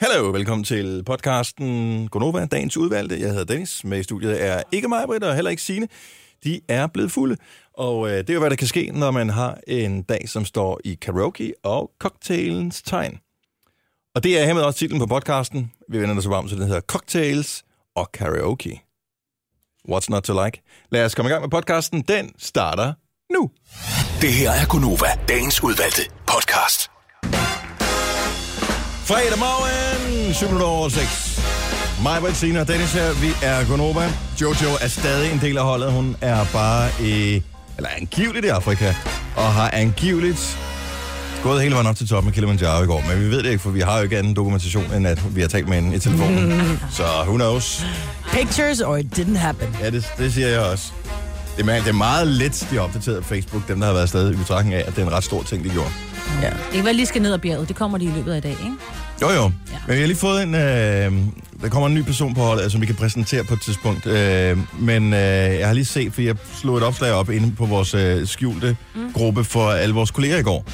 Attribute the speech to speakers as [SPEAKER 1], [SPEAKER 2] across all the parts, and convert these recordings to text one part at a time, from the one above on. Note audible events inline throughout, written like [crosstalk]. [SPEAKER 1] Hallo, velkommen til podcasten Gonova, dagens udvalgte. Jeg hedder Dennis, med i studiet er ikke mig, Britt, og heller ikke Signe. De er blevet fulde, og øh, det er jo, hvad der kan ske, når man har en dag, som står i karaoke og cocktailens tegn. Og det er hermed også titlen på podcasten. Vi vender det så varmt, så den hedder Cocktails og Karaoke. What's not to like? Lad os komme i gang med podcasten. Den starter nu.
[SPEAKER 2] Det her er Gunova, dagens udvalgte podcast.
[SPEAKER 1] Fredag morgen, 7 minutter over 6. Mig, Britt, Signe og Dennis her. Vi er Konoba. Jojo er stadig en del af holdet. Hun er bare i, eller angiveligt i Afrika, og har angiveligt gået hele vejen op til toppen af Kilimanjaro i går. Men vi ved det ikke, for vi har jo ikke anden dokumentation, end at vi har talt med hende i telefonen. Så who knows?
[SPEAKER 3] Pictures or it didn't happen.
[SPEAKER 1] Ja, det, det siger jeg også. Det er, meget- det er meget let, de har opdateret på Facebook, dem der har været afsted i betragtning af, at det er en ret stor ting, de gjorde.
[SPEAKER 3] Ja.
[SPEAKER 4] Det kan være, lige skal ned ad bjerget. Det kommer de i løbet af i dag, ikke?
[SPEAKER 1] Jo, jo. Ja. Men vi har lige fået en... Øh, der kommer en ny person på holdet, som vi kan præsentere på et tidspunkt. Øh, men øh, jeg har lige set, for jeg slog et opslag op inde på vores øh, skjulte mm. gruppe for alle vores kolleger i går.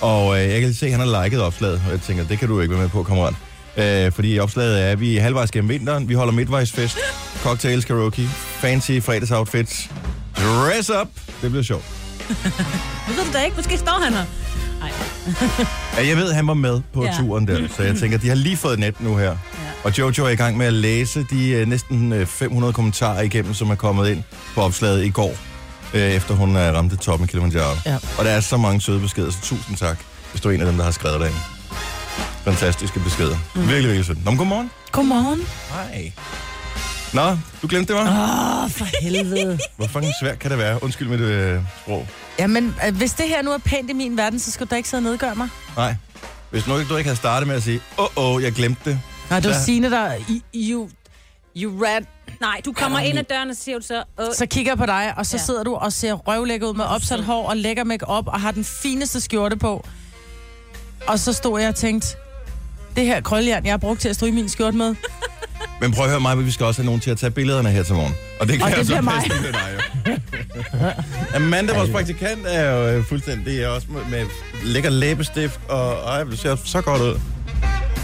[SPEAKER 1] Og øh, jeg kan lige se, at han har liket opslaget, og jeg tænker, det kan du jo ikke være med på, kammerat. Øh, fordi opslaget er, at vi er halvvejs gennem vinteren, vi holder midtvejsfest, cocktails, karaoke, fancy fredagsoutfits, dress up. Det bliver sjovt.
[SPEAKER 4] Det ved du da ikke. Måske står han her. Nej.
[SPEAKER 1] Ja, jeg ved, at han var med på ja.
[SPEAKER 4] Ja.
[SPEAKER 1] turen der, så jeg tænker, de har lige fået net nu her. Ja. Og Jojo er i gang med at læse de øh, næsten øh, 500 kommentarer igennem, som er kommet ind på opslaget i går, øh, efter hun øh, ramte toppen af Kilimanjaro.
[SPEAKER 3] Ja.
[SPEAKER 1] Og der er så mange søde beskeder, så tusind tak, hvis du er en af dem, der har skrevet derinde. Fantastiske beskeder. Mm. Virkelig, virkelig sødt. Nå, men godmorgen.
[SPEAKER 3] Godmorgen.
[SPEAKER 1] Hej. Nå, du glemte det, var?
[SPEAKER 3] Åh, oh, for helvede.
[SPEAKER 1] Hvor fucking svært kan det være? Undskyld mit øh, sprog.
[SPEAKER 3] [laughs] Jamen, øh, hvis det her nu er pænt i min verden, så skulle du da ikke sidde og nedgøre mig.
[SPEAKER 1] Nej. Hvis nu ikke du ikke havde startet med at sige, åh, oh, oh, jeg glemte det.
[SPEAKER 3] Nej, det var
[SPEAKER 1] Ja.
[SPEAKER 3] Signe, der... I, you, you rat.
[SPEAKER 4] Nej, du kommer ind ad døren og siger du så... Åh,
[SPEAKER 3] Så kigger jeg på dig, og så
[SPEAKER 4] Ja.
[SPEAKER 3] sidder du og ser røvlækker ud med opsat hår og lækker make op og har den fineste skjorte på. Og så stod jeg og tænkte, det her krøljern, jeg har brugt til at stryge min skjorte med,
[SPEAKER 1] Men prøv at høre mig, vi skal også have nogen til at tage billederne her til morgen. Og det kan
[SPEAKER 3] Og det
[SPEAKER 1] jeg så
[SPEAKER 3] bliver mig.
[SPEAKER 1] bedst med dig, jo. Amanda, vores praktikant, er jo øh, fuldstændig også med, med lækker læbestift, og ej, det ser så godt ud.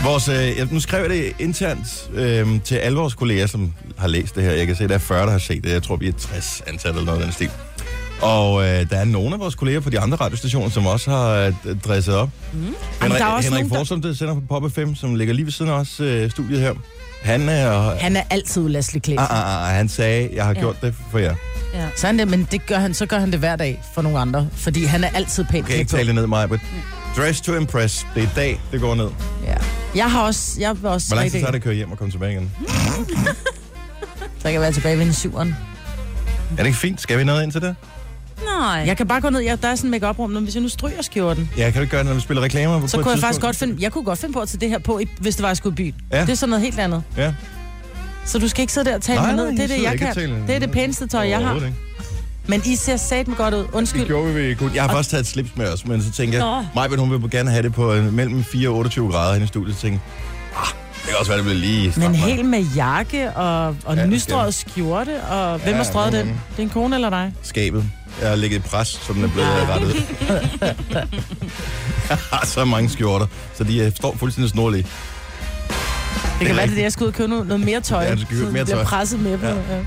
[SPEAKER 1] Vores, øh, jeg- nu skrev jeg det internt øh, til alle vores kolleger, som har læst det her. Jeg kan se, der er 40, der har set det. Jeg tror, vi er 60 ansatte eller noget af den stil. Og øh, der er nogle af vores kolleger på de andre radiostationer, som også har øh, dresset op. Mm.
[SPEAKER 3] Jamen,
[SPEAKER 1] Henrik,
[SPEAKER 3] der er også
[SPEAKER 1] Henrik
[SPEAKER 3] nogen, der-
[SPEAKER 1] Forsum, der sender på Pop FM, som ligger lige ved siden af os øh, studiet her. Han er,
[SPEAKER 3] han er altid ulastelig klædt.
[SPEAKER 1] Ah, ah, ah, han sagde, jeg har
[SPEAKER 4] Ja.
[SPEAKER 1] gjort det for jer.
[SPEAKER 4] ja.
[SPEAKER 3] Sådan det, men det gør han, så gør han det hver dag for nogle andre, fordi han er altid pænt
[SPEAKER 1] Kan jeg ikke
[SPEAKER 3] klædt på.
[SPEAKER 1] tale det ned, Maja, but dress to impress. Det er i dag, det går ned.
[SPEAKER 3] Ja. Jeg har også, jeg var også
[SPEAKER 1] Hvor lang tid
[SPEAKER 3] rigtig-
[SPEAKER 1] tager det at køre hjem og komme tilbage igen?
[SPEAKER 3] Så kan jeg være tilbage ved en syveren.
[SPEAKER 1] Er det ikke fint? Skal vi noget ind til det?
[SPEAKER 4] Nej.
[SPEAKER 3] Jeg kan bare gå ned, jeg, der er sådan en make op rum, hvis jeg nu stryger skjorten,
[SPEAKER 1] Ja, kan du ikke gøre det, når vi spiller reklamer? på
[SPEAKER 3] så
[SPEAKER 1] et
[SPEAKER 3] kunne jeg faktisk godt
[SPEAKER 1] tidspunkt?
[SPEAKER 3] finde, jeg kunne godt finde på at tage det her på, i- hvis det var, jeg skulle i byen.
[SPEAKER 1] Ja.
[SPEAKER 3] Ja. Det er sådan noget helt andet.
[SPEAKER 1] Ja.
[SPEAKER 3] Så du skal ikke sidde der og tale
[SPEAKER 1] Nej,
[SPEAKER 3] mig
[SPEAKER 1] nej,
[SPEAKER 3] ned. Det er
[SPEAKER 1] jeg
[SPEAKER 3] det,
[SPEAKER 1] sidder
[SPEAKER 3] jeg
[SPEAKER 1] ikke og
[SPEAKER 3] kan.
[SPEAKER 1] taler
[SPEAKER 3] Det er det
[SPEAKER 1] ned.
[SPEAKER 3] pæneste tøj, jeg har.
[SPEAKER 1] Overhovedet ikke.
[SPEAKER 3] Men I ser satme godt ud.
[SPEAKER 1] Det
[SPEAKER 3] Undskyld.
[SPEAKER 1] gjorde vi kun. Jeg har først taget et slips med os, men så tænkte jeg,
[SPEAKER 4] Nå.
[SPEAKER 1] Maja, hun vil gerne have det på øh, mellem 4 og 28 grader hen i studiet. Så tænkte jeg, ah, det kan også være, det bliver lige stramt,
[SPEAKER 3] Men
[SPEAKER 1] Maja.
[SPEAKER 3] helt med jakke og, og
[SPEAKER 1] Ja,
[SPEAKER 3] ja,
[SPEAKER 1] det
[SPEAKER 3] nystrøget skjorte, og hvem
[SPEAKER 1] Ja,
[SPEAKER 3] har strøget
[SPEAKER 1] nogle
[SPEAKER 3] den?
[SPEAKER 1] gange.
[SPEAKER 3] Din kone eller dig?
[SPEAKER 1] skabet. Jeg har ligget i pres, så den er blevet rettet. jeg har så mange skjorter, så de øh, står fuldstændig snorlige.
[SPEAKER 3] Det
[SPEAKER 1] er
[SPEAKER 3] kan være, det er
[SPEAKER 1] rigtigt.
[SPEAKER 3] det, jeg skal ud og købe noget, noget mere tøj.
[SPEAKER 1] Ja, du skal købe
[SPEAKER 3] så
[SPEAKER 1] mere
[SPEAKER 3] bliver
[SPEAKER 1] tøj.
[SPEAKER 3] presset med på. Ja. Ja.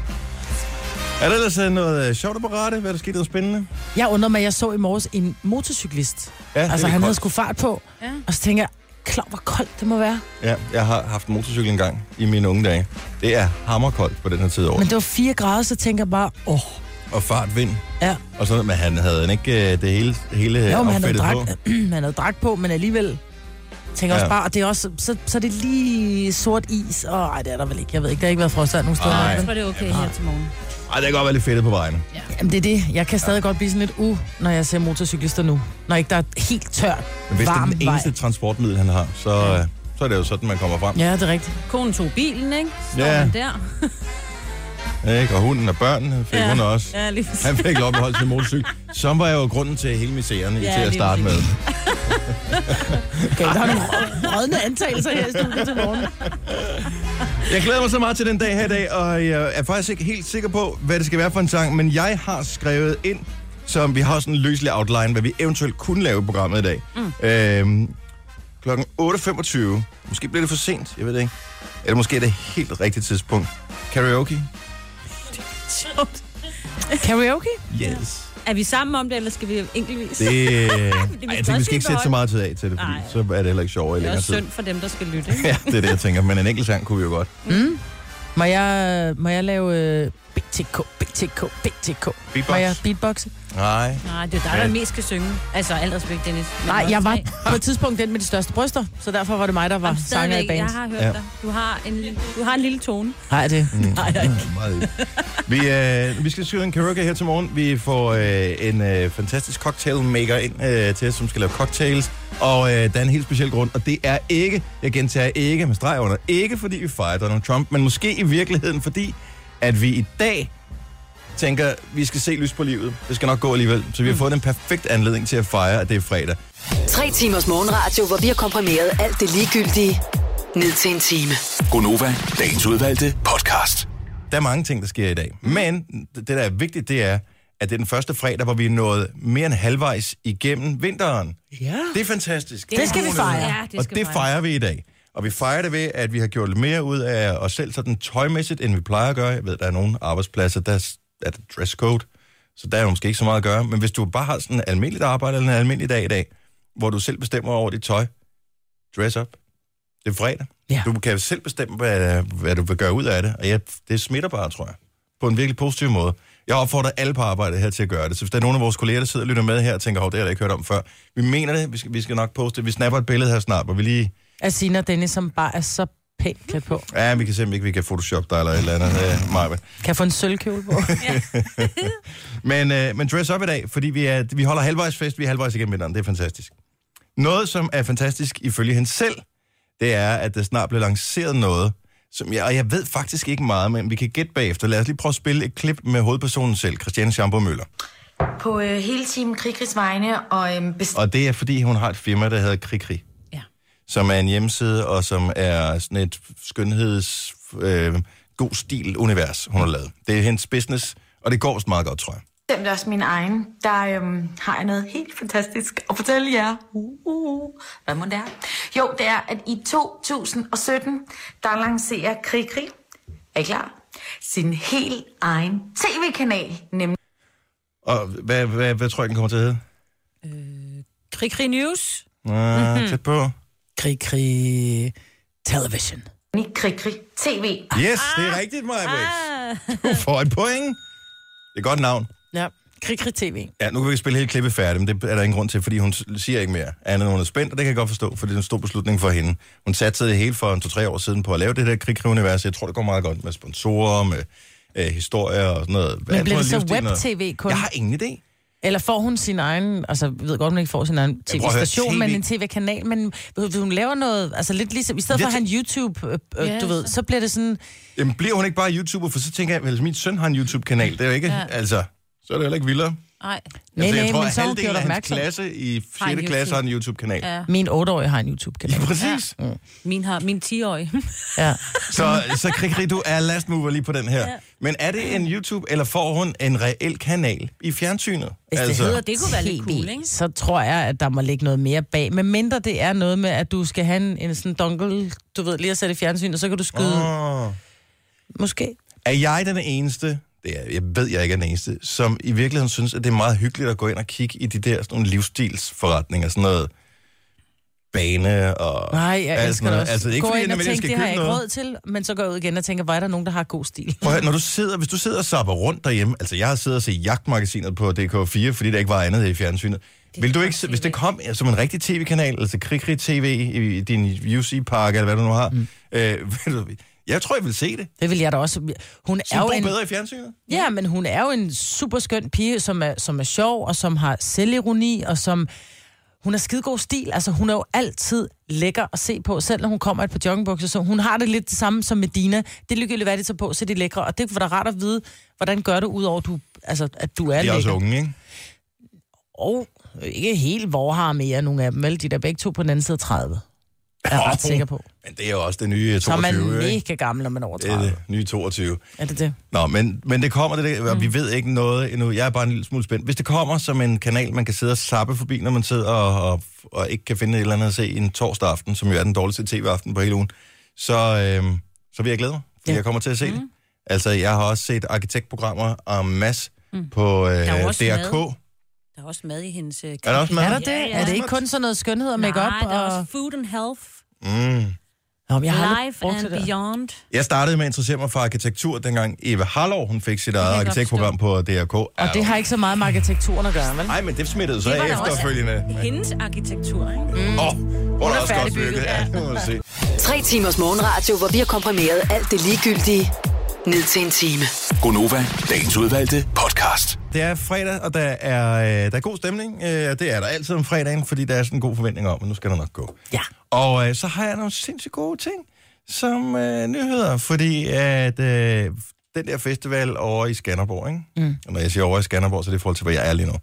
[SPEAKER 1] Er der ellers øh, noget øh, sjovt at berette? Hvad er der sket noget spændende?
[SPEAKER 3] Jeg undrer mig, jeg så i morges en motorcyklist.
[SPEAKER 1] Ja,
[SPEAKER 3] Altså,
[SPEAKER 1] det er
[SPEAKER 3] han havde
[SPEAKER 1] koldt.
[SPEAKER 3] sgu fart på.
[SPEAKER 4] Ja.
[SPEAKER 3] Og så tænker jeg, klar, hvor koldt det må være.
[SPEAKER 1] Ja, jeg har haft en motorcykel engang i mine unge dage. Det er hammerkoldt på den her tid over.
[SPEAKER 3] Men
[SPEAKER 1] Men...
[SPEAKER 3] det var 4 grader, så tænker jeg bare, åh, oh,
[SPEAKER 1] Og fart, vind.
[SPEAKER 3] ja.
[SPEAKER 1] Og sådan, men han havde han ikke øh, det hele, hele
[SPEAKER 3] Jo,
[SPEAKER 1] jo,
[SPEAKER 3] [clears throat] men han havde,
[SPEAKER 1] outfittet
[SPEAKER 3] drak,
[SPEAKER 1] på.
[SPEAKER 3] han havde drak på, men alligevel tænker ja.
[SPEAKER 1] Ja.
[SPEAKER 3] også bare, og det er også, så, så er det lige sort is, og ej, det er der vel ikke, jeg ved ikke, der har ikke været frostvejr nogen steder.
[SPEAKER 1] Nej.
[SPEAKER 4] Jeg tror, det er okay her til morgen.
[SPEAKER 1] Ej, det kan godt være lidt fedt på vejen.
[SPEAKER 3] Jamen, det er det, jeg kan stadig godt blive sådan lidt u, når jeg ser motorcyklister nu, når ikke der er helt tør,
[SPEAKER 1] Men hvis
[SPEAKER 3] varm
[SPEAKER 1] det er den eneste
[SPEAKER 3] vej.
[SPEAKER 1] transportmiddel, han har, så, øh, så er det jo sådan, man kommer frem.
[SPEAKER 3] Ja, det er
[SPEAKER 1] [laughs]
[SPEAKER 3] rigtigt.
[SPEAKER 4] Konen tog bilen, ikke? Står
[SPEAKER 1] Ja.
[SPEAKER 4] ja. man der.
[SPEAKER 1] Ja. Ikke? Og hunden og børnene fik ja. hun også.
[SPEAKER 4] Ja, lige præcis.
[SPEAKER 1] Han fik lov at beholde sin motorcykel, som var jo grunden til hele miseren ja,
[SPEAKER 4] Ja,
[SPEAKER 1] til at
[SPEAKER 4] lige
[SPEAKER 1] starte med.
[SPEAKER 4] præcis.
[SPEAKER 3] Okay, der er nogle rå- rådne antagelser her i studiet til morgen.
[SPEAKER 1] Jeg glæder mig så meget til den dag her i dag, og jeg er faktisk ikke helt sikker på, hvad det skal være for en sang, men jeg har skrevet ind, som vi har sådan en løselig outline, hvad vi eventuelt kunne lave i programmet i dag. Mm. Øhm, Klokken 8.25. Måske bliver det for sent, jeg ved det ikke. Eller måske er det helt rigtigt tidspunkt. Karaoke?
[SPEAKER 4] Sjovt.
[SPEAKER 3] Karaoke?
[SPEAKER 1] Yes.
[SPEAKER 4] [laughs] Er vi sammen om det, eller skal vi enkeltvis?
[SPEAKER 1] Det, Ej, jeg tænker, vi
[SPEAKER 4] godt
[SPEAKER 1] skal ikke sætte så meget tid af til det, fordi
[SPEAKER 4] Nej.
[SPEAKER 1] så er det heller ikke sjovere i
[SPEAKER 4] det er
[SPEAKER 1] længere
[SPEAKER 4] også
[SPEAKER 1] tid.
[SPEAKER 4] synd for dem, der skal lytte.
[SPEAKER 1] [laughs]
[SPEAKER 4] ikke?
[SPEAKER 1] Ja, det er det, jeg tænker. Men en enkelt sang kunne vi jo godt.
[SPEAKER 3] Må jeg, må jeg lave øh, BTK, BTK, BTK? Må jeg
[SPEAKER 1] Beatbox?
[SPEAKER 3] beatboxe?
[SPEAKER 1] Nej.
[SPEAKER 4] Nej, det er dig,
[SPEAKER 1] Ja.
[SPEAKER 4] der mest skal synge. Altså, alt respekt, Dennis. Men
[SPEAKER 3] Nej,
[SPEAKER 4] også
[SPEAKER 3] jeg var
[SPEAKER 4] tre.
[SPEAKER 3] på et tidspunkt den med de største bryster, så derfor var det mig, der var
[SPEAKER 4] Jamen,
[SPEAKER 3] sanger i
[SPEAKER 4] stadigvæk,
[SPEAKER 3] band.
[SPEAKER 4] Jeg har hørt
[SPEAKER 1] Ja.
[SPEAKER 4] dig. Du har en, du har en lille tone.
[SPEAKER 3] Nej, det.
[SPEAKER 1] Mm.
[SPEAKER 4] Nej, nej.
[SPEAKER 1] Meget vi, øh, vi skal skyde en karaoke her til morgen. Vi får øh, en øh, fantastisk cocktailmaker ind øh, til os, som skal lave cocktails. Og øh, der er en helt speciel grund, og det er ikke, jeg gentager ikke med streg under, ikke fordi vi fejrer Donald Trump, men måske i virkeligheden fordi, at vi i dag tænker, vi skal se lys på livet. Det skal nok gå alligevel. Så vi har fået den perfekte anledning til at fejre, at det er fredag.
[SPEAKER 5] Tre timers morgenradio, hvor vi har komprimeret alt det ligegyldige ned til en time.
[SPEAKER 2] Gonova, dagens udvalgte podcast.
[SPEAKER 1] Der er mange ting, der sker i dag.
[SPEAKER 4] Mm.
[SPEAKER 1] Men det, der er vigtigt, det er, at det er den første fredag, hvor vi er nået mere end halvvejs igennem vinteren. Ja. Det er fantastisk.
[SPEAKER 4] Det skal
[SPEAKER 1] er
[SPEAKER 4] vi
[SPEAKER 1] en god nyhed.
[SPEAKER 4] fejre. Ja, det
[SPEAKER 1] og
[SPEAKER 4] skal
[SPEAKER 1] det
[SPEAKER 4] fejres.
[SPEAKER 1] fejrer vi i dag. Og vi fejrer det ved, at vi har gjort lidt mere ud af os selv sådan tøjmæssigt, end vi plejer at gøre. Jeg ved, der er nogle arbejdspladser, der s- er der dresscode, så der er jo måske ikke så meget at gøre. Men hvis du bare har sådan en almindeligt arbejde eller en almindelig dag i dag, hvor du selv bestemmer over dit tøj, dress up. Det er fredag.
[SPEAKER 3] Ja.
[SPEAKER 1] Du kan selv bestemme, hvad, hvad du vil gøre ud af det. Og ja, det smitter bare, tror jeg. På en virkelig positiv måde. Jeg opfordrer alle på arbejde her til at gøre det. Så hvis der er nogen af vores kolleger, der sidder og lytter med her og tænker, hov, det har jeg da ikke hørt om før. Vi mener det. Vi skal, vi skal nok poste det. Vi snapper et billede her snart, hvor vi lige...
[SPEAKER 3] Af Sina og Dennis, som bare er så pænt klædt på.
[SPEAKER 1] Ja, vi kan se, om ikke vi kan photoshoppe dig eller et eller andet. Øh, Maja.
[SPEAKER 3] Kan jeg få en sølvkjole
[SPEAKER 4] [laughs]
[SPEAKER 3] på?
[SPEAKER 1] men, øh, men dress up i dag, fordi vi, er, vi holder halvvejsfest. Vi er halvvejs igennem vinteren. Det er fantastisk. Noget, som er fantastisk ifølge hende selv, det er, at der snart bliver lanceret noget, som jeg, og jeg ved faktisk ikke meget, men vi kan gætte bagefter. Lad os lige prøve at spille et klip med hovedpersonen selv, Christiane Schamburg Møller.
[SPEAKER 6] På øh, hele Team Krigrigs vegne, og øhm, best-
[SPEAKER 1] Og det er, fordi hun har et firma, der hedder Krikri,
[SPEAKER 4] Ja.
[SPEAKER 1] som er en hjemmeside, og som er sådan et skønheds, øh, god stil-univers, hun har lavet. Det er hendes business, og det går også meget godt, tror jeg.
[SPEAKER 6] bestemt også min egen, der øhm, har jeg noget helt fantastisk at fortælle jer. Uh, uh, uh. Hvad må det er? Jo, det er, at i 2017, der lancerer Krigrig, er I klar? Sin helt egen tv-kanal, nemlig
[SPEAKER 1] Og hvad, hvad, hvad tror jeg, den kommer til at hedde?
[SPEAKER 4] Krig, krig news.
[SPEAKER 1] Ah, mm-hmm. Tæt på.
[SPEAKER 3] Krig, krig, television.
[SPEAKER 6] Krigrig TV.
[SPEAKER 1] Yes, det er rigtigt, Maja ah. Du får et point. Det er et godt navn.
[SPEAKER 3] Ja, krig, krig tv.
[SPEAKER 1] Ja, nu kan vi ikke spille hele klippet færdigt, men det er der ingen grund til, fordi hun siger ikke mere. Andet end hun er spændt, og det kan jeg godt forstå, for det er en stor beslutning for hende. Hun satte det hele for en to-tre år siden på at lave det der krigskriguniverset. Jeg tror, det går meget godt med sponsorer, med øh, historier og sådan noget.
[SPEAKER 3] Men
[SPEAKER 1] Alt
[SPEAKER 3] bliver det
[SPEAKER 1] muligt
[SPEAKER 3] så
[SPEAKER 1] livsstil, noget.
[SPEAKER 3] web-tv kun?
[SPEAKER 1] Jeg har ingen idé.
[SPEAKER 3] Eller får hun sin egen, altså jeg ved godt, hun ikke får sin egen
[SPEAKER 1] prøver at høre,
[SPEAKER 3] tv-station, men
[SPEAKER 1] TV.
[SPEAKER 3] en tv-kanal, men ved du, hun laver noget, altså lidt ligesom, i stedet for at have en YouTube, øh, øh,
[SPEAKER 4] Ja,
[SPEAKER 3] du ved,
[SPEAKER 4] så-
[SPEAKER 3] så bliver det sådan,
[SPEAKER 1] Jamen, bliver hun ikke bare YouTuber? For så tænker jeg, at min søn har en YouTube-kanal. Det er jo ikke, ja. altså... Så er det heller ikke vildere.
[SPEAKER 4] Nej.
[SPEAKER 3] nej,
[SPEAKER 1] altså,
[SPEAKER 3] nej,
[SPEAKER 1] jeg tror,
[SPEAKER 3] men
[SPEAKER 1] at
[SPEAKER 3] så har hun
[SPEAKER 1] halvdelen
[SPEAKER 3] gjort
[SPEAKER 1] af hans
[SPEAKER 3] opmærksom.
[SPEAKER 1] klasse i
[SPEAKER 4] Har en
[SPEAKER 1] 4. klasse har en YouTube-kanal. Ja.
[SPEAKER 4] Ja.
[SPEAKER 3] Min 8-årige har en YouTube-kanal.
[SPEAKER 1] Præcis.
[SPEAKER 3] Mm.
[SPEAKER 1] Ja.
[SPEAKER 4] Min, har, min 10-årige.
[SPEAKER 3] Ja.
[SPEAKER 1] Så, så Krikri, du er last mover lige på den her. Ja. Men er det en YouTube, eller får hun en reel kanal i fjernsynet? Altså,
[SPEAKER 3] Hvis det hedder
[SPEAKER 4] det kunne være lidt cool, ikke?
[SPEAKER 3] Altså, Så tror jeg, at der må ligge noget mere bag. Men mindre det er noget med, at du skal have en, en sådan dongle, du ved, lige at sætte i fjernsyn, og så kan du skyde, oh.
[SPEAKER 1] Åh.
[SPEAKER 3] måske.
[SPEAKER 1] Er jeg den eneste, det er, jeg ved, jeg ikke er den eneste, som i virkeligheden synes, at det er meget hyggeligt at gå ind og kigge i de der sådan nogle livsstilsforretninger, sådan noget bane og...
[SPEAKER 3] Nej, jeg
[SPEAKER 1] alt sådan
[SPEAKER 3] elsker det
[SPEAKER 1] noget.
[SPEAKER 3] også.
[SPEAKER 1] Altså, det er ikke
[SPEAKER 3] Gå
[SPEAKER 1] fordi,
[SPEAKER 3] ind
[SPEAKER 1] jeg
[SPEAKER 3] og
[SPEAKER 1] nødvendigvis
[SPEAKER 3] tænk,
[SPEAKER 1] skal
[SPEAKER 3] det
[SPEAKER 1] købe
[SPEAKER 3] har jeg ikke
[SPEAKER 1] noget.
[SPEAKER 3] råd til, men så går jeg ud igen og tænker, hvor er der nogen, der har god stil?
[SPEAKER 1] Prøv at, høre, når du sidder, hvis du sidder og sapper rundt derhjemme, altså jeg har siddet og set jagtmagasinet på DK4, fordi der ikke var andet i fjernsynet. Vil du ikke, se- hvis det kom som en rigtig tv-kanal, altså Krikri TV i i din UC-park, eller hvad du nu har, mm. øh, [laughs] vil du- jeg tror, jeg vil se det.
[SPEAKER 3] Det vil jeg da også. Hun
[SPEAKER 1] Så
[SPEAKER 3] er jo
[SPEAKER 1] bor
[SPEAKER 3] en,
[SPEAKER 1] bedre i fjernsynet.
[SPEAKER 3] ja, men hun er jo en super skøn pige, som er, som er sjov, og som har selvironi, og som... Hun har skidegod stil, altså hun er jo altid lækker at se på, selv når hun kommer i et par joggingbukser, så hun har det lidt det samme som Medina. Det er ligegyldigt, hvad de tager på, så er de lækre, og det var da rart at vide, hvordan gør du, udover du, altså, at du er,
[SPEAKER 1] De er
[SPEAKER 3] lækker.
[SPEAKER 1] også unge, ikke?
[SPEAKER 3] Og ikke helt vorhar mere, nogle af dem, vel? De er da begge to på den anden side af 30. er jeg ret sikker på.
[SPEAKER 1] Men det er jo også det nye 22,
[SPEAKER 3] Så er man
[SPEAKER 1] ikke?
[SPEAKER 3] mega gammel, når man er over
[SPEAKER 1] Det er
[SPEAKER 3] 30.
[SPEAKER 1] det nye 22.
[SPEAKER 3] Er det det?
[SPEAKER 1] Nå, men, men det kommer, det, der, og
[SPEAKER 4] Mm.
[SPEAKER 1] vi ved ikke noget endnu. Jeg er bare en lille smule spændt. Hvis det kommer som en kanal, man kan sidde og sappe forbi, når man sidder og, og, og ikke kan finde et eller andet at se en torsdag aften, som jo er den dårligste tv-aften på hele ugen, så, øh, så vil jeg glæde mig, fordi
[SPEAKER 3] Ja.
[SPEAKER 1] ja. jeg kommer til at se mm. det. Altså, jeg har også set arkitektprogrammer om mass mm. på øh,
[SPEAKER 4] er jo også
[SPEAKER 1] DRK.
[SPEAKER 4] mad. [laughs] Der er også mad i hendes... øh, Er
[SPEAKER 1] der også mad?
[SPEAKER 3] Er der det?
[SPEAKER 4] Ja, ja.
[SPEAKER 3] Er det ikke kun sådan noget skønhed og make-up?
[SPEAKER 4] Nej, der er
[SPEAKER 3] og...
[SPEAKER 4] også food and health,
[SPEAKER 1] Mm.
[SPEAKER 3] Nå, men jeg har aldrig
[SPEAKER 4] life
[SPEAKER 3] brugt
[SPEAKER 4] and
[SPEAKER 3] det der.
[SPEAKER 4] beyond.
[SPEAKER 1] Jeg startede med at interessere mig for arkitektur, dengang Eva Harlov, hun fik sit eget
[SPEAKER 4] jeg godt
[SPEAKER 1] arkitektprogram på DRK.
[SPEAKER 3] Og det har ikke så meget med arkitekturen at gøre, vel?
[SPEAKER 1] Nej, men det smittede så
[SPEAKER 4] Det var
[SPEAKER 1] af
[SPEAKER 4] da også-
[SPEAKER 1] efterfølgende. Men-
[SPEAKER 4] Hendes arkitektur, ikke?
[SPEAKER 1] Åh, oh, hvor er der også godt
[SPEAKER 3] færdigbygget,
[SPEAKER 1] bygget. Ja, det må man se.
[SPEAKER 5] Tre timers morgenradio, hvor vi har komprimeret alt det ligegyldige ned til en time.
[SPEAKER 2] Gonova, dagens udvalgte podcast.
[SPEAKER 1] Det er fredag, og der er, øh, der er god stemning. Øh, det er der altid om fredagen, fordi der er sådan en god forventning om, at nu skal der nok gå.
[SPEAKER 3] Ja.
[SPEAKER 1] Og øh, så har jeg nogle sindssygt gode ting som øh, nyheder, fordi at øh, den der festival over i Skanderborg, ikke? Mm. og når jeg siger over i Skanderborg, så er det i forhold til, hvor jeg er lige nu.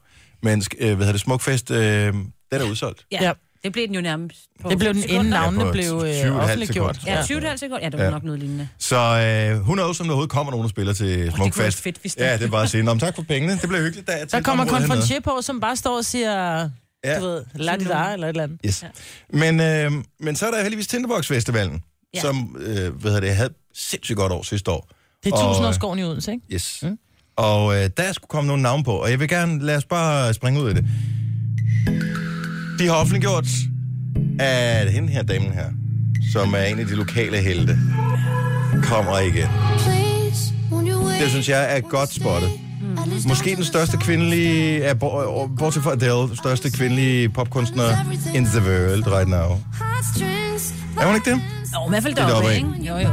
[SPEAKER 1] Men sk- øh, hvad hedder det, Smukfest, øh, den er udsat.
[SPEAKER 4] Ja.
[SPEAKER 3] Ja.
[SPEAKER 4] ja. Det blev den jo nærmest på
[SPEAKER 3] Det blev den inden
[SPEAKER 4] sekunder.
[SPEAKER 3] navnene
[SPEAKER 1] Ja, på
[SPEAKER 3] blev
[SPEAKER 1] 20,5
[SPEAKER 3] øh,
[SPEAKER 1] sekunder.
[SPEAKER 3] offentliggjort.
[SPEAKER 4] Ja, 20 sekunder. Ja, det var nok noget lignende.
[SPEAKER 1] Så øh, hun er også, som der overhovedet kommer nogen og spiller til
[SPEAKER 4] kunne være
[SPEAKER 1] Smukfest.
[SPEAKER 4] fedt, hvis det-
[SPEAKER 1] ja, det er bare at sige, "Nå, men tak for pengene, det blev hyggeligt. Der, er til
[SPEAKER 3] Der
[SPEAKER 1] et
[SPEAKER 3] kommer
[SPEAKER 1] område hernede."
[SPEAKER 3] konfrontier på, som bare står og siger,
[SPEAKER 1] Ja.
[SPEAKER 3] du ved, la di da, eller et eller andet.
[SPEAKER 1] Yes. Ja. Men, øh, men så er der heldigvis Tinderbox Festivalen, ja.
[SPEAKER 4] Ja.
[SPEAKER 1] som øh, hvad hedder det, havde sindssygt godt år sidste år.
[SPEAKER 3] Det er
[SPEAKER 1] Og, øh,
[SPEAKER 3] tusindårsgården i Odense, ikke?
[SPEAKER 1] Yes. Mm. Og øh, der skulle komme nogle navne på, og jeg vil gerne, lad os bare springe ud i det. De har offentliggjort, at hende her damen her, som er en af de lokale helte, kommer igen.
[SPEAKER 7] Det synes jeg er godt spottet.
[SPEAKER 1] Måske den største kvindelige, ja, bor- og- bortset fra Adele, største kvindelige popkunstner in the world right now.
[SPEAKER 7] Er hun ikke det?
[SPEAKER 4] Nå, i hvert fald
[SPEAKER 1] er
[SPEAKER 4] deroppe,
[SPEAKER 1] deroppe,
[SPEAKER 4] ikke? Jo, jo.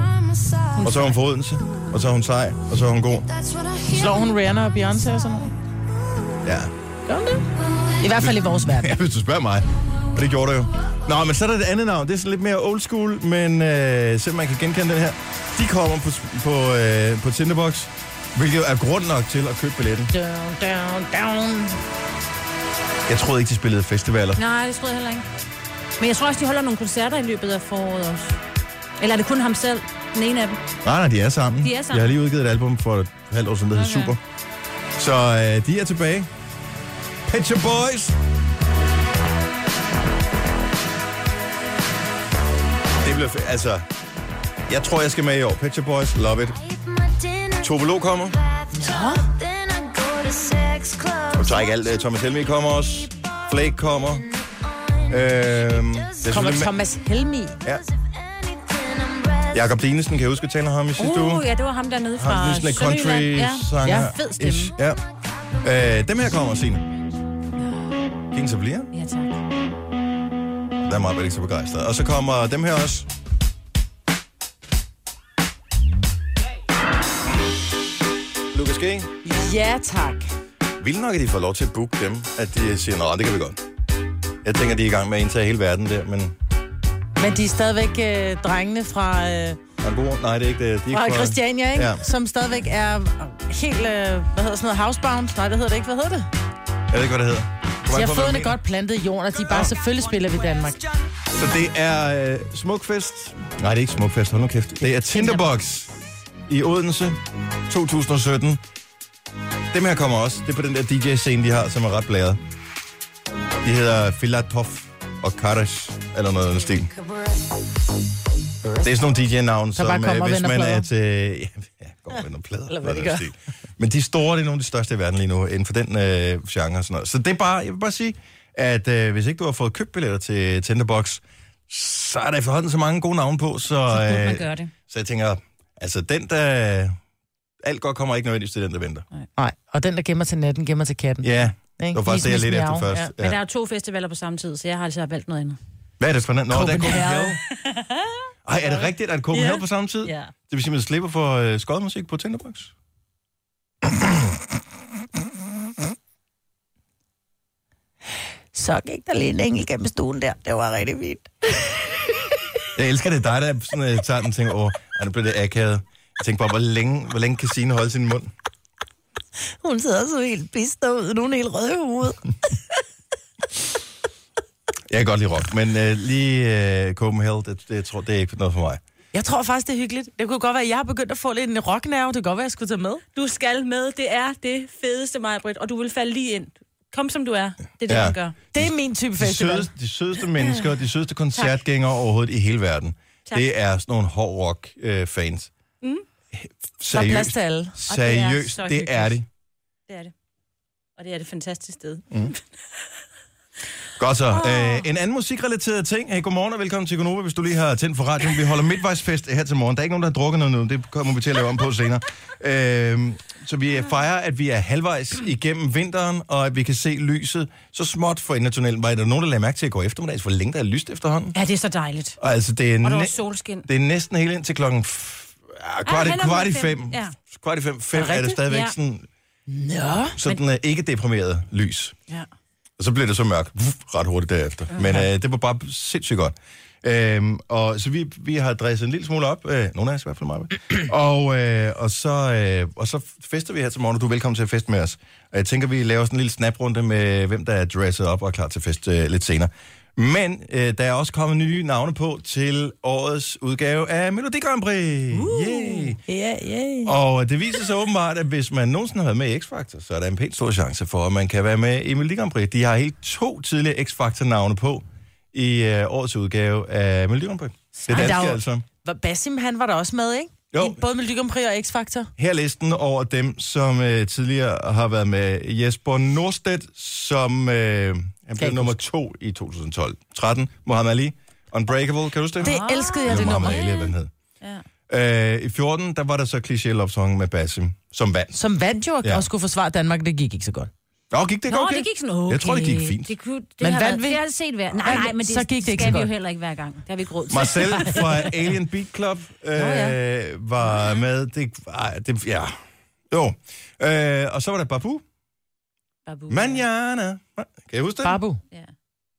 [SPEAKER 1] Og så er hun fra Odense, og så er hun sej, og så er hun god.
[SPEAKER 3] Slår hun Rihanna og Beyoncé og sådan noget?
[SPEAKER 1] Ja,
[SPEAKER 3] Gør hun det? I hvert fald i vores verden.
[SPEAKER 1] Ja, hvis du spørger mig. Og det gjorde det jo. Nå, men så er der det andet navn. Det er sådan lidt mere old school, men øh, selvom man kan genkende den her. De kommer på, på, øh, på Tinderbox, hvilket er grund nok til at købe billetten.
[SPEAKER 3] Down, down, down.
[SPEAKER 1] Jeg troede ikke, de spillede festivaler.
[SPEAKER 4] Nej, det troede jeg heller ikke. Men jeg tror også, de holder nogle koncerter i løbet af foråret også. Eller er det kun ham selv? Den ene af dem.
[SPEAKER 1] Nej, nej, de er sammen.
[SPEAKER 4] De er sammen.
[SPEAKER 1] Jeg har lige udgivet et album for et halvt år siden, der hedder
[SPEAKER 4] Okay.
[SPEAKER 1] Super. Så øh, de er tilbage. Pet Shop Boys! Det bliver fe- altså... Jeg tror, jeg skal med i år. Pet Shop Boys, love it. Tobolo kommer.
[SPEAKER 7] Og
[SPEAKER 1] Så er ikke alt. øh, Thomas Helmi kommer også. Flake kommer. Øhm, det er
[SPEAKER 3] Kommer
[SPEAKER 1] selvfølgelig-
[SPEAKER 3] Thomas Helmi.
[SPEAKER 1] Ja. Jakob Dinesen, kan jeg huske, at tale om ham i sidste uge?
[SPEAKER 4] Uh, ja, det var ham dernede
[SPEAKER 1] Ham,
[SPEAKER 4] fra
[SPEAKER 1] sådan lidt country
[SPEAKER 4] Sønderjylland. Ja.
[SPEAKER 1] sanger.
[SPEAKER 3] Ja,
[SPEAKER 4] fed stemme.
[SPEAKER 1] Ish, Ja. Øh, dem her kommer, Signe. Ingen så bliver.
[SPEAKER 4] ja, tak.
[SPEAKER 1] Der er meget ikke så begejstret. Og så kommer dem her også. Lukas G.
[SPEAKER 3] Ja, tak.
[SPEAKER 1] Vildt nok, at de får lov til at booke dem, at de siger, nej, det kan vi godt. Jeg tænker, de er i gang med at indtage hele verden der, men
[SPEAKER 3] Men de er stadigvæk øh, drengene fra, øh,
[SPEAKER 1] Hamburg? Nej, det er ikke det. De er
[SPEAKER 3] fra
[SPEAKER 1] ikke
[SPEAKER 3] Christiania, ikke?
[SPEAKER 1] Ja.
[SPEAKER 3] Ja. som stadigvæk er helt, øh, hvad hedder sådan noget, housebound? Nej, det hedder det ikke. Hvad hedder det?
[SPEAKER 1] Jeg ved ikke, hvad det hedder. Kom
[SPEAKER 3] De
[SPEAKER 1] an
[SPEAKER 3] har
[SPEAKER 1] på, hvad
[SPEAKER 3] fødderne
[SPEAKER 1] du mener.
[SPEAKER 3] godt plantet i jorden, og de er bare, selvfølgelig spiller vi Danmark.
[SPEAKER 1] Så det er øh, Smukfest. Nej, det er ikke Smukfest. Hold nu kæft. Det er Tinderbox i Odense 2017. Dem her kommer også. Det er på den der DJ-scene, de har, som er ret blæret. De hedder Filatov og Karash, eller noget af den stil. Det er sådan nogle DJ-navne, som
[SPEAKER 3] bare
[SPEAKER 1] øh,
[SPEAKER 3] kommer og
[SPEAKER 1] hvis
[SPEAKER 3] vender
[SPEAKER 1] man er til... Ja, [laughs] går og vender plader.
[SPEAKER 3] Eller hvad de
[SPEAKER 1] noget af den stil. Men de store, det er nogle af de største i verden lige nu, inden for den øh, genre og sådan noget. Så det er bare, jeg vil bare sige, at øh, hvis ikke du har fået købt billetter til Tinderbox, så er der efterhånden så mange gode navne på, så,
[SPEAKER 4] burde
[SPEAKER 1] så,
[SPEAKER 4] man gøre det.
[SPEAKER 1] så jeg tænker, altså den, der... Alt godt kommer ikke nødvendigvis til den, der venter.
[SPEAKER 3] Nej, og den, der gemmer til natten, gemmer til katten.
[SPEAKER 1] Ja,
[SPEAKER 3] Ikke?
[SPEAKER 1] det var faktisk det, jeg
[SPEAKER 3] Ligesom
[SPEAKER 1] lidt efter
[SPEAKER 3] miau.
[SPEAKER 1] først.
[SPEAKER 4] Men
[SPEAKER 1] Ja.
[SPEAKER 4] der er jo to festivaler på samme tid, så jeg har altså valgt noget andet.
[SPEAKER 1] Hvad er det for noget? Nå, der er Copenhagen.
[SPEAKER 3] Copenhagen.
[SPEAKER 1] Ej, er det rigtigt, at Copenhagen
[SPEAKER 4] Ja.
[SPEAKER 1] på samme tid?
[SPEAKER 4] Ja.
[SPEAKER 1] Det vil sige, at man slipper for øh, skodmusik på Tinderbox?
[SPEAKER 3] Så gik der lige en engel gennem stuen der. Det var rigtig fint.
[SPEAKER 1] Jeg elsker det. er Dig, der sådan, øh, tager den og tænker, åh, ej, nu bliver det akavet. Jeg tænker bare, hvor længe, hvor længe kan Signe holde sin mund?
[SPEAKER 3] Hun sidder så helt pist ud, og hun er helt rød ud.
[SPEAKER 1] Jeg kan godt lide rock, men øh, lige øh, Copenhagen, det, det, tror, det er ikke noget for mig.
[SPEAKER 3] Jeg tror faktisk, det er hyggeligt. Det kunne godt være, at jeg har begyndt at få lidt en rocknerve. Det kunne godt være, at jeg skulle tage med.
[SPEAKER 4] Du skal med. Det er det fedeste, mig, Britt, og du vil falde lige ind. Kom som du er. Det er det,
[SPEAKER 1] Ja.
[SPEAKER 4] man gør.
[SPEAKER 3] Det er min type
[SPEAKER 1] De
[SPEAKER 3] festival.
[SPEAKER 1] sødeste, de sødeste mennesker, og de sødeste koncertgængere overhovedet i hele verden,
[SPEAKER 4] Tak.
[SPEAKER 1] det er sådan nogle hård rock øh, fans. Mm.
[SPEAKER 3] Der er plads
[SPEAKER 1] Seriøst,
[SPEAKER 3] til alle.
[SPEAKER 4] Og det er
[SPEAKER 1] seriøst,
[SPEAKER 4] så
[SPEAKER 1] det er det.
[SPEAKER 4] hyggeligt. Det er det. Og det er det fantastiske sted.
[SPEAKER 1] Mm. Godt så. Øh, en anden musikrelateret ting. Hey, godmorgen og velkommen til Konoba, hvis du lige har tændt for radioen. Vi holder midtvejsfest her til morgen. Der er ikke nogen, der har drukket noget nu. Det kommer vi til at lave om på senere. Øh, så vi fejrer, at vi er halvvejs igennem vinteren, og at vi kan se lyset så småt for enden af tunnelen. Var der nogen, der lagde mærke til i går eftermiddags, hvor længe der er lyst efterhånden?
[SPEAKER 4] Ja, det er så dejligt.
[SPEAKER 1] Og altså, det er,
[SPEAKER 4] Og der var
[SPEAKER 1] næ-
[SPEAKER 4] solskin.
[SPEAKER 1] det er næsten helt ind til klokken f- ah, kvart, i-
[SPEAKER 4] hen over
[SPEAKER 1] kvart i
[SPEAKER 4] fem.
[SPEAKER 1] fem.
[SPEAKER 4] Ja.
[SPEAKER 1] Kvart i fem, fem er, det
[SPEAKER 3] rigtigt?
[SPEAKER 1] stadigvæk
[SPEAKER 4] Ja.
[SPEAKER 1] sådan,
[SPEAKER 3] Nå.
[SPEAKER 1] sådan øh, ikke deprimeret lys.
[SPEAKER 4] Ja.
[SPEAKER 1] Og så blev det så mørkt vuff, ret hurtigt derefter. Men øh, det var bare sindssygt godt. Øhm, og så vi, vi har dresset en lille smule op, øh, nogle af os i hvert fald mig, og, øh, og, så, øh, og så fester vi her til morgen, og du er velkommen til at feste med os. Og jeg tænker, vi laver sådan en lille snaprunde med, hvem der er dresset op og er klar til fest øh, lidt senere. Men øh, der er også kommet nye navne på til årets udgave af Melodi Grand Prix. Uh. Yeah.
[SPEAKER 3] Ja, ja.
[SPEAKER 1] Og det viser sig åbenbart, at hvis man nogensinde har været med i X-Factor, så er der en pænt stor chance for, at man kan være med i Melodi Grand Prix. De har helt to tidlige X-Factor-navne på i øh, årets udgave af Melodi Grand Prix. Det er
[SPEAKER 3] Ej, der
[SPEAKER 1] danske,
[SPEAKER 3] er jo-
[SPEAKER 1] altså.
[SPEAKER 3] Var Basim, han var der også med, ikke?
[SPEAKER 1] Jo.
[SPEAKER 3] I både Melodi Grand Prix og X-Factor.
[SPEAKER 1] Her er listen over dem, som øh, tidligere har været med. Jesper Nordstedt, som øh, han blev
[SPEAKER 3] ikke
[SPEAKER 1] nummer to i 2012-13. Mohamed Ali, Unbreakable, kan du huske det?
[SPEAKER 3] Det elskede jeg,
[SPEAKER 1] Det
[SPEAKER 3] det
[SPEAKER 1] var
[SPEAKER 3] nummer.
[SPEAKER 1] Mohamed Ali, hvad den hed. Øh, I 14, der var der så Cliché Love Song med Basim, som vandt.
[SPEAKER 3] Som vandt jo
[SPEAKER 1] Ja.
[SPEAKER 3] ja. og skulle forsvare Danmark, det gik ikke så godt.
[SPEAKER 1] Nå, gik det
[SPEAKER 4] Nå,
[SPEAKER 1] okay?
[SPEAKER 4] det gik sådan okay.
[SPEAKER 1] Jeg tror, det gik fint.
[SPEAKER 4] Det, kunne, det,
[SPEAKER 3] Men
[SPEAKER 4] men har
[SPEAKER 3] hvad
[SPEAKER 4] været,
[SPEAKER 3] ved-
[SPEAKER 4] det har jeg set værd. Nej,
[SPEAKER 3] Hvad-
[SPEAKER 4] nej, men det,
[SPEAKER 3] så gik det ikke
[SPEAKER 4] skal
[SPEAKER 3] så
[SPEAKER 4] vi jo
[SPEAKER 3] godt.
[SPEAKER 4] heller ikke hver gang. Det har vi ikke råd til. [laughs]
[SPEAKER 1] Marcel fra Alien Beat Club øh,
[SPEAKER 3] ja.
[SPEAKER 1] var med. Det, ej, det, ja. Jo. Øh, og så var der Babu.
[SPEAKER 4] Babu.
[SPEAKER 1] Manjana. Kan I huske det?
[SPEAKER 3] Babu.
[SPEAKER 4] Ja.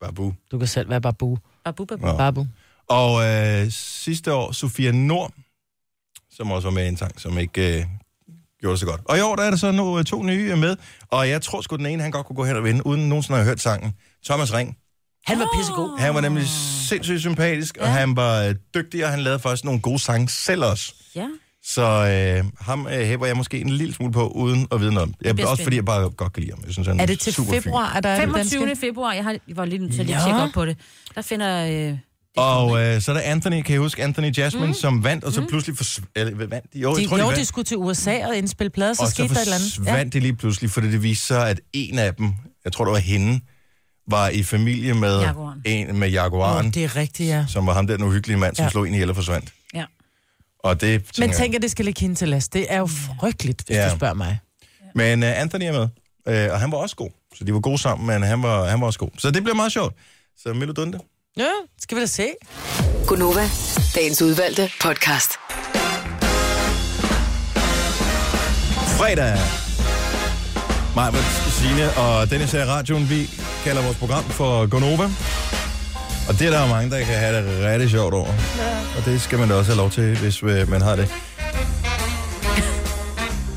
[SPEAKER 1] Babu.
[SPEAKER 3] Du kan selv være Babu.
[SPEAKER 4] Babu, babu.
[SPEAKER 1] Nå.
[SPEAKER 3] Babu.
[SPEAKER 1] Og øh, sidste år, Sofia Nord, som også var med i en sang, som ikke øh, gjorde det så godt. Og i år, der er der så no, to nye med, og jeg tror sgu, den ene, han godt kunne gå hen og vinde, uden nogensinde at have hørt sangen. Thomas Ring.
[SPEAKER 3] Han var pissegod.
[SPEAKER 1] Han var nemlig sindssygt sympatisk, ja. og han var øh, dygtig, og han lavede faktisk nogle gode sange selv også.
[SPEAKER 4] Ja.
[SPEAKER 1] Så øh, ham øh, hæber jeg måske en lille smule på, uden at vide noget om. Jeg,
[SPEAKER 4] bliver
[SPEAKER 1] også fordi jeg bare godt kan lide ham. Jeg synes, han
[SPEAKER 3] Er det til
[SPEAKER 1] super
[SPEAKER 3] februar, at der er den
[SPEAKER 4] 25.
[SPEAKER 3] danske?
[SPEAKER 4] februar, jeg, har, jeg var lige nødt til at lige
[SPEAKER 3] Ja.
[SPEAKER 4] tjekke op på det. Der finder... Øh,
[SPEAKER 1] Fin. Og øh, så er der Anthony, kan jeg huske, Anthony Jasmine, mm. som vandt, og så pludselig fors- eller, hvad vandt de? Jo, jeg
[SPEAKER 3] De,
[SPEAKER 1] tror,
[SPEAKER 3] jo,
[SPEAKER 1] de vandt.
[SPEAKER 3] de skulle til USA og indspille plader, så
[SPEAKER 1] og så
[SPEAKER 3] skete der et eller andet.
[SPEAKER 1] forsvandt de lige pludselig, fordi det viste sig, at en af dem, jeg tror, det var hende, var i familie med
[SPEAKER 4] Jaguaren.
[SPEAKER 1] en med
[SPEAKER 3] Åh,
[SPEAKER 1] Jaguaren, oh,
[SPEAKER 3] det er rigtigt, ja.
[SPEAKER 1] som var ham der, den uhyggelige mand, som ja.
[SPEAKER 3] Ja.
[SPEAKER 1] slog ind i eller forsvandt.
[SPEAKER 4] ja.
[SPEAKER 1] Og det tænker
[SPEAKER 3] Men
[SPEAKER 1] jeg-
[SPEAKER 3] tænk, at det skal ligge hende til last. Det er jo frygteligt, hvis
[SPEAKER 1] Ja.
[SPEAKER 3] du spørger mig.
[SPEAKER 1] Men uh, Anthony er med, uh, og han var også god. Så de var gode sammen, men han var, han var også god. Så det bliver meget sjovt. Så Melodunde.
[SPEAKER 3] Ja, skal vi da se.
[SPEAKER 5] Gunova, dagens udvalgte podcast.
[SPEAKER 1] Fredag! Mig, Signe og Dennis her i radioen. Vi kalder vores program for Gonova. Og det er der jo mange, der kan have det rigtig sjovt over. Og det skal man da også have lov til, hvis øh, man har det.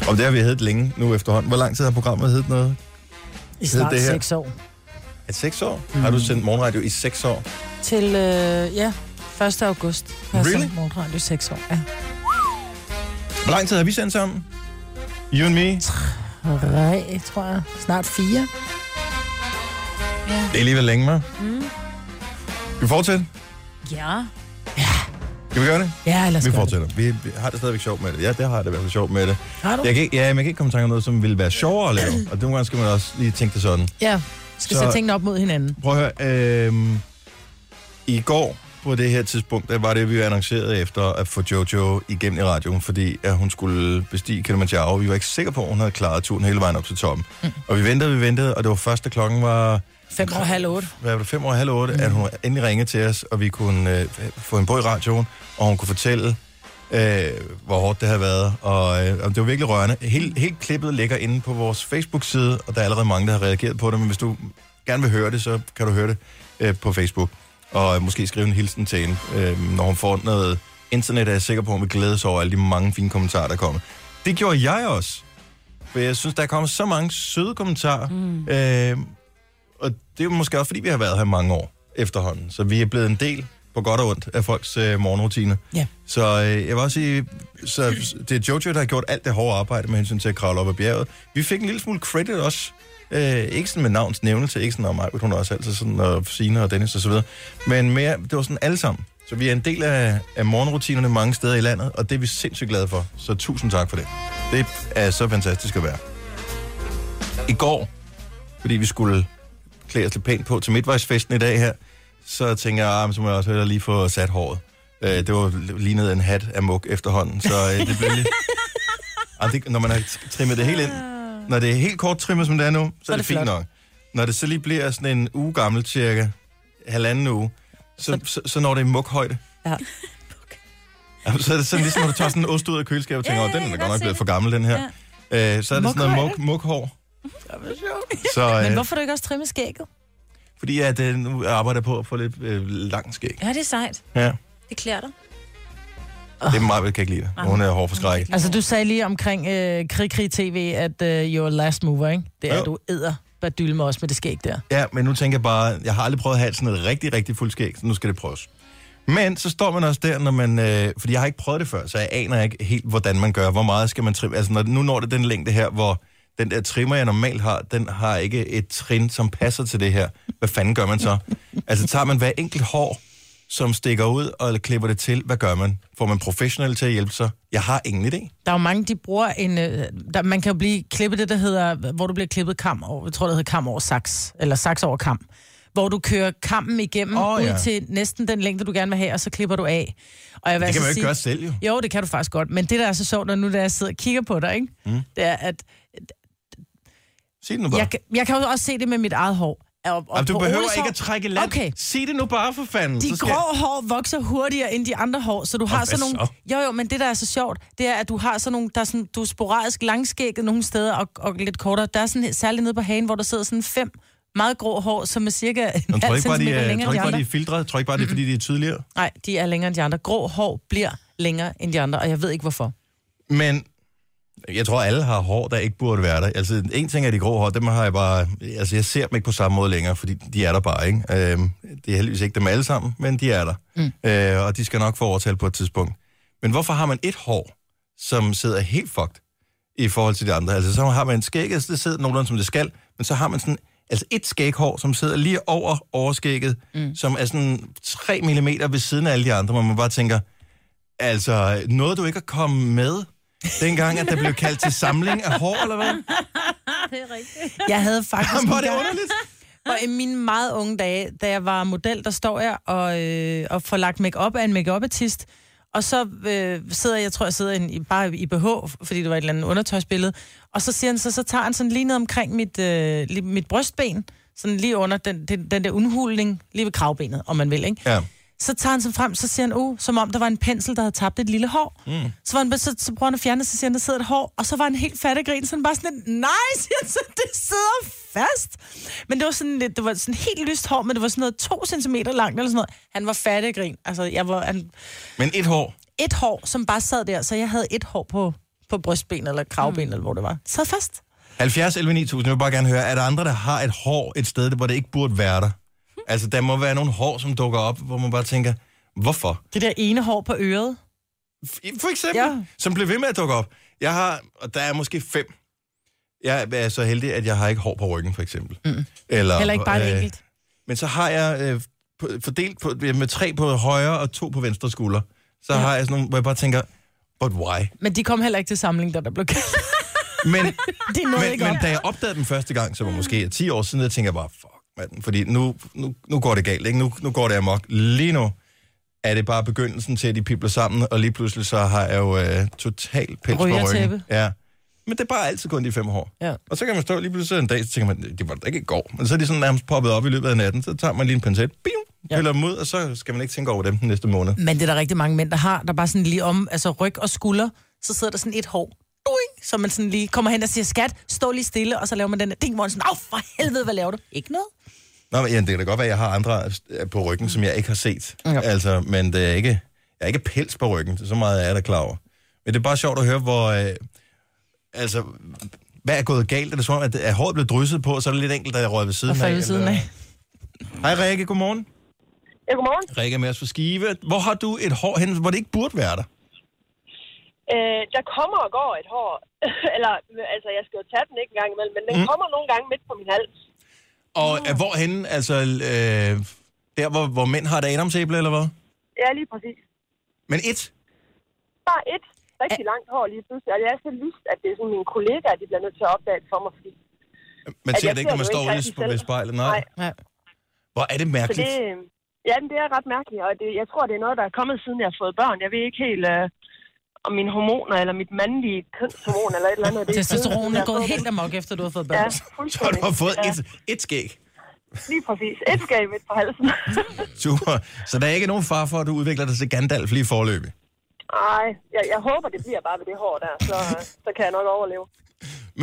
[SPEAKER 1] Og det har vi heddet længe nu efterhånden. Hvor lang tid har programmet heddet noget?
[SPEAKER 3] I snart
[SPEAKER 1] det her?
[SPEAKER 3] seks år.
[SPEAKER 1] At seks år? Mm. Har du sendt morgenradio i seks år?
[SPEAKER 3] Til, øh, ja, 1. august. Jeg har
[SPEAKER 1] Really?
[SPEAKER 3] sendt morgenradio i seks år. Ja.
[SPEAKER 1] Hvor lang tid har vi sendt sammen? You and me?
[SPEAKER 3] Tre, tror jeg. Snart fire.
[SPEAKER 1] Det er alligevel længe, med. Mm. Skal vi fortsætte?
[SPEAKER 4] Ja.
[SPEAKER 1] Skal vi gøre det?
[SPEAKER 3] Ja, eller
[SPEAKER 1] Vi
[SPEAKER 3] skal
[SPEAKER 1] fortsætter. Vi, vi har det stadigvæk sjovt med det. Ja, det har jeg det i hvert fald sjovt med det.
[SPEAKER 3] Har du?
[SPEAKER 1] Jeg kan, ikke, ja, men jeg kan ikke komme i tanke om noget, som ville være sjovere at lave. Og nogle gange skal man også lige tænke det sådan.
[SPEAKER 3] Ja, skal
[SPEAKER 1] Så-
[SPEAKER 3] så... sætte tingene op mod hinanden.
[SPEAKER 1] Prøv at høre. Øhm, I går på det her tidspunkt, der var det, vi annoncerede efter at få Jojo igennem i radioen, fordi at hun skulle bestige Kilimanjaro. Vi var ikke sikre på, at hun havde klaret turen hele vejen op til toppen. Mm. Og vi ventede, vi ventede, og det var først, da klokken var
[SPEAKER 3] Fem og halv otte.
[SPEAKER 1] hvad var det, fem år, halv otte, mm. at hun endelig ringede til os, og vi kunne øh, få hende på i radioen, og hun kunne fortælle, øh, hvor hårdt det havde været, og, øh, og det var virkelig rørende. Helt, helt klippet ligger inde på vores Facebook-side, og der er allerede mange, der har reageret på det, men hvis du gerne vil høre det, så kan du høre det øh, på Facebook, og øh, måske skrive en hilsen til hende, øh, når hun får noget internet, er jeg sikker på, at hun vil glæde sig over alle de mange fine kommentarer, der kommer. Det gjorde jeg også, for jeg synes, der er kommet så mange søde kommentarer, mm. øh, og det er jo måske også, fordi vi har været her i mange år. efterhånden. Så vi er blevet en del, på godt og ondt, af folks øh, morgenrutiner.
[SPEAKER 3] Ja.
[SPEAKER 1] Så øh, jeg vil også sige, så det er Jojo, der har gjort alt det hårde arbejde med hensyn til at kravle op ad bjerget. Vi fik en lille smule credit også. Øh, ikke sådan med navns nævnelse, ikke sådan om mig, hun er også altid sådan, og Signe og Dennis og så videre. Men mere, det var sådan alle sammen. Så vi er en del af, af morgenrutinerne mange steder i landet, og det er vi sindssygt glade for. Så tusind tak for det. Det er så fantastisk at være. I går, fordi vi skulle klæde os lidt pænt på til midtvejsfesten i dag her, så tænker jeg, ah, men så må jeg også hellere lige få sat håret. Øh, det var lignet en hat af muk efterhånden, så øh, det [laughs] blev lige... Ah, det, når man har trimmet det helt ind, når det er helt kort trimmet, som det er nu, Ah. så, så er det, det fint nok. Når det så lige bliver sådan en uge gammel, cirka halvanden uge, så, så, så når det er mukhøjde.
[SPEAKER 3] Ja.
[SPEAKER 1] [laughs] Jamen, så er det sådan ligesom, når du tager sådan en ost ud af køleskabet og tænker, åh, den er da godt nok blevet for gammel, den her. Øh, så er det sådan noget muk, mukhår. Så,
[SPEAKER 3] Men
[SPEAKER 1] øh,
[SPEAKER 3] hvorfor du ikke også trimme skægget?
[SPEAKER 1] fordi at, øh, nu arbejder jeg på at få lidt øh, langt skæg.
[SPEAKER 4] Ja, det er sejt.
[SPEAKER 1] Ja.
[SPEAKER 4] Det klæder
[SPEAKER 3] [laughs]
[SPEAKER 4] dig.
[SPEAKER 1] Det er meget, jeg kan ikke lide det. Hun er hård for skræk.
[SPEAKER 3] Altså, du sagde lige omkring øh, Krig Krig TV, at øh, you're last mover, ikke? Det er
[SPEAKER 1] Jo.
[SPEAKER 3] du æder badylme med også med det skæg der.
[SPEAKER 1] Ja, men nu tænker jeg bare, jeg har aldrig prøvet at have sådan et rigtig, rigtig fuldt skæg, så nu skal det prøves. Men så står man også der, når man, øh, fordi jeg har ikke prøvet det før, så jeg aner ikke helt, hvordan man gør, hvor meget skal man trimme. Altså når, nu når det den længde her, hvor den der trimmer, jeg normalt har, den har ikke et trin, som passer til det her. Hvad fanden gør man så? Altså tager man hver enkelt hår, som stikker ud, og klipper det til, hvad gør man? Får man professionelle til at hjælpe sig? Jeg har ingen idé.
[SPEAKER 3] Der er jo mange, de bruger en... Øh, der, man kan jo blive klippet det, der hedder... Hvor du bliver klippet kam over... Jeg tror, det hedder kam over saks. Eller saks over kam. Hvor du kører kampen igennem
[SPEAKER 1] Åh,
[SPEAKER 3] oh, ja.
[SPEAKER 1] ja.
[SPEAKER 3] ud til næsten den længde, du gerne vil have, og så klipper du af. Og jeg
[SPEAKER 1] Det
[SPEAKER 3] vil
[SPEAKER 1] kan
[SPEAKER 3] altså
[SPEAKER 1] man jo ikke
[SPEAKER 3] sige-
[SPEAKER 1] gøre selv, jo.
[SPEAKER 3] Jo, det kan du faktisk godt. Men det, der er så sjovt, når nu da jeg sidder og kigger på dig, ikke? Mm. det er, at
[SPEAKER 1] Sig det nu bare.
[SPEAKER 3] jeg, kan- jeg kan jo også se det med mit eget hår. Og, og
[SPEAKER 1] Jamen, du
[SPEAKER 3] på
[SPEAKER 1] behøver
[SPEAKER 3] Oles
[SPEAKER 1] ikke
[SPEAKER 3] hår-
[SPEAKER 1] at trække land.
[SPEAKER 3] Okay,
[SPEAKER 1] Sig det nu bare for fanden.
[SPEAKER 3] De grå hår vokser hurtigere end de andre hår, så du har
[SPEAKER 1] hvad
[SPEAKER 3] sådan nogle...
[SPEAKER 1] så?
[SPEAKER 3] Jo, jo, men det, der er så sjovt, det er, at du har sådan nogle... Der er sådan, du er sporadisk langskægget nogle steder og, og lidt kortere. Der er sådan, særligt nede på hagen, hvor der sidder sådan fem meget grå hår, som er cirka en
[SPEAKER 1] Nå, tror
[SPEAKER 3] halv
[SPEAKER 1] ikke bare, de
[SPEAKER 3] centimeter
[SPEAKER 1] er, tror
[SPEAKER 3] længere end de
[SPEAKER 1] ikke bare, de
[SPEAKER 3] andre.
[SPEAKER 1] er filtret? Tror ikke bare, det er, fordi de er tydeligere?
[SPEAKER 3] Nej, de er længere end de andre. Grå hår bliver længere end de andre, og jeg ved ikke, hvorfor.
[SPEAKER 1] Men jeg tror, alle har hår, der ikke burde være der. Altså, en ting er de grå hår, dem har jeg bare... Altså, jeg ser dem ikke på samme måde længere, fordi de er der bare, ikke? Øhm, det er heldigvis ikke dem alle sammen, men de er der. Mm. Øh, og de skal nok få overtal på et tidspunkt. Men hvorfor har man et hår, som sidder helt fucked i forhold til de andre? Altså, så har man en skæg, altså, det sidder nogenlunde, som det skal, men så har man sådan... Altså et skæghår, som sidder lige over overskægget, mm. som er sådan 3 mm ved siden af alle de andre, hvor man bare tænker, altså noget du ikke er kommet med, dengang, at der blev kaldt til samling af hår, eller hvad? [laughs]
[SPEAKER 3] Jeg havde faktisk...
[SPEAKER 1] Jamen, hvor er
[SPEAKER 3] en
[SPEAKER 1] det
[SPEAKER 3] gang-
[SPEAKER 1] underligt.
[SPEAKER 3] Og i mine meget unge dage, da jeg var model, der står jeg og, øh, og får lagt makeup af en makeup artist Og så øh, sidder jeg, jeg tror jeg sidder i en, i, bare i BH, fordi det var et eller andet undertøjsbillede. Og så siger han så, så tager han sådan lige ned omkring mit, øh, lige, mit brystben. Sådan lige under den, den, den der undhulning, lige ved kravbenet, om man vil, ikke?
[SPEAKER 1] Ja.
[SPEAKER 3] Så tager han sig frem, så siger han, oh, som om der var en pensel, der havde tabt et lille hår. Mm. Så, var han, så, så prøver han at fjerne, det, så siger han, der sidder et hår, og så var han helt fat af grin, så han bare sådan, lidt, nej, [laughs] siger han, så det sidder fast. Men det var sådan lidt, det var sådan helt lyst hår, men det var sådan noget to centimeter langt, eller sådan noget. Han var fat af grin. Altså, jeg var, han,
[SPEAKER 1] Men et hår.
[SPEAKER 3] et hår, som bare sad der, så jeg havde et hår på, på brystbenet, eller kravbenet, mm. eller hvor det var. Sad fast.
[SPEAKER 1] 70 11 9000, jeg vil bare gerne høre, er der andre, der har et hår et sted, hvor det ikke burde være der? Altså, der må være nogle hår, som dukker op, hvor man bare tænker, hvorfor?
[SPEAKER 3] Det der ene hår på øret.
[SPEAKER 1] F- For eksempel, ja.
[SPEAKER 3] Ja.
[SPEAKER 1] som blev ved med at dukke op. Jeg har, og der er måske fem. Jeg er så heldig, at jeg har ikke hår på ryggen, for eksempel. Mm. Eller,
[SPEAKER 3] Heller ikke bare et
[SPEAKER 1] øh,
[SPEAKER 3] enkelt.
[SPEAKER 1] Men så har jeg øh, på- fordelt på, med tre på højre og to på venstre skulder. Så ja. har jeg sådan nogle, hvor jeg bare tænker, but why?
[SPEAKER 3] Men de kom heller ikke til samling, da der blev kaldt.
[SPEAKER 1] Men,
[SPEAKER 3] [laughs] Det nåede
[SPEAKER 1] men,
[SPEAKER 3] ikke
[SPEAKER 1] men
[SPEAKER 3] op.
[SPEAKER 1] da jeg opdagede dem første gang, som var måske 10 år siden, jeg tænker bare, fuck, mand, fordi nu, nu, nu går det galt, ikke? Nu, nu går det amok. Lige nu er det bare begyndelsen til, at de pibler sammen, og lige pludselig så har jeg jo øh, total pels på
[SPEAKER 3] Rygertæppe.
[SPEAKER 1] ryggen. Ja. Men det er bare altid kun de fem hår.
[SPEAKER 3] Ja.
[SPEAKER 1] Og så kan man stå lige pludselig en dag, så tænker man, det var det ikke i går. Men så er de sådan nærmest poppet op i løbet af natten, så tager man lige en pincet, bim, ja. piller dem ud, og så skal man ikke tænke over dem den næste måned.
[SPEAKER 3] Men det er der rigtig mange mænd, der har, der bare sådan lige om, altså ryg og skulder, så sidder der sådan et hår, doing, så man sådan lige kommer hen og siger, skat, stå lige stille, og så laver man den der ding, hvor man sådan, au, for helvede, hvad laver du? Ikke noget.
[SPEAKER 1] Nå, men ja, det kan da godt være, at jeg har andre øh, på ryggen, som jeg ikke har set. Ja. Altså, men det er ikke, jeg er ikke pels på ryggen, så meget er jeg da klar over. Men det er bare sjovt at høre, hvor... Øh, altså, hvad er gået galt? Er det som om, at, at håret blev drysset på, og så er det lidt enkelt, at jeg røg ved siden
[SPEAKER 3] Og faldet ved siden
[SPEAKER 1] eller-
[SPEAKER 3] af.
[SPEAKER 1] Hej Rikke, godmorgen.
[SPEAKER 8] Ja, godmorgen.
[SPEAKER 1] Rikke er med os fra Skive. Hvor har du et hår hen, hvor det ikke burde være der?
[SPEAKER 8] Øh, der kommer og går et hår. [laughs] Eller, altså, jeg skal jo tage den ikke engang imellem, men den
[SPEAKER 1] Mhm.
[SPEAKER 8] mm. kommer nogle gange midt på min hals.
[SPEAKER 1] Og ja. hvor hen, altså øh, der, hvor, hvor mænd har et adamsæble, eller hvad?
[SPEAKER 8] Ja, lige præcis.
[SPEAKER 1] Men et?
[SPEAKER 8] Bare et rigtig langt hår lige pludselig. Og det er så lyst, at det er sådan mine kollegaer, de bliver nødt til at opdage det for mig, fordi...
[SPEAKER 1] Man
[SPEAKER 8] Ja,
[SPEAKER 1] ser
[SPEAKER 8] jeg
[SPEAKER 1] det ikke, når man
[SPEAKER 8] ser
[SPEAKER 1] står
[SPEAKER 8] det ikke
[SPEAKER 1] ude på ved
[SPEAKER 8] rigtig
[SPEAKER 1] spejlet. Nej.
[SPEAKER 8] Nej.
[SPEAKER 3] Ja.
[SPEAKER 1] Hvor er det
[SPEAKER 8] Så
[SPEAKER 1] mærkeligt.
[SPEAKER 8] det, øhm, ja, men det er ret mærkeligt, og det, jeg tror, det er noget, der er kommet, siden jeg har fået børn. Jeg ved ikke helt, øh, om mine hormoner, eller mit mandlige kønshormon, eller et eller andet. Det
[SPEAKER 3] [laughs]
[SPEAKER 8] er siden,
[SPEAKER 3] Testosteronen
[SPEAKER 8] jeg
[SPEAKER 3] er
[SPEAKER 8] har
[SPEAKER 3] gået
[SPEAKER 8] fået
[SPEAKER 3] helt
[SPEAKER 8] det.
[SPEAKER 3] amok, efter du har fået [laughs]
[SPEAKER 8] Ja,
[SPEAKER 3] børn.
[SPEAKER 1] [laughs] Så du
[SPEAKER 8] fuldstændig.
[SPEAKER 1] har fået
[SPEAKER 8] ja,
[SPEAKER 1] et, et skæg.
[SPEAKER 8] Lige præcis. Et skab midt på halsen.
[SPEAKER 1] Super. Så der er ikke nogen far for, at du udvikler dig til Gandalf lige forløbig.
[SPEAKER 8] Nej, jeg, jeg håber, det bliver bare ved det hår der, så, øh, så kan jeg nok overleve.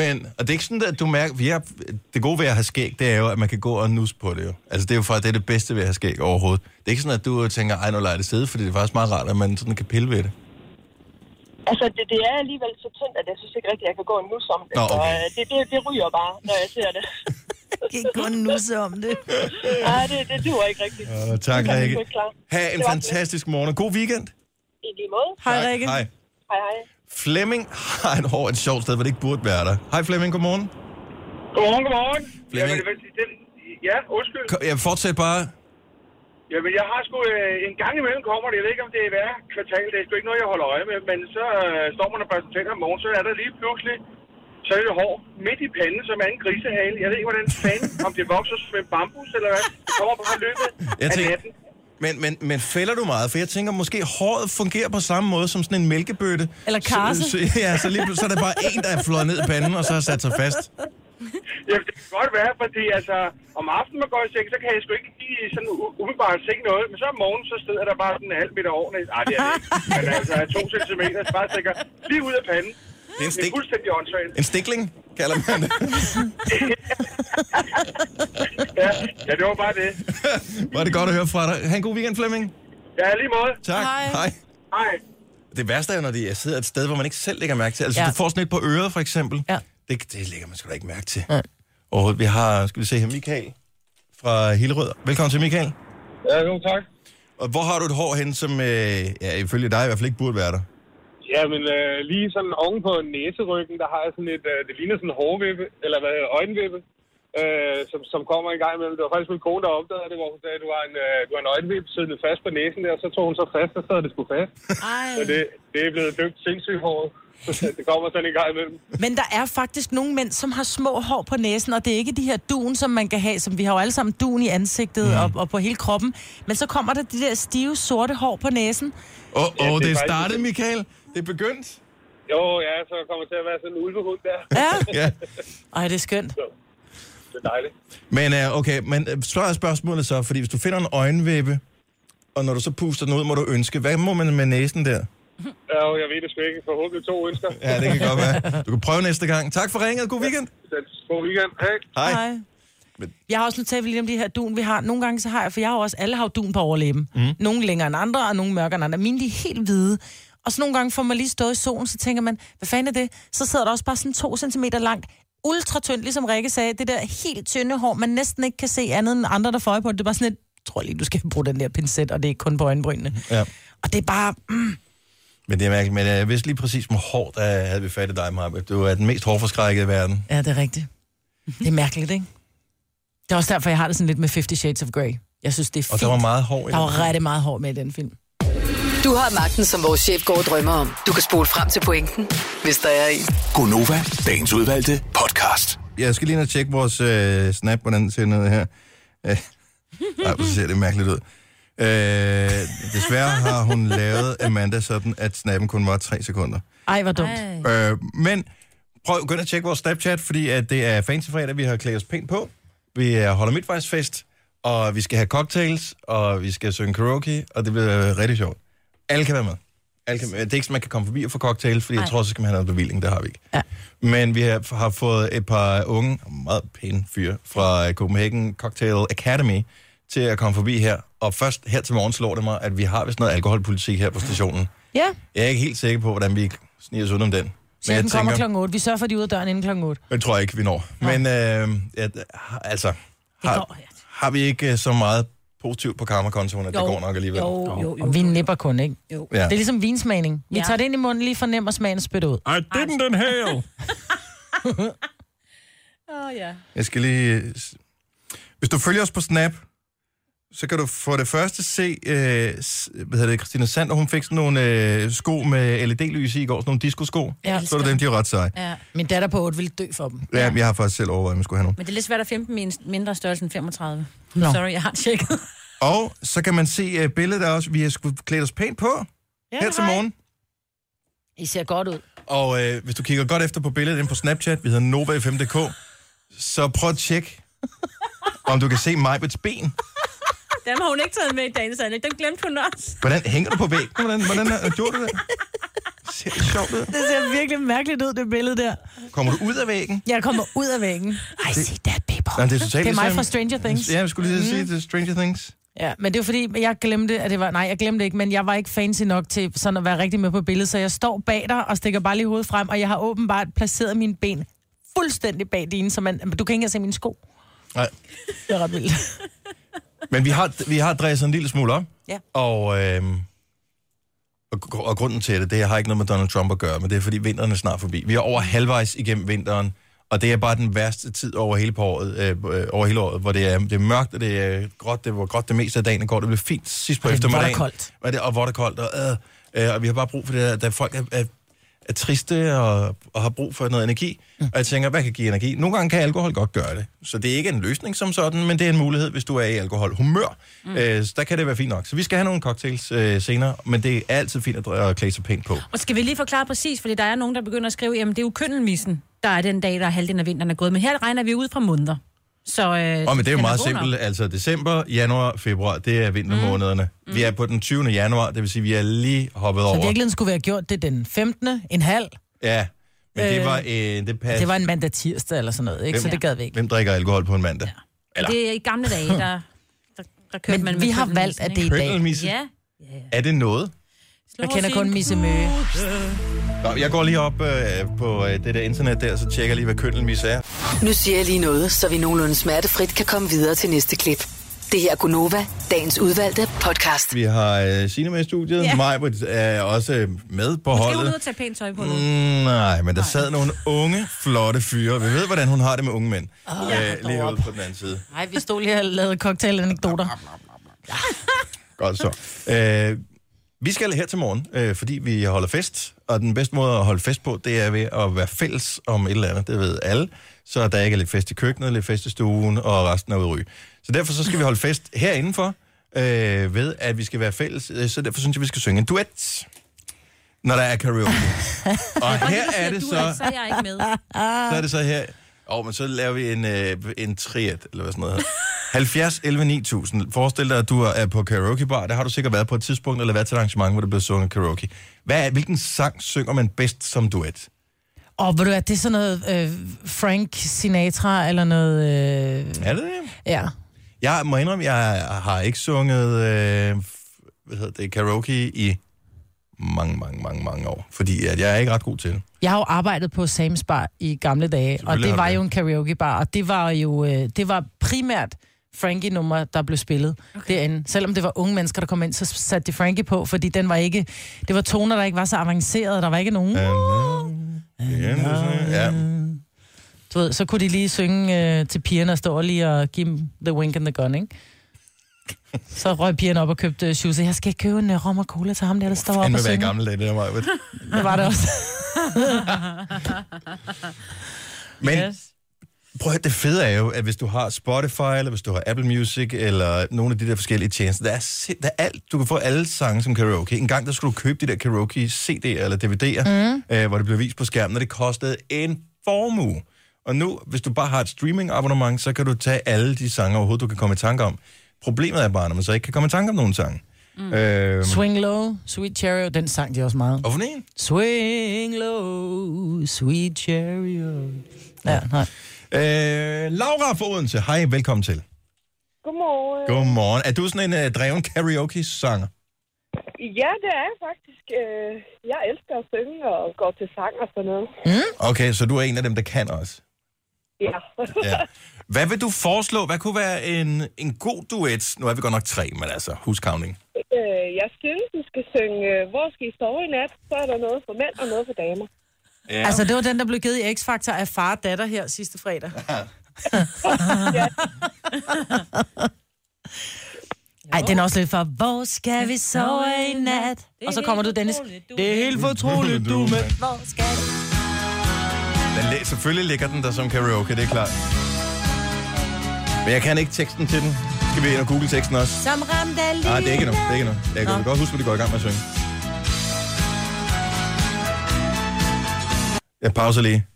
[SPEAKER 1] Men, og det er ikke sådan, at du mærker... Jeg, det gode ved at have skæg, det er jo, at man kan gå og nusse på det jo. Altså, det er jo faktisk det, er det bedste ved at have skæg overhovedet. Det er ikke sådan, at du tænker, ej, nu lader jeg det sidde, fordi det er faktisk meget rart, at man sådan kan pille ved det.
[SPEAKER 8] Altså, det, det er alligevel så tyndt, at jeg synes ikke rigtigt, at jeg kan gå en nus om det.
[SPEAKER 1] Nå,
[SPEAKER 8] Så,
[SPEAKER 1] okay.
[SPEAKER 8] øh, det, det, det ryger bare, når jeg
[SPEAKER 9] [laughs]
[SPEAKER 8] ser det.
[SPEAKER 3] Ikke kun nusse om det.
[SPEAKER 8] Nej, det, det duer ikke rigtigt.
[SPEAKER 1] Og tak,
[SPEAKER 8] kan vi
[SPEAKER 1] Rikke.
[SPEAKER 8] sgu ikke klare.
[SPEAKER 1] Ha' en
[SPEAKER 8] Det var
[SPEAKER 1] fantastisk morgen, og god weekend.
[SPEAKER 8] I lige måde.
[SPEAKER 3] Hej,
[SPEAKER 1] Tak.
[SPEAKER 3] Rikke.
[SPEAKER 1] Hej.
[SPEAKER 8] Hej, hej.
[SPEAKER 1] Flemming har et hår et sjovt sted, hvor det ikke burde være der. Hej Flemming, godmorgen.
[SPEAKER 9] Godmorgen, godmorgen.
[SPEAKER 1] Flemming.
[SPEAKER 9] Jamen, vel, det- ja, undskyld.
[SPEAKER 1] Ko- Jeg fortsæt bare.
[SPEAKER 9] Jamen, jeg har sgu øh, en gang imellem kommer det. Jeg ved ikke, om det er hver kvartal. Det er sgu ikke noget, jeg holder øje med. Men så øh, står man og børster tænder om morgenen, så er der lige pludselig så er det hår midt i panden, som er en grisehale. Jeg ved ikke, hvordan fanden, om det vokser som en bambus, eller hvad. Det kommer bare i løbet
[SPEAKER 1] [laughs] Jeg
[SPEAKER 9] af
[SPEAKER 1] tænker-
[SPEAKER 9] natten.
[SPEAKER 1] Men, men, men fælder du meget? For jeg tænker, måske håret fungerer på samme måde som sådan en mælkebøtte.
[SPEAKER 3] Eller karse.
[SPEAKER 1] Så, så, ja, så, lige, pl- så er der bare en, der er flået ned i panden, og så har sat sig fast.
[SPEAKER 9] Jamen, det kan godt være, fordi altså, om aftenen man går i seng, så kan jeg sgu ikke lige sådan u- umiddelbart se noget. Men så om morgenen, så sidder der bare sådan en halv meter over. Nej, det er det ikke. Men altså, to centimeter, så bare stikker lige ud af panden.
[SPEAKER 1] Det er en,
[SPEAKER 9] Det
[SPEAKER 1] stik,
[SPEAKER 9] er fuldstændig åndssvagt.
[SPEAKER 1] en stikling, kalder man det.
[SPEAKER 9] Ja, ja, det var bare det.
[SPEAKER 1] Var det godt at høre fra dig. Ha' en god weekend, Flemming.
[SPEAKER 9] Ja, lige måde.
[SPEAKER 1] Tak.
[SPEAKER 3] Hej.
[SPEAKER 9] Hej.
[SPEAKER 1] Det værste er, når de jeg sidder et sted, hvor man ikke selv lægger mærke til. Altså, ja.
[SPEAKER 3] Ja.
[SPEAKER 1] du får sådan et på øret, for eksempel.
[SPEAKER 3] Ja.
[SPEAKER 1] Det, det lægger man sgu da ikke mærke til. Ja. Og vi har, skal vi se her, Michael fra Hillerød. Velkommen til, Michael.
[SPEAKER 9] Ja, jo, tak.
[SPEAKER 1] Og hvor har du et hår hen, som øh, ja, ifølge dig i hvert fald ikke burde være der?
[SPEAKER 9] Ja, men øh, lige sådan oven på næseryggen, der har jeg sådan et, øh, det ligner sådan en hårvippe, eller hvad hedder det, øjenvippe, øh, som, som kommer en gang imellem. Det var faktisk min kone, der opdagede det, hvor hun sagde, du har en, øh, du har en øjenvippe siddende fast på næsen der, og så tog hun så fast, og så sad det sgu fast.
[SPEAKER 3] Ej.
[SPEAKER 9] Så det, det er blevet døbt sindssygt håret. [laughs] det kommer sådan en gang imellem.
[SPEAKER 3] Men der er faktisk nogle mænd, som har små hår på næsen, og det er ikke de her dun, som man kan have, som vi har jo alle sammen dun i ansigtet og, og på hele kroppen. Men så kommer der de der stive, sorte hår på næsen.
[SPEAKER 1] Åh, oh,
[SPEAKER 9] Ja,
[SPEAKER 1] oh,
[SPEAKER 9] det er
[SPEAKER 1] det er
[SPEAKER 9] faktisk-
[SPEAKER 1] startet, Michael. Det er begyndt.
[SPEAKER 9] Jo, ja, så kommer det til at være sådan en ulvehund der.
[SPEAKER 3] Ja.
[SPEAKER 1] [laughs] Ja.
[SPEAKER 3] Ej, det er skønt.
[SPEAKER 9] Det er dejligt.
[SPEAKER 1] Men øh, okay, men øh, så er spørgsmålet så, fordi hvis du finder en øjenvippe, og når du så puster den ud, må du ønske, hvad må man med næsen der?
[SPEAKER 9] Ja, jo, jeg ved det sgu ikke. Forhåbentlig to ønsker.
[SPEAKER 1] Ja, det kan godt være. Du kan prøve næste gang. Tak for ringet. God weekend.
[SPEAKER 9] God weekend. Hej.
[SPEAKER 1] Hej. Hej.
[SPEAKER 3] Ej. Jeg har også nu talt lige om de her dun, vi har. Nogle gange så har jeg, for jeg har jo også, alle har jo dun på overlæben.
[SPEAKER 1] Mhm.
[SPEAKER 3] Mm. Nogle længere end andre, og nogle mørkere end andre. Mine de er helt hvide. Og så nogle gange får man lige stået i solen, så tænker man, hvad fanden er det? Så sidder der også bare sådan to centimeter langt, ultra tyndt, ligesom Rikke sagde, det der helt tynde hår, man næsten ikke kan se andet end andre, der får øje på det. Det er bare sådan et, jeg tror lige, du skal bruge den der pincet, og det er kun på øjenbrynene.
[SPEAKER 1] Mhm. Ja.
[SPEAKER 3] Og det er bare, mm,
[SPEAKER 1] Men det er mærkeligt, men øh, jeg vidste lige præcis, hvor hårdt der havde vi fat i dig, Marbe. Du er den mest hårdforskrækkede i verden.
[SPEAKER 3] ja, det er rigtigt. Det er mærkeligt, ikke? Det er også derfor, jeg har det sådan lidt med 50 Shades of Grey. Jeg synes, det er fint.
[SPEAKER 1] Og der var meget hård. i
[SPEAKER 3] Der
[SPEAKER 1] den.
[SPEAKER 3] var rigtig meget hår med i den film.
[SPEAKER 5] Du har magten, som vores chef går og drømmer om. Du kan spole frem til pointen, hvis der er en.
[SPEAKER 2] Gonova, dagens udvalgte podcast.
[SPEAKER 1] Jeg skal lige ned og tjekke vores øh, snap, hvordan den ser ned her. Øh, ej, hvor ser det mærkeligt ud. Øh, desværre har hun lavet Amanda sådan, at snappen kun var 3 sekunder.
[SPEAKER 3] Ej, hvor dumt.
[SPEAKER 4] Ej.
[SPEAKER 1] Øh, men prøv at gå ind og tjekke vores Snapchat, fordi at det er fancy fredag, vi har klædt os pænt på. Vi øh, holder midtvejsfest, og vi skal have cocktails, og vi skal synge karaoke, og det bliver øh, rigtig sjovt. Alle kan være med. Alle kan, det er ikke sådan, man kan komme forbi og få cocktails, fordi Ej. jeg tror, så skal man have noget bevilling, det har vi ikke.
[SPEAKER 3] Ja.
[SPEAKER 1] Men vi har, har fået et par unge, meget pæne fyre, fra øh, Copenhagen Cocktail Academy til at komme forbi her. Og først her til morgen slår det mig, at vi har vist noget alkoholpolitik her på stationen.
[SPEAKER 3] Ja,
[SPEAKER 1] Jeg er ikke helt sikker på, hvordan vi sniger os udenom den. Men jeg
[SPEAKER 3] chefen kommer klokken 8. Vi sørger for, at de er ude af døren inden klokken 8.
[SPEAKER 1] det tror jeg ikke, vi når. Men øh, at, altså, har,
[SPEAKER 3] går, ja.
[SPEAKER 1] har vi ikke øh, så meget positivt på karmakontoen, at det
[SPEAKER 4] Jo.
[SPEAKER 1] går nok alligevel.
[SPEAKER 4] Jo, jo, jo.
[SPEAKER 3] Og vi nipper kun, ikke?
[SPEAKER 4] Jo.
[SPEAKER 1] Ja.
[SPEAKER 3] Det er ligesom vinsmagning. Vi
[SPEAKER 4] Ja.
[SPEAKER 3] tager det ind i munden, lige fornemmer smagen og spytter ud.
[SPEAKER 10] I didn't inhale.
[SPEAKER 4] Åh, ja.
[SPEAKER 1] Jeg skal lige... øh, Hvis du følger os på Snap, så kan du for det første se, øh, s- hvad hedder det, Christina Sander, hun fik sådan nogle øh, sko med LED-lys i i går, sådan nogle disco-sko.
[SPEAKER 3] Ja.
[SPEAKER 1] Så er det dem, de er ret seje.
[SPEAKER 4] ja.
[SPEAKER 3] Min datter på 8 ville dø for dem.
[SPEAKER 1] Ja, men jeg har faktisk selv overvejet, om jeg skulle have nogle.
[SPEAKER 4] Men det er lidt svært at finde dem i en mindre størrelse end 35.
[SPEAKER 3] Nå.
[SPEAKER 4] Nå. Sorry, jeg har tjekket.
[SPEAKER 1] Og så kan man se øh, billedet af os. Vi har skulle klædt os pænt på ja, her til morgen.
[SPEAKER 3] I ser godt ud.
[SPEAKER 1] Og øh, hvis du kigger godt efter på billedet ind på Snapchat, vi hedder Nova5.dk, så prøv at tjekke, om du kan se Majbets ben.
[SPEAKER 4] Dem har hun ikke taget med i dagens anlæg. Den glemte hun også.
[SPEAKER 1] Hvordan hænger du på væggen? Hvordan, hvordan er- gjorde du det? Ser det sjovt ud?
[SPEAKER 3] Det ser virkelig mærkeligt ud, det billede der.
[SPEAKER 1] Kommer du ud af væggen?
[SPEAKER 3] Jeg kommer ud af væggen. I see that, people.
[SPEAKER 1] Nej, det er totalt
[SPEAKER 3] det er mig
[SPEAKER 1] ligesom-
[SPEAKER 3] fra Stranger Things.
[SPEAKER 1] Ja, vi skulle lige sige, det er Stranger Things.
[SPEAKER 3] Ja, men det er jo fordi, jeg glemte, at det var... Nej, jeg glemte ikke, men jeg var ikke fancy nok til sådan at være rigtig med på billedet, så jeg står bag dig og stikker bare lige hovedet frem, og jeg har åbenbart placeret mine ben fuldstændig bag dine, så man, du kan ikke engang se mine sko.
[SPEAKER 1] Nej.
[SPEAKER 3] Det er ret vildt.
[SPEAKER 1] Men vi har, vi har dresset en lille smule op.
[SPEAKER 3] Ja.
[SPEAKER 1] Og, øh, og, gr- og grunden til det, det har ikke noget med Donald Trump at gøre, men det er fordi vinteren er snart forbi. Vi er over halvvejs igennem vinteren, og det er bare den værste tid over hele, på året, øh, øh, over hele året, hvor det er, det er mørkt, og det er gråt, det var gråt det meste af dagen går. Det blev fint sidst på
[SPEAKER 3] Og det er
[SPEAKER 1] eftermiddagen.
[SPEAKER 3] vådt
[SPEAKER 1] Og det, og hvor er det koldt, og, øh, øh, og vi har bare brug for det der, da folk er, er, er triste og, og har brug for noget energi. Og jeg tænker, hvad kan give energi? Nogle gange kan alkohol godt gøre det. Så det er ikke en løsning som sådan, men det er en mulighed, hvis du er i alkoholhumør. Mm. Øh, så der kan det være fint nok. Så vi skal have nogle cocktails øh, senere, men det er altid fint at, dr- at klæde sig pænt på.
[SPEAKER 4] Og skal vi lige forklare præcis, fordi der er nogen, der begynder at skrive, jamen det er jo køndelmissen, der er den dag, der er halvdelen af vinteren er gået. Men her regner vi ud fra måneder. Så, øh,
[SPEAKER 1] Og men det er jo
[SPEAKER 4] den
[SPEAKER 1] meget
[SPEAKER 4] god nok.
[SPEAKER 1] simpelt. Altså december, januar, februar, det er vintermånederne. Mm. Vi er på den 20. januar, det vil sige, vi er lige hoppet
[SPEAKER 3] Så
[SPEAKER 1] over.
[SPEAKER 3] i virkeligheden skulle vi have gjort det den 15. en halv.
[SPEAKER 1] Ja, men det
[SPEAKER 3] Øh,
[SPEAKER 1] var, øh, det pas...
[SPEAKER 3] Det var en mandag tirsdag eller sådan noget, ikke? så
[SPEAKER 1] Hvem-
[SPEAKER 3] det gad vi ikke.
[SPEAKER 1] Hvem drikker alkohol på en mandag? Eller-
[SPEAKER 4] Det er i gamle dage, der, der, der kørte
[SPEAKER 3] Men
[SPEAKER 4] man med
[SPEAKER 3] vi har
[SPEAKER 4] køndelmissen,
[SPEAKER 3] valgt, at det
[SPEAKER 4] ikke?
[SPEAKER 3] er i dag.
[SPEAKER 1] Pøndelmisse?
[SPEAKER 4] Ja.
[SPEAKER 1] Er det noget?
[SPEAKER 3] Jeg kender kun Misse Møge.
[SPEAKER 1] Nå, jeg går lige op øh, på øh, det der internet der, så tjekker lige, hvad køndelmis er.
[SPEAKER 5] Nu siger jeg lige noget, så vi nogenlunde smertefrit kan komme videre til næste klip. Det her er Gunova, dagens udvalgte podcast.
[SPEAKER 1] Vi har øh, Signe med i studiet.
[SPEAKER 4] Ja.
[SPEAKER 1] Yeah. Majbrit er også øh, med på
[SPEAKER 4] Skal hun
[SPEAKER 1] holdet.
[SPEAKER 4] ud og tage pænt tøj på nu?
[SPEAKER 1] Mm, nej, men der sad nogle unge, flotte fyre. Vi ved, hvordan hun har det med unge mænd. Oh, øh, lige herude på den anden side.
[SPEAKER 3] Nej, vi stod lige og lavede cocktailanekdoter.
[SPEAKER 1] Godt så. Øh, vi skal her til morgen, øh, fordi vi holder fest, og den bedste måde at holde fest på, det er ved at være fælles om et eller andet, det ved alle, så der ikke er lidt fest i køkkenet, lidt fest i stuen, og resten er ude at ryge. Så derfor så skal vi holde fest herindenfor, øh, ved at vi skal være fælles, øh, så derfor synes jeg, vi skal synge en duet, når der er
[SPEAKER 4] [laughs]
[SPEAKER 1] karaoke. og her er det
[SPEAKER 4] du er, så
[SPEAKER 1] så,
[SPEAKER 4] er jeg ikke med.
[SPEAKER 1] så er det så her, og men så laver vi en, øh, en triet, eller hvad sådan noget [laughs] hedder. 70 11 9000. Forestil dig, at du er på karaokebar. Der har du sikkert været på et tidspunkt, eller været til et arrangement, hvor der blev sunget karaoke. Hvad er, hvilken sang synger man bedst som duet?
[SPEAKER 3] Og ved du hvad, det er sådan noget øh, Frank Sinatra eller noget... Øh,
[SPEAKER 1] Er det det?
[SPEAKER 3] ja.
[SPEAKER 1] Jeg må indrømme, jeg har ikke sunget øh, f- hvad hedder det, karaoke i mange, mange, mange, mange år. Fordi at jeg er ikke ret god til det.
[SPEAKER 3] Jeg har jo arbejdet på Sam's Bar i gamle dage, og
[SPEAKER 1] har
[SPEAKER 3] det
[SPEAKER 1] du
[SPEAKER 3] var
[SPEAKER 1] det.
[SPEAKER 3] jo en karaokebar, og det var jo øh, det var primært Frankie-nummer, der blev spillet okay. derinde. Selvom det var unge mennesker, der kom ind, så satte de Frankie på, fordi den var ikke, det var toner, der ikke var så avancerede, der var ikke nogen. Ja.
[SPEAKER 1] Ja.
[SPEAKER 3] Du ved, så kunne de lige synge øh, til pigerne og stå lige og give dem the wink and the gun, ikke? Så røg pigerne op og købte øh, shoes. Jeg skal købe en øh, rom og cola til ham der, der står op
[SPEAKER 1] Han
[SPEAKER 3] og
[SPEAKER 1] vil være
[SPEAKER 3] synger.
[SPEAKER 1] gammel, det der [laughs] mig.
[SPEAKER 3] Det var det også.
[SPEAKER 1] Men Prøv at høre, det fede er jo, at hvis du har Spotify, eller hvis du har Apple Music, eller nogle af de der forskellige tjenester, der er, sind- der er alt, du kan få alle sange som karaoke. En gang, der skulle du købe de der karaoke-CD'er eller DVD'er, mm. øh, hvor det blev vist på skærmen, og det kostede en formue. Og nu, hvis du bare har et streaming-abonnement, så kan du tage alle de sange overhovedet, du kan komme i tanke om. Problemet er bare, når man så ikke kan komme i tanke om nogen sange. Mm. Øh,
[SPEAKER 3] Swing Low, Sweet Cherry, den sang de også meget.
[SPEAKER 1] og for en?
[SPEAKER 3] Swing low, sweet chariot. Ja, nej.
[SPEAKER 1] Øh, Laura fra Odense, hej, velkommen til.
[SPEAKER 8] Godmorgen.
[SPEAKER 1] Godmorgen. Er du sådan en øh, dreven karaoke-sanger?
[SPEAKER 8] Ja, det er jeg faktisk. Øh, Jeg elsker at synge og går til sang og sådan noget.
[SPEAKER 1] Okay, så du er en af dem, der kan også.
[SPEAKER 8] Ja.
[SPEAKER 1] Ja. Hvad vil du foreslå? Hvad kunne være en, en god duet? Nu er vi godt nok tre, men altså, huskavning.
[SPEAKER 8] øh, jeg synes, du skal synge, øh, hvor skal I sove i nat? Så er der noget for mænd og noget for damer.
[SPEAKER 1] Ja.
[SPEAKER 3] Altså, det var den, der blev givet i X-Factor af far og datter her sidste fredag. Ej, den er også lidt for, hvor skal vi sove i nat? Og så kommer du, Dennis. Det er helt fortroligt, du med. Hvor skal vi?
[SPEAKER 1] Den læ- selvfølgelig ligger den der som karaoke, det er klart. Men jeg kan ikke teksten til den. Skal vi ind og google teksten også?
[SPEAKER 3] Som ramte af
[SPEAKER 1] Nej, Ah, det er ikke noget. Det er ikke noget. Jeg kan godt huske, at de går i gang med at synge. Jeg pauser lige.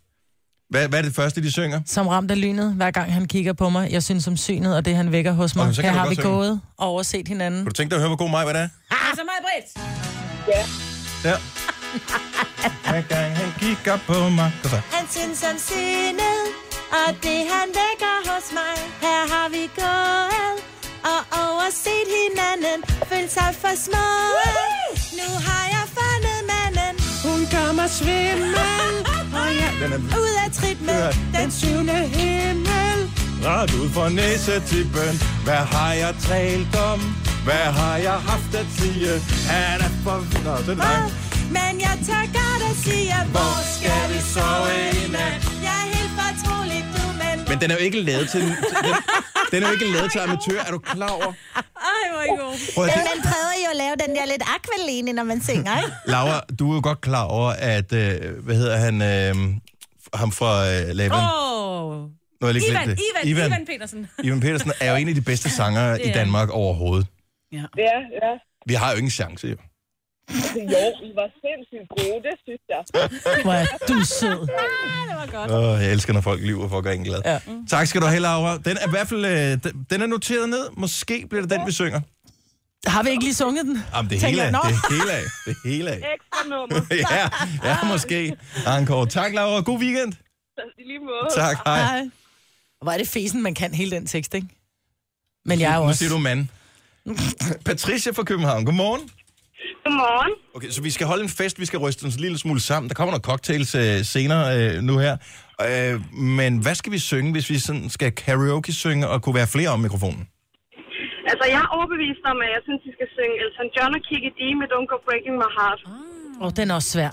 [SPEAKER 1] Hvad, hvad er det første, de synger?
[SPEAKER 3] [laughs] Som ramt af lynet, hver gang han kigger på mig. Jeg synes om synet, og det han vækker hos mig.
[SPEAKER 1] Okay, så
[SPEAKER 3] Okay,
[SPEAKER 1] kan du
[SPEAKER 3] Her har
[SPEAKER 1] godt
[SPEAKER 3] vi
[SPEAKER 1] synge.
[SPEAKER 3] gået og overset hinanden.
[SPEAKER 1] Kunne du tænke dig at høre, hvor god mig hvad det er?
[SPEAKER 4] Altså mig, Britt.
[SPEAKER 1] Der. [laughs] Hver gang han kigger på mig. Kom så.
[SPEAKER 3] Han synes om synet, og det han vækker hos mig. Her har vi gået og overset hinanden. Følt sig for små. Nu har jeg fundet manden. Hun gør mig [laughs] svimmel, og jeg
[SPEAKER 1] Den er
[SPEAKER 3] ud af trit med den syvende himmel.
[SPEAKER 1] ret ud for næsetippen. Hvad har jeg talt om? Hvad har jeg haft at sige? Han er for... Nå, det er dig.
[SPEAKER 3] Men jeg tør godt at sige, hvor skal vi sove i nat? Jeg er helt fortrolig, du, men...
[SPEAKER 1] Men den er jo ikke lavet til... Den, den er jo ikke lavet til amatør. Er du klar over?
[SPEAKER 4] Ej, hvor er I god.
[SPEAKER 1] Prøv at, det,
[SPEAKER 3] Man prøver jo at lave den der lidt akvaline, når man synger, ikke?
[SPEAKER 1] Laura, du er jo godt klar over, at... Øh, hvad hedder han? Øh, ham fra øh, Laban. Oh,
[SPEAKER 4] Åh.
[SPEAKER 1] nu har jeg lige glemt
[SPEAKER 4] Ivan,
[SPEAKER 1] det.
[SPEAKER 4] Ivan, Ivan, Ivan Petersen.
[SPEAKER 1] Ivan Petersen er jo en af de bedste sangere i
[SPEAKER 4] er
[SPEAKER 1] Danmark overhovedet.
[SPEAKER 8] Ja, ja.
[SPEAKER 1] Vi har jo ingen chance, jo.
[SPEAKER 8] Jo, I var sindssygt gode, det synes jeg.
[SPEAKER 3] Hvor er du sød.
[SPEAKER 1] Åh, jeg elsker, når folk lyver for at gøre en glad. Ja. Tak skal du have, Laura. Den er i hvert fald øh, den, den er noteret ned. Måske bliver det den, vi synger.
[SPEAKER 3] Har vi ikke lige sunget den?
[SPEAKER 1] Jamen, det
[SPEAKER 3] Tænker
[SPEAKER 1] hele af.
[SPEAKER 3] jeg, nå.
[SPEAKER 1] Det hele af. Det hele af.
[SPEAKER 8] Ekstra nummer.
[SPEAKER 1] [laughs] ja, ja, måske. Encore. Tak, Laura. God weekend.
[SPEAKER 8] I lige måde.
[SPEAKER 1] Tak. Hej.
[SPEAKER 3] Hej. Hvor er det fesen, man kan hele den tekst, ikke? Men jeg er jo
[SPEAKER 1] Nu
[SPEAKER 3] også...
[SPEAKER 1] siger du mand. Patricia fra København. Godmorgen.
[SPEAKER 8] Godmorgen.
[SPEAKER 1] Okay, så vi skal holde en fest. Vi skal ryste en lille smule sammen. Der kommer nogle cocktails øh, senere øh, nu her. Øh, men hvad skal vi synge, hvis vi sådan skal karaoke-synge og kunne være flere om mikrofonen?
[SPEAKER 8] Altså, jeg er overbevist om, at jeg synes, I skal synge Elton John og Kiki D med Don't Go Breaking My Heart.
[SPEAKER 3] Åh, oh, den er også svær.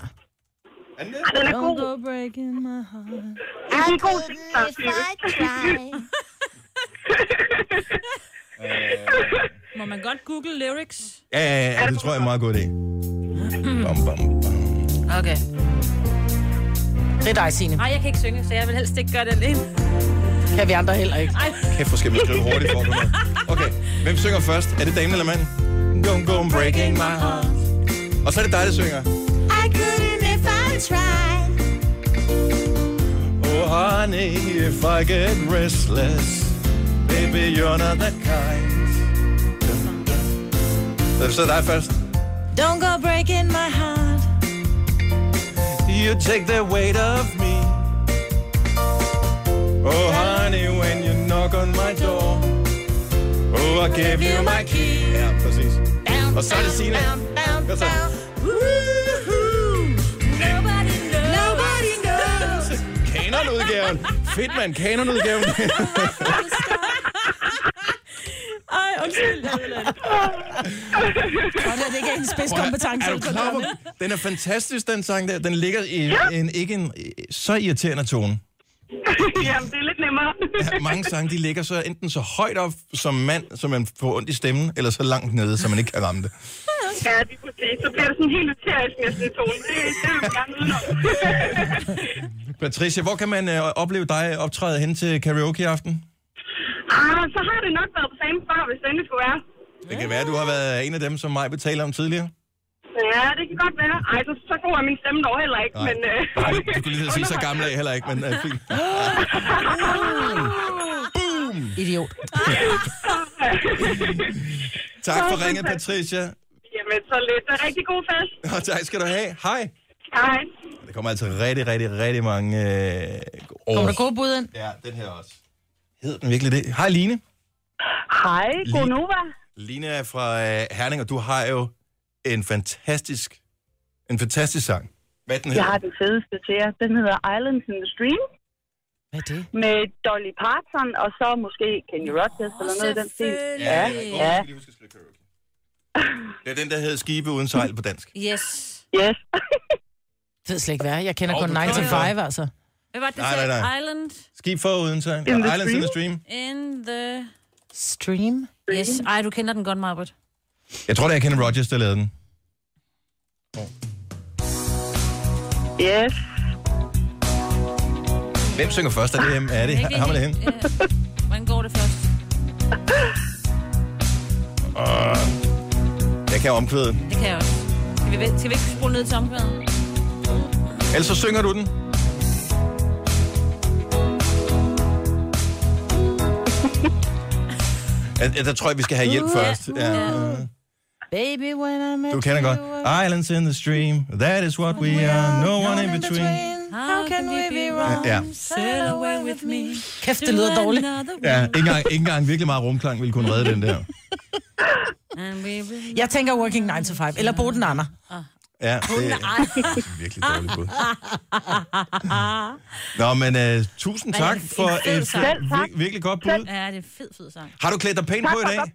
[SPEAKER 8] Ej, den er god.
[SPEAKER 3] breaking my heart.
[SPEAKER 8] Det er en god sangstykke.
[SPEAKER 4] Må man godt google lyrics?
[SPEAKER 1] Ja, ja, ja, det tror jeg er en meget god idé. Bam, bam, bam.
[SPEAKER 4] Okay.
[SPEAKER 3] Det er dig, Signe.
[SPEAKER 4] Nej, jeg kan ikke synge, så jeg vil helst ikke gøre det alene.
[SPEAKER 3] Kan vi andre heller ikke.
[SPEAKER 4] Ej,
[SPEAKER 1] Kæft, hvor skal vi skrive hurtigt for at komme med. Okay, hvem synger først? Er det damen eller manden? Don't go breaking my heart. Og så er det dig, der synger.
[SPEAKER 3] I couldn't if I tried.
[SPEAKER 1] Oh honey, if I get restless, baby you're not that kind. Så er det så dig først.
[SPEAKER 3] Don't go breaking my heart.
[SPEAKER 1] You take the weight of me. Oh honey, when you knock on my door. Oh, I gave you my key. Ja, præcis. Og så er det Signe. Hvad så?
[SPEAKER 3] Nobody knows.
[SPEAKER 1] Kanonudgaven. Fedt, mand. Kanonudgaven.
[SPEAKER 4] ej, [laughs] undskyld. jeg vil ikke.
[SPEAKER 3] Godt, at det ikke er [laughs] en spidskompetence.
[SPEAKER 1] Er du klar over, den er fantastisk, den sang der. Den ligger i en, ikke en så irriterende tone.
[SPEAKER 8] Jamen, det er lidt nemmere.
[SPEAKER 1] Ja, [laughs] mange sange, de ligger så enten så højt op som mand, så man får ondt i stemmen, eller så langt nede, så man ikke kan ramme det.
[SPEAKER 8] ja, det er præcis. Så bliver det sådan helt eterisk næsten i tonen. Det, det vil jeg gerne udenom.
[SPEAKER 1] Patricia, hvor kan man øh, opleve dig optræde hen til karaoke-aften?
[SPEAKER 8] [laughs] ah, så har det nok været på samme før, hvis det endelig skulle være.
[SPEAKER 1] Det kan være, du har været en af dem, som mig betaler om tidligere.
[SPEAKER 8] Ja, det kan godt være. Ej, så, så god er min stemme dog heller ikke. Men, øh,
[SPEAKER 1] Nej, du kunne lige så sige, så gammel er jeg heller ikke, men øh, fint.
[SPEAKER 3] Idiot.
[SPEAKER 1] [laughs] Tak for ringet, Patricia.
[SPEAKER 8] Jamen, så lidt. Rigtig god fest.
[SPEAKER 1] Og tak skal du have. Hej.
[SPEAKER 8] Hej.
[SPEAKER 1] Der kommer altså rigtig, rigtig, rigtig mange øh,
[SPEAKER 3] Kommer der gode bud ind?
[SPEAKER 1] Ja, den her også. Hed den virkelig det? Hej, Line.
[SPEAKER 8] Hej,
[SPEAKER 1] god
[SPEAKER 8] Nova.
[SPEAKER 1] Line er fra øh, Herning, og du har jo en fantastisk, en fantastisk sang. Hvad den hedder?
[SPEAKER 8] den fedeste til jer. Den hedder Islands in the Stream.
[SPEAKER 3] Hvad er det?
[SPEAKER 10] med Dolly Parton, og så måske Kenny Rogers oh, eller noget af den stil. Ja, ja.
[SPEAKER 1] Jeg husker, skal karaoke. Det er den, der hedder Skibe uden sejl på dansk.
[SPEAKER 4] Yes.
[SPEAKER 10] Yes.
[SPEAKER 3] Det ved slet ikke, hvad jeg er. Jeg kender
[SPEAKER 1] Jo,
[SPEAKER 3] kun
[SPEAKER 1] du
[SPEAKER 3] 9 to
[SPEAKER 1] kan.
[SPEAKER 3] 5, altså.
[SPEAKER 4] Hvad var det,
[SPEAKER 1] Nej, nej,
[SPEAKER 4] sagde?
[SPEAKER 1] nej.
[SPEAKER 4] Island
[SPEAKER 1] Skib for uden sejl.
[SPEAKER 3] In the
[SPEAKER 1] Islands in the Stream.
[SPEAKER 4] in the...
[SPEAKER 3] Stream?
[SPEAKER 4] Yes. Ej, du kender den godt, Marbert.
[SPEAKER 1] Jeg tror, det er Kenny Rogers, der lavede den.
[SPEAKER 10] Yes.
[SPEAKER 1] Hvem synger først? Er det, ham? er det ham eller hende?
[SPEAKER 4] Øh, Hvordan går det først?
[SPEAKER 1] Åh, Jeg kan omkvædet.
[SPEAKER 4] Det kan jeg også. Skal vi, væ- skal vi ikke skrue ned til omkvædet?
[SPEAKER 1] Ellers så synger du den. Jeg, jeg, der tror jeg, vi skal have hjælp først. Ja.
[SPEAKER 3] Baby, when I met
[SPEAKER 1] Du kender
[SPEAKER 3] you
[SPEAKER 1] godt. Islands in the stream, that is what we are, no one in between.
[SPEAKER 4] How can we be wrong?
[SPEAKER 1] Ja.
[SPEAKER 4] Sail away with me.
[SPEAKER 3] Kæft, det lyder dårligt.
[SPEAKER 1] Ja, ikke engang, ikke engang virkelig meget rumklang ville kunne redde den der.
[SPEAKER 3] Jeg tænker Working 9 to 5, eller Boden Anna.
[SPEAKER 1] Ja, det er virkelig dårligt bud. Nå, men uh, tusind
[SPEAKER 4] Ej,
[SPEAKER 1] tak
[SPEAKER 4] en
[SPEAKER 1] for
[SPEAKER 4] fed
[SPEAKER 1] et
[SPEAKER 4] sang. Selv tak.
[SPEAKER 1] vir- virkelig godt bud.
[SPEAKER 4] Ja, det er fed, fed sang.
[SPEAKER 1] Har du klædt dig pænt
[SPEAKER 10] Tak
[SPEAKER 1] på i
[SPEAKER 10] for
[SPEAKER 1] dag?
[SPEAKER 10] godt.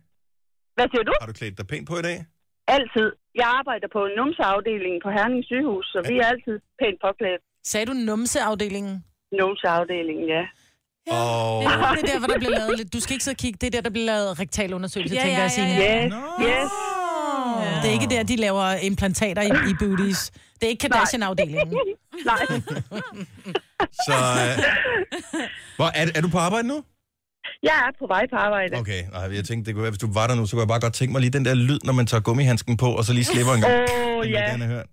[SPEAKER 10] Hvad siger du?
[SPEAKER 1] Har du klædt dig pænt på i dag?
[SPEAKER 10] Altid. Jeg arbejder på numseafdelingen på Herning Sygehus, så vi er altid pænt påklædt.
[SPEAKER 3] Sagde du numseafdelingen?
[SPEAKER 10] Numseafdelingen, ja.
[SPEAKER 1] Og...
[SPEAKER 3] Det er der, hvor der bliver lavet lidt. Du skal ikke sidde og kigge. Det er der, der bliver lavet rektalundersøgelser,
[SPEAKER 4] Ja,
[SPEAKER 3] ja, tænker
[SPEAKER 4] ja,
[SPEAKER 3] jeg, Signe.
[SPEAKER 4] ja,
[SPEAKER 3] Ja,
[SPEAKER 4] ja.
[SPEAKER 10] Yes, yes.
[SPEAKER 3] ja. Det er ikke der, de laver implantater i, i booties. Det er ikke Kardashian-afdelingen.
[SPEAKER 10] Nej,
[SPEAKER 1] Så, øh, hvor, er, er du på arbejde nu?
[SPEAKER 10] jeg er på vej på arbejde.
[SPEAKER 1] Okay, nej, jeg tænkte, det kunne være, hvis du var der nu, så kunne jeg bare godt tænke mig lige den der lyd, når man tager gummihandsken på, og så lige slipper en gang. Den
[SPEAKER 10] Åh,
[SPEAKER 1] vil
[SPEAKER 10] ja.
[SPEAKER 1] jeg gerne have hørt.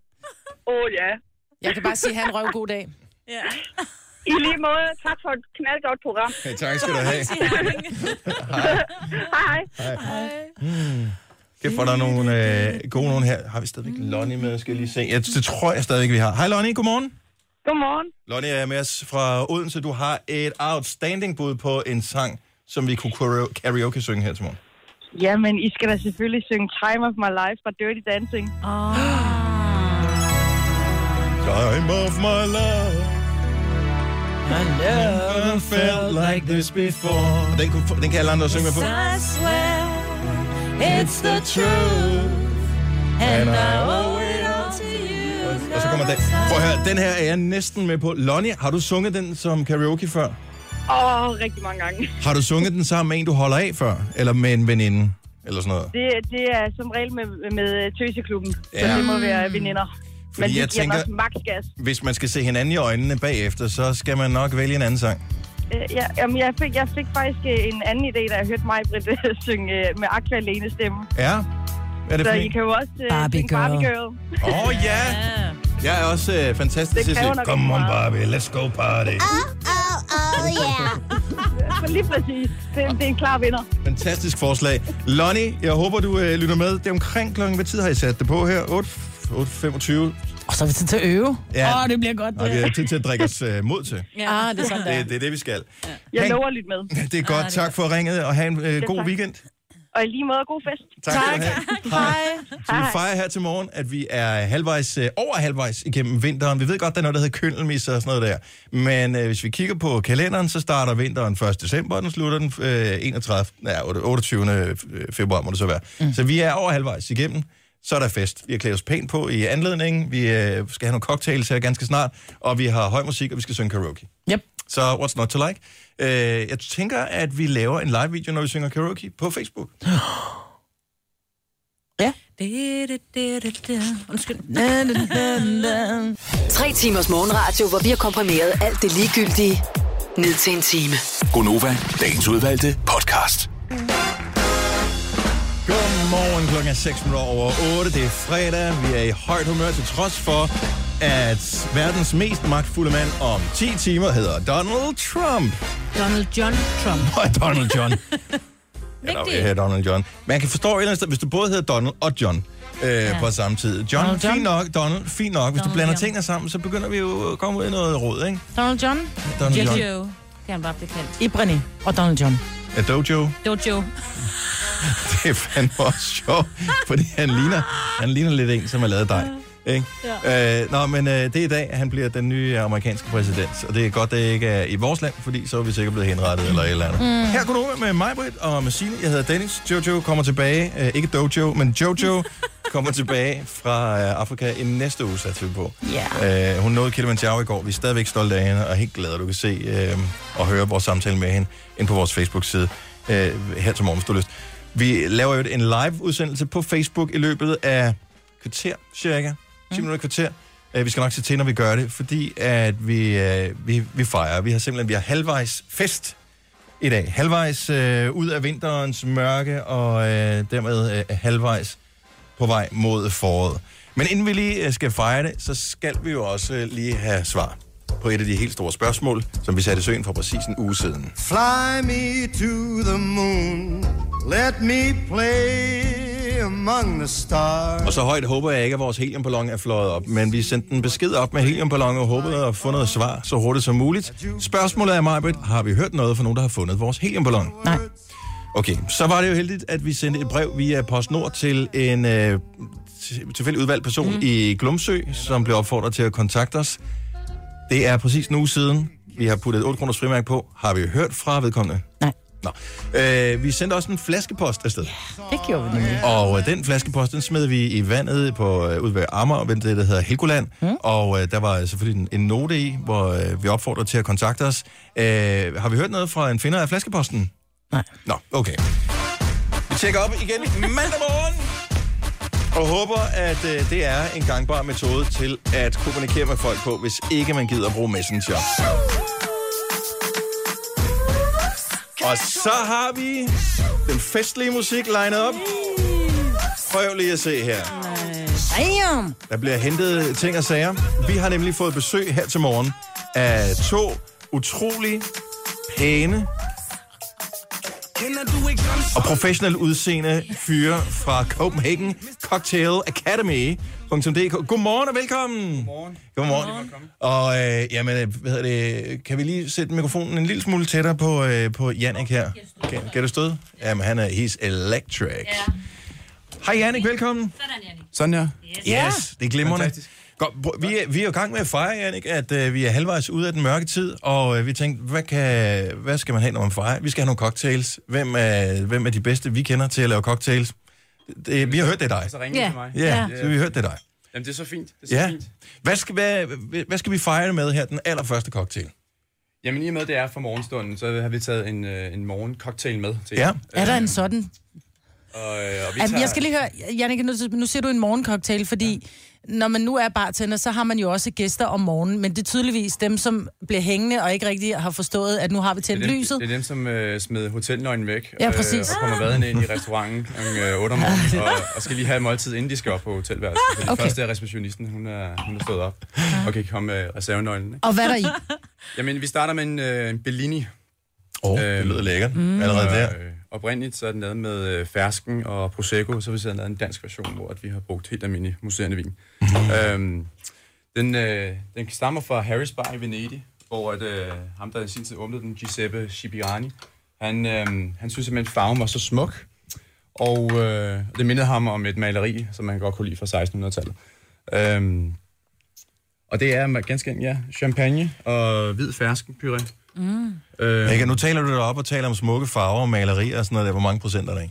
[SPEAKER 10] Åh, ja.
[SPEAKER 3] [laughs] Jeg kan bare sige, han røv god dag.
[SPEAKER 4] Ja.
[SPEAKER 10] I lige måde, tak for et knaldgodt program.
[SPEAKER 1] Hey, tak skal du have.
[SPEAKER 10] Hej, hej.
[SPEAKER 1] Kæft, hvor der er nogle øh, gode nogen her. Har vi stadigvæk Lonnie med, skal jeg lige se. Jeg, det tror jeg stadigvæk, vi har. Hej Lonnie, godmorgen.
[SPEAKER 10] Godmorgen.
[SPEAKER 1] Lonnie er med os fra Odense. Du har et outstanding bud på en sang, som vi kunne karaoke- karaoke synge her til morgen.
[SPEAKER 10] Jamen, I skal da selvfølgelig synge Time of My Life fra Dirty Dancing.
[SPEAKER 1] Time of my life. I never felt like this before. Den, kunne, den kan alle andre synge med på.
[SPEAKER 4] I swear, it's the truth. And I owe it all to you.
[SPEAKER 1] Og så kommer den. Prøv at høre, den her er jeg næsten med på. Lonnie, har du sunget den som karaoke før?
[SPEAKER 10] Åh, oh, rigtig mange gange.
[SPEAKER 1] Har du sunget den sammen med en, du holder af før? Eller med en veninde? Eller sådan noget?
[SPEAKER 10] Det, det er som regel med, med tøseklubben, ja. så
[SPEAKER 1] Ja.
[SPEAKER 10] det må være veninder. Men
[SPEAKER 1] Fordi
[SPEAKER 10] de
[SPEAKER 1] jeg
[SPEAKER 10] giver
[SPEAKER 1] tænker,
[SPEAKER 10] nok max gas.
[SPEAKER 1] hvis man skal se hinanden i øjnene bagefter, så skal man nok vælge en anden sang.
[SPEAKER 10] Øh, ja, jamen, jeg, fik, jeg fik faktisk øh, en anden idé, da jeg hørte mig, Britt, synge øh, med Aqua Lene stemme.
[SPEAKER 1] Ja? Hvad er det
[SPEAKER 10] Så
[SPEAKER 1] for
[SPEAKER 10] I
[SPEAKER 1] en?
[SPEAKER 10] kan jo også øh,
[SPEAKER 3] Barbie
[SPEAKER 10] synge
[SPEAKER 3] Girl.
[SPEAKER 10] Barbie Girl.
[SPEAKER 1] Åh, oh, ja! Jeg er også øh, fantastisk.
[SPEAKER 10] Det
[SPEAKER 1] til at
[SPEAKER 10] kræver
[SPEAKER 1] sige,
[SPEAKER 10] nok ikke
[SPEAKER 1] Come on,
[SPEAKER 10] meget."
[SPEAKER 1] Barbie, let's go party.
[SPEAKER 10] Så lige præcis. Det, det er en klar vinder.
[SPEAKER 1] Fantastisk forslag. Lonnie, jeg håber, du øh, lytter med. Det er omkring klokken, hvad tid har I sat det på her? 8, 8.25.
[SPEAKER 3] Og så er vi tid til at øve. Åh,
[SPEAKER 1] Ja.
[SPEAKER 3] ja. oh, det bliver godt.
[SPEAKER 1] Og vi
[SPEAKER 3] det.
[SPEAKER 1] har tid til at drikke os øh, mod til.
[SPEAKER 4] Ja.
[SPEAKER 3] Ah, det er sådan der.
[SPEAKER 1] Det, det er det, vi skal.
[SPEAKER 10] Jeg
[SPEAKER 1] Hey.
[SPEAKER 10] lover at lytte med.
[SPEAKER 1] Ah, Det er godt. Tak for ringet, og have en øh, god
[SPEAKER 10] tak.
[SPEAKER 1] weekend.
[SPEAKER 10] Og i lige måde, god fest.
[SPEAKER 1] Tak. tak. [laughs] Hej. Så vi fejrer her til morgen, at vi er halvvejs, øh, over halvvejs igennem vinteren. Vi ved godt, der er noget, der hedder køndelmis og sådan noget der. Men øh, hvis vi kigger på kalenderen, så starter vinteren 1. december, og den slutter den øh, 31, nej, 28. februar, må det så være. Mm. Så vi er over halvvejs igennem. Så er der fest. Vi har klædt os pænt på i anledningen. Vi øh, skal have nogle cocktails her ganske snart. Og vi har høj musik, og vi skal synge karaoke.
[SPEAKER 3] Yep.
[SPEAKER 1] Så what's not to like? Øh, jeg tænker, at vi laver en live-video, når vi synger karaoke på Facebook.
[SPEAKER 4] Undskyld.
[SPEAKER 5] Tre timers morgenradio, hvor vi har komprimeret alt det ligegyldige ned til en time.
[SPEAKER 2] Gonova, dagens udvalgte podcast.
[SPEAKER 1] Godmorgen, klokken er 6 minutter over 8. Det er fredag. Vi er i højt humør til trods for, at verdens mest magtfulde mand om 10 timer hedder Donald Trump.
[SPEAKER 4] Donald John Trump.
[SPEAKER 1] Og Donald [laughs] John.
[SPEAKER 4] Vigtigt.
[SPEAKER 1] Ja, Donald John. Man kan forstå et eller andet sted, hvis du både hedder Donald og John øh, ja. på samme tid. John, Donald
[SPEAKER 3] John.
[SPEAKER 1] fint nok. Donald, fint nok. Hvis Donald du
[SPEAKER 4] Donald
[SPEAKER 1] blander
[SPEAKER 4] John.
[SPEAKER 1] tingene sammen, så begynder vi jo at komme ud i noget råd, ikke?
[SPEAKER 3] Donald John,
[SPEAKER 1] Donald
[SPEAKER 4] Jojo.
[SPEAKER 1] John.
[SPEAKER 4] Det kan han bare blive kaldt.
[SPEAKER 3] Ibrani og Donald John.
[SPEAKER 1] Ja, Dojo.
[SPEAKER 4] Dojo.
[SPEAKER 1] [laughs] Det er fandme også sjovt, fordi han ligner, han ligner lidt en, som har lavet dig. Ikke? Ja. Øh, nå, men øh, det er i dag, han bliver den nye øh, amerikanske præsident. Og det er godt, det ikke er i vores land, fordi så er vi sikkert blevet henrettet eller et eller andet. Mm. Her kunne du med mig, Britt, og med Signe. Jeg hedder Dennis. Jojo kommer tilbage. Øh, ikke Dojo, men [laughs] Jojo kommer tilbage fra øh, Afrika i næste uge, satte vi på. Yeah. Øh, hun nåede Kilimanjaro i går. Vi er stadigvæk stolte af hende, og helt glade, at du kan se øh, og høre vores samtale med hende ind på vores Facebook-side. Øh, her til morgen, hvis du har lyst. Vi laver jo en live-udsendelse på Facebook i løbet af kvarter, cirka. 10 minutter i kvarter. Øh, vi skal nok se til, når vi gør det, fordi at vi, øh, vi, vi fejrer. Vi har simpelthen vi har halvvejs fest i dag. Halvvejs øh, ud af vinterens mørke, og øh, dermed øh, halvvejs på vej mod foråret. Men inden vi lige øh, skal fejre det, så skal vi jo også øh, lige have svar på et af de helt store spørgsmål, som vi satte i søen for præcis en uge siden.
[SPEAKER 11] Fly me to the moon. Let me play among the stars.
[SPEAKER 1] Og så højt håber jeg ikke, at vores heliumballon er fløjet op, men vi sendte en besked op med heliumballon og håbede at få noget svar så hurtigt som muligt. Spørgsmålet er, Marbet, har vi hørt noget fra nogen, der har fundet vores heliumballon?
[SPEAKER 3] Nej.
[SPEAKER 1] Okay, så var det jo heldigt, at vi sendte et brev via PostNord til en øh, til- tilfældig udvalgt person
[SPEAKER 3] Mhm.
[SPEAKER 1] mm. i Glumsø, som blev opfordret til at kontakte os. Det er præcis en uge siden. Vi har puttet et 8 kroners frimærke på. Har vi hørt fra vedkommende?
[SPEAKER 3] Nej.
[SPEAKER 1] Nå. Øh, vi sendte også en flaskepost afsted.
[SPEAKER 3] Det gjorde vi nemlig.
[SPEAKER 1] Og øh, den flaskepost, den smed vi i vandet på øh, ude ved Amager, ved det, der hedder Helgoland. Mm. Og øh, der var selvfølgelig en, en note i, hvor øh, vi opfordrer til at kontakte os. Øh, har vi hørt noget fra en finder af flaskeposten?
[SPEAKER 3] Nej.
[SPEAKER 1] Nå, okay. Vi tjekker op igen mandag morgen. Og håber, at øh, det er en gangbar metode til at kommunikere med folk på, hvis ikke man gider at bruge Messenger. Og så har vi den festlige musik lined op. Prøv lige at se her.
[SPEAKER 3] Damn!
[SPEAKER 1] Der bliver hentet ting og sager. Vi har nemlig fået besøg her til morgen af to utrolig pæne og professionelt udseende fyre fra Copenhagen Cocktail Academy. .dk. Godmorgen og velkommen. Godmorgen. Godmorgen. Og øh, jamen, øh, hvad hedder det, kan vi lige sætte mikrofonen en lille smule tættere på, øh, på Jannik her? Kan, kan du støde? Jamen, han er, he's electric. Ja. Hej Jannik, velkommen.
[SPEAKER 12] Sådan ja.
[SPEAKER 1] Yes, det er glimrende. Godt, prøv- vi, er, vi er jo i gang med at fejre, Jannik, at øh, vi er halvvejs ude af den mørke tid, og øh, vi tænkte, hvad, kan, hvad skal man have, når man fejrer? Vi skal have nogle cocktails. Hvem er, hvem er de bedste, vi kender til at lave cocktails? Det, vi har hørt, det er dig.
[SPEAKER 12] Så ringer
[SPEAKER 13] Ja.
[SPEAKER 12] ja. til mig.
[SPEAKER 1] Ja, så vi har hørt, det er dig.
[SPEAKER 12] Jamen, det er så fint. Det er så
[SPEAKER 1] Ja.
[SPEAKER 12] fint.
[SPEAKER 1] Hvad skal, hvad, hvad skal vi fejre det med her, den allerførste cocktail?
[SPEAKER 12] Jamen, i og med, det er for morgenstunden, så har vi taget en, øh, en morgencocktail med til
[SPEAKER 1] Ja.
[SPEAKER 12] jer.
[SPEAKER 3] Er der en sådan?
[SPEAKER 12] Og, øh, og vi
[SPEAKER 3] Jamen,
[SPEAKER 12] tager...
[SPEAKER 3] jeg skal lige høre, Jannik, nu, nu siger du en morgencocktail, fordi ja. når man nu er bartender, så har man jo også gæster om morgenen, men det er tydeligvis dem, som bliver hængende og ikke rigtig har forstået, at nu har vi tændt
[SPEAKER 12] det er dem,
[SPEAKER 3] lyset.
[SPEAKER 12] Det er dem, som øh, smed hotelnøglen væk.
[SPEAKER 3] Ja, præcis.
[SPEAKER 12] Øh, og kommer vadende ind i restauranten kl. 8 om morgenen, og, og skal lige have et måltid, inden de skal op på hotelværelset. Fordi
[SPEAKER 3] Okay.
[SPEAKER 12] okay. først er receptionisten, hun er, hun er stået
[SPEAKER 11] [laughs]
[SPEAKER 12] op og kan komme med reservenøglen. Ikke?
[SPEAKER 3] Og hvad er der i?
[SPEAKER 12] Jamen, vi starter med en, øh, en Bellini.
[SPEAKER 1] Åh, oh, det lyder lækkert.
[SPEAKER 12] Mm.
[SPEAKER 1] Allerede der.
[SPEAKER 12] Øh, oprindeligt så er den lavet med øh, fersken og prosecco, så har vi så lavet en dansk version, hvor at vi har brugt helt almindelig museerende vin. øhm, den, øh, den stammer fra Harris Bar i Venedig, hvor at, øh, ham, der i sin tid åbnede den, Giuseppe Cipriani, han, øh, han synes simpelthen, at farven var så smuk, og øh, det mindede ham om et maleri, som man godt kunne lide fra 1600-tallet. Øhm, og det er ganske enkelt, ja, champagne og hvid ferskenpuré.
[SPEAKER 1] Mm.
[SPEAKER 12] Øh,
[SPEAKER 1] Ikke, nu taler du dig op og taler om smukke farver og malerier og sådan noget der. Hvor mange procent er der i?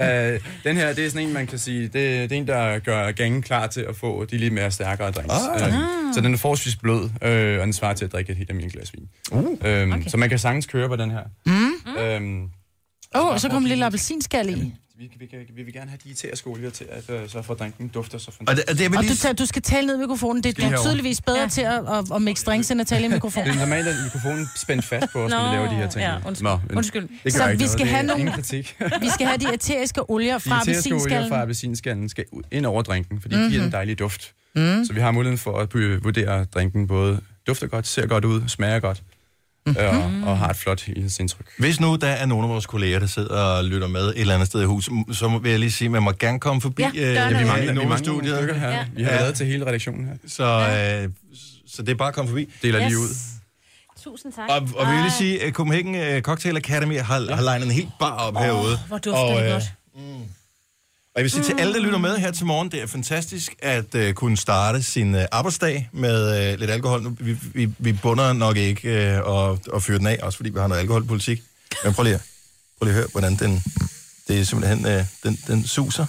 [SPEAKER 12] Øh, den her, det er sådan en, man kan sige, det, det er en, der gør gangen klar til at få de lidt mere stærkere drinks.
[SPEAKER 1] Ah.
[SPEAKER 12] Øh, så den er forholdsvis blød, øh, og den svarer til at drikke et helt almindeligt glas vin.
[SPEAKER 1] Uh.
[SPEAKER 12] Øhm, Så man kan sagtens køre på den her.
[SPEAKER 3] Mm.
[SPEAKER 12] Øhm,
[SPEAKER 3] Åh, oh, så kom en lille appelsinskal i.
[SPEAKER 12] vi, vi, kan- vi vil gerne have de te og skolier til, at øh, så for drinken dufter så
[SPEAKER 1] Og det- og det er vel
[SPEAKER 3] Og
[SPEAKER 1] lige-
[SPEAKER 3] du, tager, du skal tale ned i mikrofonen. Det
[SPEAKER 12] Lige
[SPEAKER 3] er du
[SPEAKER 12] herovre.
[SPEAKER 3] tydeligvis bedre ja. til at, at, at mixe drinks, end at tale i
[SPEAKER 12] [laughs] Det
[SPEAKER 3] mikrofonen.
[SPEAKER 12] er normalt, at mikrofonen spændt fast på os, når vi
[SPEAKER 3] Nå,
[SPEAKER 12] laver de her ting.
[SPEAKER 3] ja, undskyld.
[SPEAKER 12] men
[SPEAKER 3] Undskyld.
[SPEAKER 12] det gør
[SPEAKER 3] Så vi
[SPEAKER 12] ikke noget,
[SPEAKER 3] skal
[SPEAKER 12] det er
[SPEAKER 3] have nogle-
[SPEAKER 12] ingen kritik.
[SPEAKER 3] [laughs] Vi skal have de æteriske olier fra
[SPEAKER 12] de æteriske olier
[SPEAKER 3] appelsinskallen.
[SPEAKER 12] fra appelsinskallen skal ud- ind over drinken, fordi mm-hmm.
[SPEAKER 3] Mhm.
[SPEAKER 12] de giver en dejlig duft.
[SPEAKER 3] Mm.
[SPEAKER 12] Så vi har muligheden for at by- vurdere, at drinken både dufter godt, ser godt ud, smager godt mm-hmm.
[SPEAKER 3] Mhm.
[SPEAKER 12] og, og har et flot helhedsindtryk.
[SPEAKER 1] Hvis nu der er nogle af vores kolleger, der sidder og lytter med et eller andet sted i huset, så må- vil jeg lige sige, at man må gerne komme forbi øh,
[SPEAKER 12] Ja, dørene er åbne. Vi mangler nogle
[SPEAKER 1] studiet.
[SPEAKER 12] stykker her. Ja. Vi har lavet til hele redaktionen her.
[SPEAKER 1] Så, øh, så det er bare at komme forbi.
[SPEAKER 12] Deler lige
[SPEAKER 4] Yes.
[SPEAKER 12] ud.
[SPEAKER 4] Tusind tak.
[SPEAKER 1] Og, og vi vil lige sige, at Copenhagen øh, Cocktail Academy har, ja. har legnet en helt bar op oh, herude.
[SPEAKER 4] hvor dufter det godt.
[SPEAKER 1] Mm. Og jeg vil sige til alle, der lytter med her til morgen, det er fantastisk at øh, kunne starte sin øh, arbejdsdag med øh, lidt alkohol. Nu, vi, vi, vi bunder nok ikke øh, og, og fyre den af, også fordi vi har noget alkoholpolitik. Men prøv lige, at- prøv lige at høre, hvordan den, det er simpelthen, øh, den, den suser.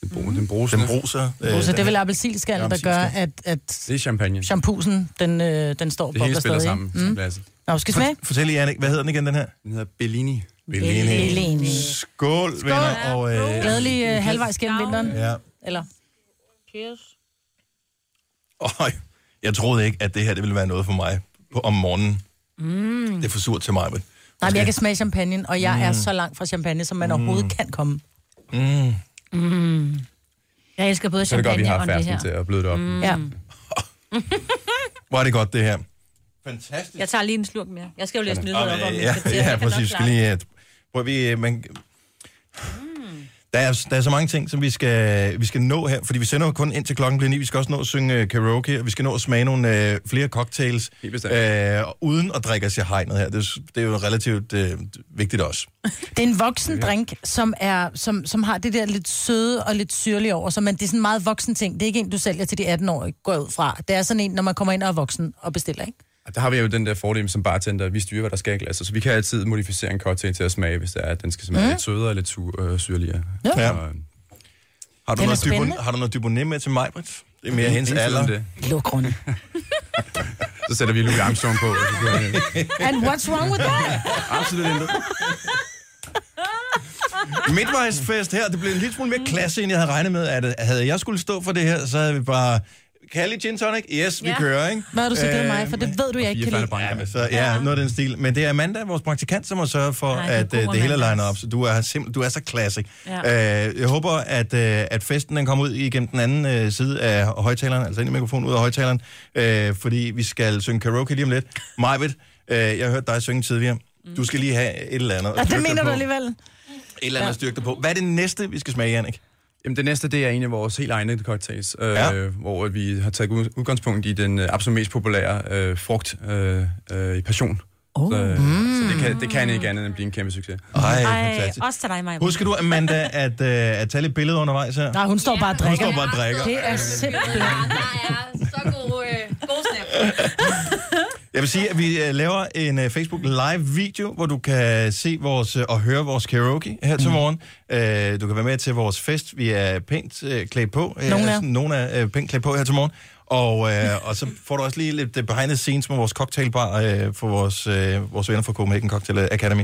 [SPEAKER 1] Den, den bruser. Den bruser. Øh,
[SPEAKER 3] Så
[SPEAKER 1] den
[SPEAKER 3] det er vel
[SPEAKER 1] her.
[SPEAKER 3] appelsinskallen, der gør, at, at
[SPEAKER 12] Det er champagne.
[SPEAKER 3] shampoosen, den, øh, den står
[SPEAKER 12] Det
[SPEAKER 3] på
[SPEAKER 12] hele spiller
[SPEAKER 3] stadig.
[SPEAKER 12] sammen.
[SPEAKER 3] ikke?
[SPEAKER 12] Mm.
[SPEAKER 3] Mm. Nå, skal vi smage?
[SPEAKER 1] For, fortæl lige, Anne, hvad hedder den igen, den her?
[SPEAKER 12] Den hedder Bellini.
[SPEAKER 1] Bellini.
[SPEAKER 3] Bellini.
[SPEAKER 1] Skål, Skål, venner. Og, øh,
[SPEAKER 3] Glædelig øh, halvvejs gennem vinteren.
[SPEAKER 1] Ja.
[SPEAKER 3] Eller?
[SPEAKER 1] Øj, jeg troede ikke, at det her det ville være noget for mig på, om morgenen.
[SPEAKER 3] Mm.
[SPEAKER 1] Det er for surt til mig, men...
[SPEAKER 3] Nej, men jeg kan smage champagne, og jeg er
[SPEAKER 1] Mm.
[SPEAKER 3] så langt fra champagne, som man overhovedet kan komme.
[SPEAKER 1] Mm.
[SPEAKER 4] Mm. Jeg elsker både
[SPEAKER 1] Så er det godt, vi
[SPEAKER 4] champagne
[SPEAKER 1] har
[SPEAKER 4] og det
[SPEAKER 1] færsen
[SPEAKER 4] her.
[SPEAKER 1] til at bløde det op. Mm.
[SPEAKER 3] Ja.
[SPEAKER 1] [laughs] Hvor er det godt, det her. Fantastisk.
[SPEAKER 4] Jeg tager lige en slurk mere. Jeg skal jo læse nyheder op om
[SPEAKER 1] Og,
[SPEAKER 4] et
[SPEAKER 1] øh, ja,
[SPEAKER 4] kvarter,
[SPEAKER 1] [laughs] ja,
[SPEAKER 4] jeg kan nok
[SPEAKER 1] præcis. Skal
[SPEAKER 4] klare
[SPEAKER 1] lige, at, prøv at vi, øh, man,
[SPEAKER 3] Hmm.
[SPEAKER 1] der, er, der er så mange ting, som vi skal, vi skal nå her, fordi vi sender jo kun ind til klokken bliver ni. Vi skal også nå at synge øh, karaoke, og vi skal nå at smage nogle øh, flere cocktails, øh, uden at drikke os i hegnet her. Det, er s- det er jo relativt øh, vigtigt også.
[SPEAKER 3] Det er en voksen drink, som, er, som, som har det der lidt søde og lidt syrlige over, så man, det er sådan en meget voksen ting. Det er ikke en, du sælger til de 18 år, går jeg ud fra. Det er sådan en, når man kommer ind og er voksen og bestiller, ikke?
[SPEAKER 12] Og der har vi jo den der fordel som bartender, at vi styrer, hvad der skal i glasset, så vi kan altid modificere en cocktail til at smage, hvis det er, at den skal smage
[SPEAKER 3] Mm.
[SPEAKER 12] mm. lidt sødere eller lidt su- øh, syrligere.
[SPEAKER 3] Ja.
[SPEAKER 1] Ja.
[SPEAKER 12] Så,
[SPEAKER 1] Har
[SPEAKER 12] øh,
[SPEAKER 1] du,
[SPEAKER 12] Den er
[SPEAKER 1] noget
[SPEAKER 12] spændende.
[SPEAKER 1] Dubon, har du noget Dubonnet med til mig, Britt? Det er mere
[SPEAKER 12] Ingen-
[SPEAKER 1] hendes
[SPEAKER 12] ingen tvivl om
[SPEAKER 1] alder.
[SPEAKER 12] det.
[SPEAKER 3] Luk runde.
[SPEAKER 12] så sætter vi Louis Armstrong
[SPEAKER 1] [laughs]
[SPEAKER 12] på. og så kører vi.
[SPEAKER 3] [laughs] And what's wrong with that?
[SPEAKER 12] Absolut intet.
[SPEAKER 1] Midtvejsfest her, det blev en lille smule mere klasse, end jeg havde regnet med, at øh, havde jeg skulle stå for det her, så havde vi bare... Kan jeg lige gin tonic? Yes, vi
[SPEAKER 3] Ja.
[SPEAKER 1] kører, ikke?
[SPEAKER 3] Hvad har du så givet
[SPEAKER 1] Øh,
[SPEAKER 3] mig? For det ved du, jeg ikke kan lide.
[SPEAKER 1] Ja, men så, ja, noget af den stil. Men det er Amanda, vores praktikant, som har sørget for,
[SPEAKER 3] Ej,
[SPEAKER 1] Ej,
[SPEAKER 3] det er
[SPEAKER 1] at
[SPEAKER 3] god
[SPEAKER 1] øh, det hele er
[SPEAKER 3] Amanda.
[SPEAKER 1] legnet op. Så du er, simpel, du er så classic.
[SPEAKER 3] Ja.
[SPEAKER 1] Ja. Øh, jeg håber, at, øh, at festen den kommer ud igennem den anden øh, side af højtaleren, altså ind i mikrofonen ud af højtaleren, øh, fordi vi skal synge karaoke lige om lidt. Majbet, øh, jeg hørte dig synge tidligere. Du skal lige have et eller andet. at
[SPEAKER 3] Ja, det
[SPEAKER 1] styrke dig
[SPEAKER 3] mener du
[SPEAKER 1] på.
[SPEAKER 3] alligevel.
[SPEAKER 1] Et eller andet at styrke dig på. Hvad er det næste, vi skal smage, Jannik?
[SPEAKER 12] Jamen, det næste, det er en af vores helt egne cocktails, øh, ja. hvor at vi har taget ud- udgangspunkt i den øh, absolut mest populære øh, frugt øh, øh, i passion. Oh. Så, øh, mm. så det, kan, det kan ikke andet end blive en kæmpe succes.
[SPEAKER 1] Ej,
[SPEAKER 4] Ej, også til dig, Maja.
[SPEAKER 1] Husker du, Amanda, at, øh, at tage lidt billeder undervejs her?
[SPEAKER 3] Nej, hun står bare og
[SPEAKER 1] Hun
[SPEAKER 3] drikker.
[SPEAKER 1] står bare og drikker.
[SPEAKER 3] Det er simpelthen...
[SPEAKER 13] Så god, øh, god snap.
[SPEAKER 1] Jeg vil sige, at vi øh, laver en øh, Facebook Live-video, hvor du kan se vores øh, og høre vores karaoke her til morgen. Øh, Du kan være med til vores fest. Vi er pænt øh, klædt på. Øh,
[SPEAKER 3] Nogle er.
[SPEAKER 1] altså, Nogle er øh, pænt klædt på her til morgen. Og, øh, og så får du også lige lidt øh, behind the scenes med vores cocktailbar øh, for vores, øh, vores venner fra Copenhagen Cocktail Academy.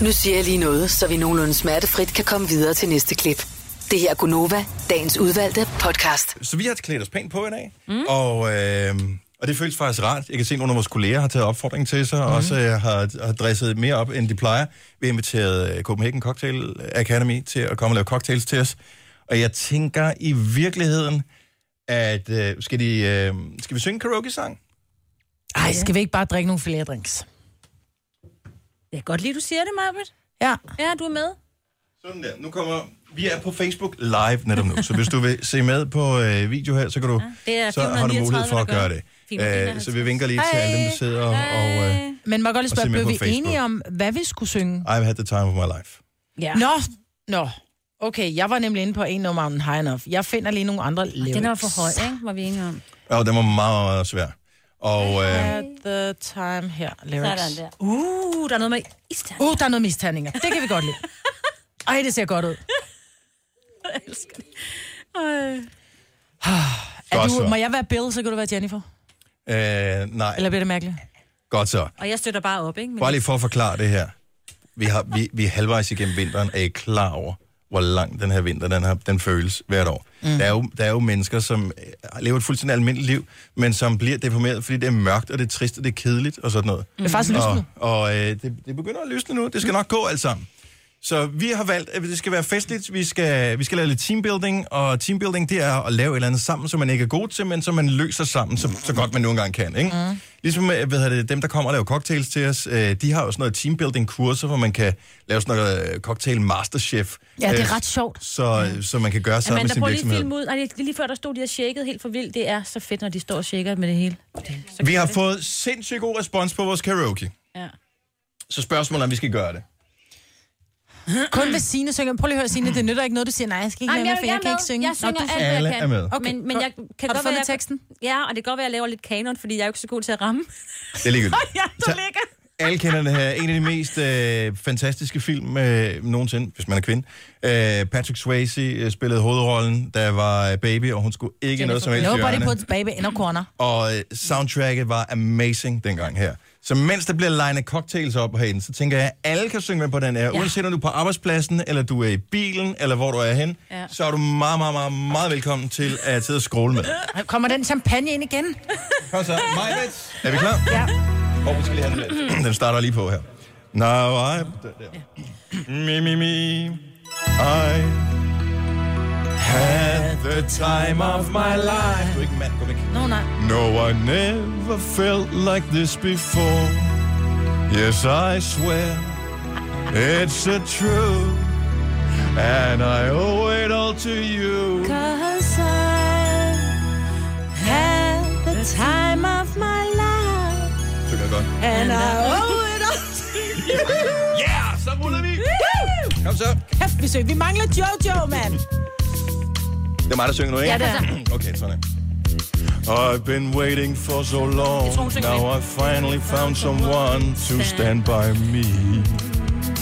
[SPEAKER 5] Nu siger jeg lige noget, så vi nogenlunde smertefrit kan komme videre til næste klip. Det her er Gunova, dagens udvalgte podcast.
[SPEAKER 1] Så vi har klædt os pænt på i dag, mm. og, øh, og det føles faktisk rart. Jeg kan se, at nogle af vores kolleger har taget opfordringen til sig, og også øh, har, har dresset mere op, end de plejer. Vi har inviteret øh, Copenhagen Cocktail Academy til at komme og lave cocktails til os. Og jeg tænker i virkeligheden, at øh, skal, de, øh, skal vi synge en karaoke-sang?
[SPEAKER 3] Ej, skal vi ikke bare drikke nogle flere drinks?
[SPEAKER 4] Jeg kan godt lide, du siger det, Marbet.
[SPEAKER 3] Ja.
[SPEAKER 4] Ja, du er med.
[SPEAKER 1] Sådan der. Nu kommer... Vi er på Facebook live netop nu, så hvis du vil se med på øh, video her, så, kan du,
[SPEAKER 3] det er
[SPEAKER 1] så har du
[SPEAKER 3] 439,
[SPEAKER 1] mulighed for
[SPEAKER 3] der
[SPEAKER 1] at
[SPEAKER 3] gør
[SPEAKER 1] gøre
[SPEAKER 3] det.
[SPEAKER 1] det.
[SPEAKER 3] 451.
[SPEAKER 1] Øh, så vi vinker lige til alle dem, der sidder og... og øh,
[SPEAKER 3] Men man kan godt lige
[SPEAKER 1] Og se
[SPEAKER 3] spørge,
[SPEAKER 1] med
[SPEAKER 3] blev
[SPEAKER 1] på
[SPEAKER 3] vi
[SPEAKER 1] Facebook.
[SPEAKER 3] enige om, hvad vi skulle synge?
[SPEAKER 1] I've had the time of my life.
[SPEAKER 3] Ja. Nå, nå. Okay, jeg var nemlig inde på en No Mountain High Enough. Jeg finder lige nogle andre lyrics.
[SPEAKER 4] Den er for høj, ikke? Var vi enige om.
[SPEAKER 1] Ja, den var meget, meget svær. Og øh,
[SPEAKER 3] At the time her, lyrics.
[SPEAKER 4] Sådan der. Uh, der [laughs] er noget med isterninger.
[SPEAKER 3] Uh, der er noget med isterninger. Det kan vi godt lide. Ej, det ser godt ud.
[SPEAKER 4] Jeg elsker det. Ej.
[SPEAKER 3] Er
[SPEAKER 1] Godt
[SPEAKER 3] du,
[SPEAKER 1] så.
[SPEAKER 3] må jeg være Bill, så kan du være Jennifer?
[SPEAKER 1] øh, nej,
[SPEAKER 3] Eller bliver det mærkeligt?
[SPEAKER 1] godt så.
[SPEAKER 4] Og jeg støtter bare op, ikke? Men
[SPEAKER 1] Bare lige for at forklare det her. Vi, har, vi, vi er halvvejs igennem vinteren. Er I klar over, hvor lang den her vinter den, her, den føles hvert år? Mm. Der, er jo, der er jo mennesker, som øh, lever et fuldstændig almindeligt liv, men som bliver deprimeret, fordi det er mørkt, og det er trist, og det er kedeligt, og sådan noget.
[SPEAKER 3] Det er faktisk
[SPEAKER 1] og,
[SPEAKER 3] lysende.
[SPEAKER 1] og øh, det, det begynder at lysne nu. Det skal nok gå alt sammen. Så vi har valgt, at det skal være festligt, vi skal, vi skal lave lidt teambuilding, og teambuilding det er at lave et eller andet sammen, som man ikke er god til, men som man løser sammen, så, så godt man nu engang kan. Ikke? Mm. Ligesom øh, hvad hedder det, dem, der kommer og laver cocktails til os, øh, de har jo sådan noget teambuilding-kurser, hvor man kan lave sådan noget øh, cocktail masterchef.
[SPEAKER 3] Ja, det
[SPEAKER 1] øh,
[SPEAKER 3] er ret sjovt.
[SPEAKER 1] Så, øh, så man kan gøre sammen med
[SPEAKER 4] Amanda,
[SPEAKER 1] sin
[SPEAKER 4] prøv lige at
[SPEAKER 1] virksomhed.
[SPEAKER 4] filme ud. Ej, det er lige før, der stod de og shakede helt for vildt. Det er så fedt, når de står og shaker med det hele.
[SPEAKER 1] Vi har fået sindssygt god respons på vores karaoke.
[SPEAKER 4] Ja.
[SPEAKER 1] Så spørgsmålet er, om vi skal gøre det.
[SPEAKER 3] Kun hvis Signe synger. Prøv lige at høre, Signe, det nytter ikke noget, du siger, nej, jeg skal ikke
[SPEAKER 4] Ej,
[SPEAKER 3] være
[SPEAKER 4] men
[SPEAKER 3] med,
[SPEAKER 4] jeg-
[SPEAKER 3] for
[SPEAKER 4] jeg
[SPEAKER 3] jeg,
[SPEAKER 4] er
[SPEAKER 3] kan
[SPEAKER 4] med.
[SPEAKER 3] ikke synge.
[SPEAKER 4] Jeg synger
[SPEAKER 3] du-
[SPEAKER 4] alt, hvad jeg
[SPEAKER 3] Alle
[SPEAKER 4] kan.
[SPEAKER 3] er med.
[SPEAKER 4] Okay. Men, men jeg kan
[SPEAKER 3] Har du
[SPEAKER 4] godt
[SPEAKER 3] fundet
[SPEAKER 4] være, jeg,
[SPEAKER 3] teksten?
[SPEAKER 4] Ja, og det kan godt være, at jeg laver lidt kanon, fordi jeg er jo ikke så god til at ramme. [laughs]
[SPEAKER 1] Det er ligegyldigt.
[SPEAKER 4] ja, du ligger.
[SPEAKER 1] Alle kender det her. En af de mest øh, fantastiske film øh, nogensinde, hvis man er kvinde. Øh, Patrick Swayze øh, spillede hovedrollen, der var øh, baby, og hun skulle ikke noget som helst i
[SPEAKER 3] Nobody
[SPEAKER 1] ørerne.
[SPEAKER 3] puts baby in a corner.
[SPEAKER 1] Og øh, soundtracket var amazing dengang her. Så mens der bliver legnet cocktails op herinde, så tænker jeg, at alle kan synge med på den her. Ja. Uanset om du er på arbejdspladsen, eller du er i bilen, eller hvor du er hen, ja. så er du meget, meget, meget, meget velkommen til at sidde og scrolle med.
[SPEAKER 3] Kommer den champagne ind igen?
[SPEAKER 1] Kom så, Majbets. Er vi klar? Ja. Og vi skal lige have den lidt. [clears throat] Den starter lige på her. Now I... Der. Me, me, me. I had the time of my life. Du er ikke mand, gå væk.
[SPEAKER 3] Nå, nej.
[SPEAKER 1] No, I never felt like this before. Yes, I swear it's the truth. And I owe it all to you.
[SPEAKER 3] Cause I had the time of my life.
[SPEAKER 1] Synger jeg godt.
[SPEAKER 3] And I owe it all to you.
[SPEAKER 1] Yeah, så ruller vi. Kom så.
[SPEAKER 3] Kæft, vi søger. Vi mangler Jojo, mand.
[SPEAKER 1] Det er mig, der synger nu, ikke?
[SPEAKER 3] Ja, det er
[SPEAKER 1] [clears throat] Okay, sådan. I've been waiting for so long. Now I finally found someone to stand by me.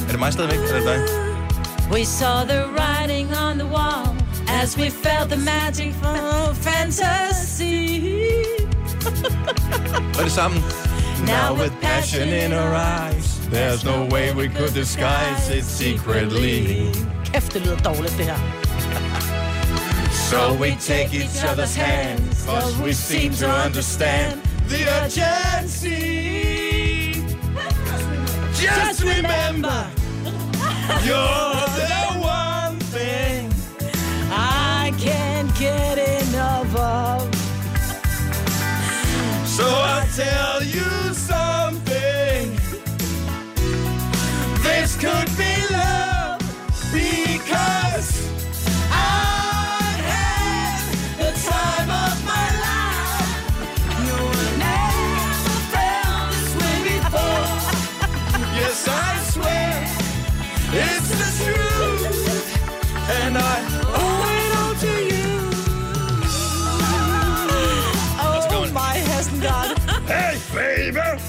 [SPEAKER 1] Er det mig stadigvæk, eller er det dig?
[SPEAKER 3] We saw the writing on the wall as we felt the magic of fantasy.
[SPEAKER 1] Og er det samme. Now with passion in our eyes, there's no way we could disguise it secretly.
[SPEAKER 3] Kæft, det lyder dårligt, det her.
[SPEAKER 1] So we take each other's hands, cause we seem to understand the urgency. Just remember, you're the one thing
[SPEAKER 3] I can't get enough of.
[SPEAKER 1] So I tell you something. This could be love because I had the time of my life. No one ever felt this way before. yes, I swear it's the truth, and I owe it all to you. Oh, my hesten Hey, baby!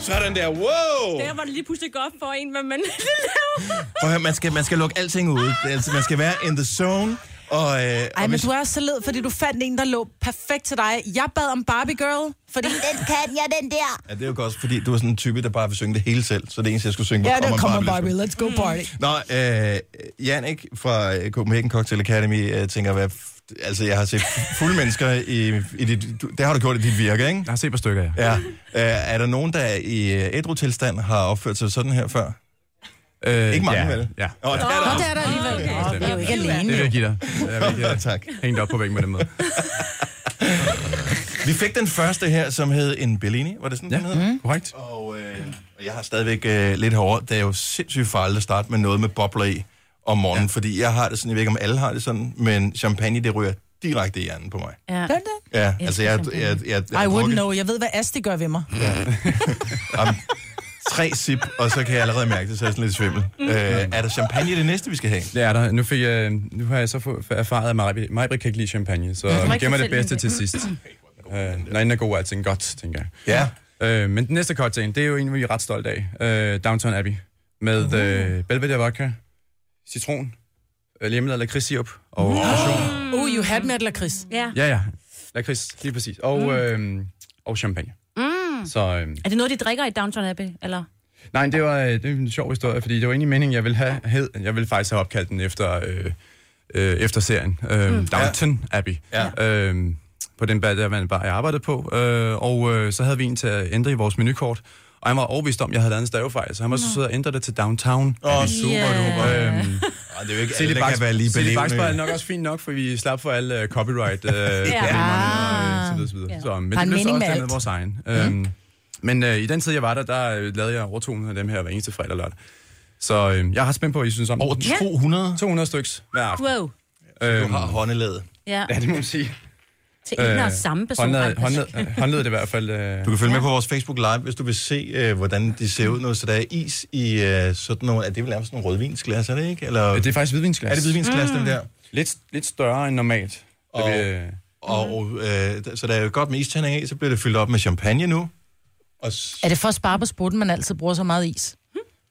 [SPEAKER 1] Sådan der, wow!
[SPEAKER 4] Der var det lige pludselig godt for en, hvad man [laughs] laver.
[SPEAKER 1] Prøv at høre, man skal, man skal lukke alting ud. Altså, man skal være in the zone. Og, øh,
[SPEAKER 3] Ej,
[SPEAKER 1] og
[SPEAKER 3] men
[SPEAKER 1] hvis-
[SPEAKER 3] du er så led, fordi du fandt en, der lå perfekt til dig. Jeg bad om Barbie Girl, fordi den kan jeg, den der.
[SPEAKER 1] Ja, det er jo også, fordi du er sådan en type, der bare vil synge det hele selv. Så det eneste, jeg skulle synge, var
[SPEAKER 3] Ja, der
[SPEAKER 1] Come on,
[SPEAKER 3] kommer
[SPEAKER 1] Barbie.
[SPEAKER 3] Barbie. Mm. Let's go party.
[SPEAKER 1] Nå, øh, Jannik fra øh, Copenhagen Cocktail Academy øh, tænker, hvad... f- Altså, jeg har set fulde mennesker i, i dit... Du, det har du gjort i dit virke, ikke? Jeg har set på stykker, ja. ja. Øh, er der nogen, der i øh, ædru-tilstand har opført sig sådan her før? Øh, ikke mange,
[SPEAKER 12] ja,
[SPEAKER 1] vel?
[SPEAKER 12] Ja.
[SPEAKER 1] Nå, det er
[SPEAKER 3] Nå,
[SPEAKER 1] der også.
[SPEAKER 3] Ah, det er der alligevel. Nå, vi er jo ikke alene.
[SPEAKER 12] Det vil
[SPEAKER 3] jo.
[SPEAKER 12] jeg give dig. Jeg vil give dig.
[SPEAKER 1] tak.
[SPEAKER 12] Hængt op på væggen med den måde.
[SPEAKER 1] Vi fik den første her, som hed en Bellini, var det sådan, ja. den hed?
[SPEAKER 12] Mm. korrekt.
[SPEAKER 1] Og, øh, og jeg har stadigvæk øh, lidt hårdt. Det er jo sindssygt farligt at starte med noget med bobler i om morgenen, ja. fordi jeg har det sådan, jeg ved ikke, om alle har det sådan, men champagne, det ryger direkte i hjernen på mig.
[SPEAKER 3] Ja. Gør det?
[SPEAKER 1] Ja, altså jeg... jeg, jeg, jeg, jeg
[SPEAKER 3] I wouldn't know. Jeg ved, hvad Asti gør ved mig.
[SPEAKER 1] Om, tre sip, og så kan jeg allerede mærke det, så er jeg sådan lidt svimmel. Mm. Øh, er der champagne det næste, vi skal have?
[SPEAKER 12] Det er der. Nu, fik jeg, nu har jeg så fået erfaret, at Majbrit Majbrit kan ikke lide champagne, så
[SPEAKER 1] må
[SPEAKER 12] vi
[SPEAKER 1] ikke
[SPEAKER 12] gemmer det
[SPEAKER 1] fortælle
[SPEAKER 12] bedste til
[SPEAKER 1] hende det.
[SPEAKER 12] sidst. [clears throat] Øh, når inden er god, er alting godt, tænker jeg. Ja. Øh, men den næste cocktail, det er jo en, vi er ret stolte af. Øh, Downton Abbey. Med uh-huh. øh, Belvedere vodka, citron, øh, lemonade, lakridssirup og uh-huh. portion.
[SPEAKER 3] Oh, you had me at lakrids.
[SPEAKER 4] Ja.
[SPEAKER 12] Ja, ja. Lakrids, lige præcis. Og, mm. øh, og champagne.
[SPEAKER 4] Mm.
[SPEAKER 12] Så øh,
[SPEAKER 4] Er det noget, de drikker i Downton Abbey, eller?
[SPEAKER 12] Nej, det var, øh, det var en sjov historie, fordi det var egentlig meningen, jeg ville have hed. Jeg ville faktisk have opkaldt den efter, øh, øh, efter serien. Øh, mm. Downton ja. Abbey. Ja. Øh, på den bar, der var en bar, jeg arbejdede på. Øh, og øh, så havde vi en til at ændre i vores menukort. Og han var overbevist om, at jeg havde lavet en stavefejl, så han var så sød at ændre det til Downtown.
[SPEAKER 1] Åh, oh, super, yeah. du
[SPEAKER 12] Øhm,
[SPEAKER 1] Ej, det er jo ikke
[SPEAKER 12] Silly
[SPEAKER 1] alle, der
[SPEAKER 12] Box-
[SPEAKER 1] kan være lige
[SPEAKER 12] Silly Box var
[SPEAKER 1] belevende.
[SPEAKER 12] nok også fint nok, for vi slap for alle øh,
[SPEAKER 1] [laughs]
[SPEAKER 12] copyright øh, problemerne, øh, så videre, så videre. Så, men
[SPEAKER 3] Ah. Der er
[SPEAKER 12] det blev så også
[SPEAKER 3] mening med
[SPEAKER 12] den af
[SPEAKER 3] alt.
[SPEAKER 12] vores egen. Øhm, men øh, i den tid, jeg var der, der øh, lavede jeg over 200 af dem her hver eneste fredag og lørdag. Så øh, jeg har spændt på, at I synes om. Over
[SPEAKER 1] 200?
[SPEAKER 12] 200 styks hver aften.
[SPEAKER 4] Wow.
[SPEAKER 12] Øhm,
[SPEAKER 1] du har håndelaget.
[SPEAKER 4] Ja.
[SPEAKER 12] Ja, det må man sige.
[SPEAKER 4] Til en
[SPEAKER 1] Øh,
[SPEAKER 4] og samme person.
[SPEAKER 12] Håndled,
[SPEAKER 4] Anders.
[SPEAKER 12] håndled, øh, håndled det i hvert fald. Øh,
[SPEAKER 1] Du kan følge med på vores Facebook Live, hvis du vil se, øh, hvordan de ser ud. Noget, så der er is i øh, sådan nogle... Er det vel nærmest sådan nogle rødvinsglas, er det ikke? Eller...
[SPEAKER 12] det er faktisk hvidvinsglas.
[SPEAKER 1] Er det hvidvinsglas, mm. dem der?
[SPEAKER 12] Lidt, lidt større end normalt. da
[SPEAKER 1] Og,
[SPEAKER 12] vi,
[SPEAKER 1] vi, og
[SPEAKER 3] Mm.
[SPEAKER 1] øh, d- så der er jo godt med istanding af, så bliver det fyldt op med champagne nu. Og s-
[SPEAKER 3] Er det for at spare på sprutten, man altid bruger så meget is?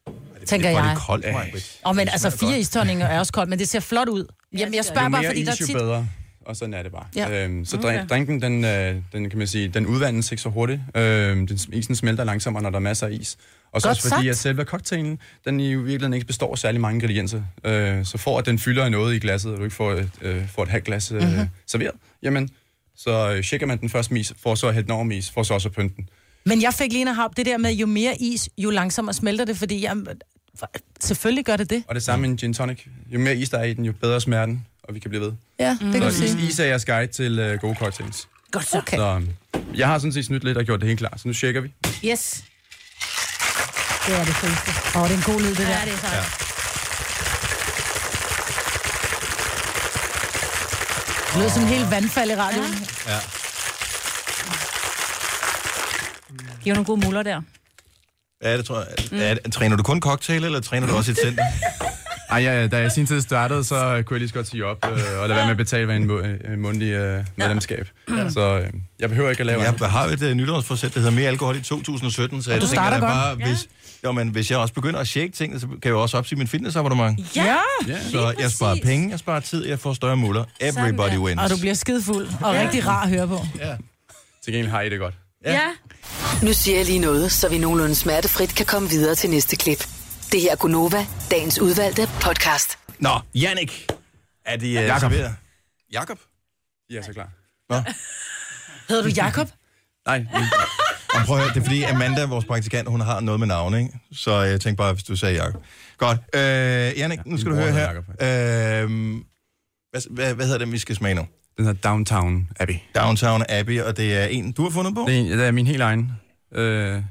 [SPEAKER 3] Hmm? Tænker
[SPEAKER 1] hvor er
[SPEAKER 3] jeg.
[SPEAKER 1] det koldt, mig.
[SPEAKER 3] Og men altså, fire istonninger er også koldt, men det ser flot ud. Jamen, jeg spørger
[SPEAKER 12] jo
[SPEAKER 3] bare,
[SPEAKER 12] mere
[SPEAKER 3] fordi
[SPEAKER 12] is,
[SPEAKER 3] der er
[SPEAKER 12] jo
[SPEAKER 3] tit...
[SPEAKER 12] bedre. Og sådan er det bare.
[SPEAKER 3] Ja.
[SPEAKER 12] Ja. Øhm, så
[SPEAKER 3] Okay.
[SPEAKER 12] drink, drinken, den, øh, den, kan man sige, den udvandes ikke så hurtigt. Øhm, den, isen smelter langsommere, når der er masser af is. Og så
[SPEAKER 3] Godt
[SPEAKER 12] også fordi,
[SPEAKER 3] sagt.
[SPEAKER 12] at selve cocktailen, den i virkeligheden ikke består af særlig mange ingredienser. Øh, så for at den fylder af noget i glasset, og du ikke får et, øh, får et halvt glas øh,
[SPEAKER 3] Mhm.
[SPEAKER 12] serveret, jamen, så øh, tjekker man den først med is, for så at hælde den over med is, for så også at pynte den.
[SPEAKER 3] Men jeg fik lige en hap det der med, jo mere is, jo langsommere smelter det, fordi jeg... Selvfølgelig gør det det.
[SPEAKER 12] Og det samme med en gin tonic. Jo mere is der er i den, jo bedre smager den, og vi kan blive ved.
[SPEAKER 3] Ja, det kan
[SPEAKER 12] Så
[SPEAKER 3] du sige.
[SPEAKER 12] is, is er jeres guide til øh, gode cocktails.
[SPEAKER 3] Godt så. Okay.
[SPEAKER 12] Så øh, jeg har sådan set snydt lidt og gjort det helt klart, så nu tjekker vi.
[SPEAKER 4] Yes.
[SPEAKER 3] Det er det fedeste. Åh, oh, det er en god lyd, det der.
[SPEAKER 4] Ja, det er så. Ja.
[SPEAKER 3] Det lyder som en helt vandfald i radioen.
[SPEAKER 1] Ja.
[SPEAKER 4] Giv nogle gode muller der.
[SPEAKER 1] Ja, det tror jeg.
[SPEAKER 3] Mm.
[SPEAKER 1] Er, det- træner du kun cocktail, eller træner du også et
[SPEAKER 3] [laughs]
[SPEAKER 1] center?
[SPEAKER 12] Ej, ja, da jeg i sin tid startede, så øh, kunne jeg lige så godt sige op øh, og lade være med at betale ved en må- øh, mundtlig øh, medlemskab. Ja. Så øh, jeg behøver ikke at lave andet.
[SPEAKER 1] Jeg har et uh, nytårsforsæt, der hedder mere alkohol i 2017, så jeg
[SPEAKER 3] du starter
[SPEAKER 1] da bare,
[SPEAKER 3] godt.
[SPEAKER 1] hvis, jo, men hvis jeg også begynder at shake ting, så kan jeg jo også opsige min fitnessabonnement.
[SPEAKER 3] Ja,
[SPEAKER 1] Så jeg sparer penge, jeg sparer tid, jeg får større muller. Everybody wins.
[SPEAKER 3] Og du bliver skidefuld og
[SPEAKER 1] Ja.
[SPEAKER 3] rigtig rar at høre på.
[SPEAKER 1] Ja.
[SPEAKER 12] Til gengæld har I det godt.
[SPEAKER 5] Ja. Nu siger jeg lige noget, så vi nogenlunde smertefrit kan komme videre til næste klip. Det her er Gunova, dagens udvalgte podcast.
[SPEAKER 1] Nå, Jannik. Er de uh,
[SPEAKER 12] Jakob.
[SPEAKER 1] serveret? Jakob?
[SPEAKER 12] Ja, så klar.
[SPEAKER 1] Nå.
[SPEAKER 3] Hedder du Jakob?
[SPEAKER 12] Nej. men-
[SPEAKER 1] Og prøv at høre, det er fordi Amanda, vores praktikant, hun har noget med navne, ikke? Så jeg tænkte bare, hvis du sagde Jakob. Godt. Øh, Jannik, nu skal du
[SPEAKER 12] min
[SPEAKER 1] høre
[SPEAKER 12] bror
[SPEAKER 1] her.
[SPEAKER 12] hedder
[SPEAKER 1] Øh, hvad, hvad, hvad hedder den, vi skal smage nu?
[SPEAKER 12] Den hedder Downtown Abbey.
[SPEAKER 1] Downtown Abbey, og det er en, du har fundet på?
[SPEAKER 12] Det er, en- det er min helt egen. Øh,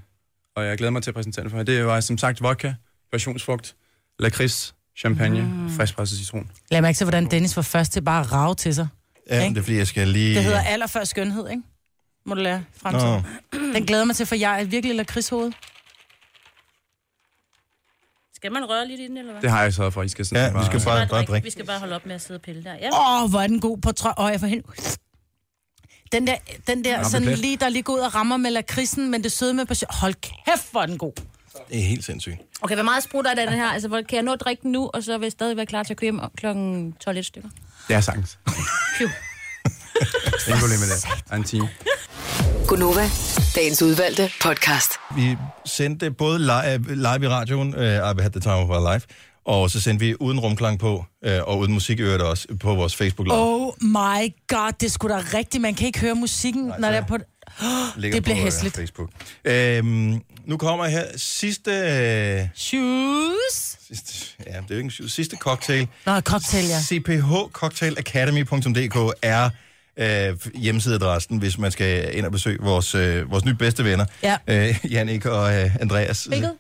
[SPEAKER 12] og jeg glæder mig til at præsentere den for jer. Det var som sagt vodka, passionsfrugt, lakrids, champagne, mm. friskpresset citron.
[SPEAKER 3] Lad mig ikke se, hvordan Dennis var først til bare at rave til sig.
[SPEAKER 1] Ja, det er fordi, jeg skal lige...
[SPEAKER 3] Det hedder allerførst skønhed, ikke? Må du lære frem til.
[SPEAKER 1] Nå.
[SPEAKER 3] Den glæder mig til, for jeg er virkelig lakridshoved.
[SPEAKER 13] Skal man røre lidt i den, eller hvad?
[SPEAKER 12] Det har jeg sørget for, I skal sådan
[SPEAKER 1] Ja, vi skal bare, bare
[SPEAKER 13] Vi
[SPEAKER 1] drikke.
[SPEAKER 13] skal bare holde op med at sidde og pille der. Ja.
[SPEAKER 3] Åh, oh, hvor er den god på trøj. Åh, oh, jeg får helt... Den der, den der
[SPEAKER 1] Ramme
[SPEAKER 3] sådan
[SPEAKER 1] plet.
[SPEAKER 3] lige, der lige går ud og rammer med lakridsen, men det søde med passion. Hold kæft, hvor er den god.
[SPEAKER 1] Det er helt sindssygt.
[SPEAKER 13] Okay, hvor meget sprutter er der i den her? Altså, hvor- kan jeg nå at drikke den nu, og så vil jeg stadig være klar til at køre hjem klokken 12 et stykker?
[SPEAKER 12] Det er sagtens. [laughs] Ingen problem med det. Og En time.
[SPEAKER 5] Gunova, dagens udvalgte podcast.
[SPEAKER 1] Vi sendte både live, live i radioen, uh, I Had The Time Of Our Life, og så sendte vi uden rumklang på, øh, og uden musik i øvrigt også, på vores Facebook Live.
[SPEAKER 3] Oh my god, det skulle da rigtigt. Man kan ikke høre musikken, Nej, når det er på... [gasps] Oh,
[SPEAKER 1] Ligger
[SPEAKER 3] det bliver
[SPEAKER 1] på, øh,
[SPEAKER 3] hæsligt.
[SPEAKER 1] Facebook. Øhm, nu kommer her sidste... Øh,
[SPEAKER 3] Shoes.
[SPEAKER 1] sidste ja, det er jo ikke en shoes, sidste cocktail.
[SPEAKER 3] Nå, cocktail, ja.
[SPEAKER 1] cphcocktailacademy.dk er øh, hjemmesideadressen, hvis man skal ind og besøge vores, øh, vores nye bedste venner.
[SPEAKER 3] Ja.
[SPEAKER 1] Øh, Jannik og øh, Andreas.
[SPEAKER 3] Hvilket?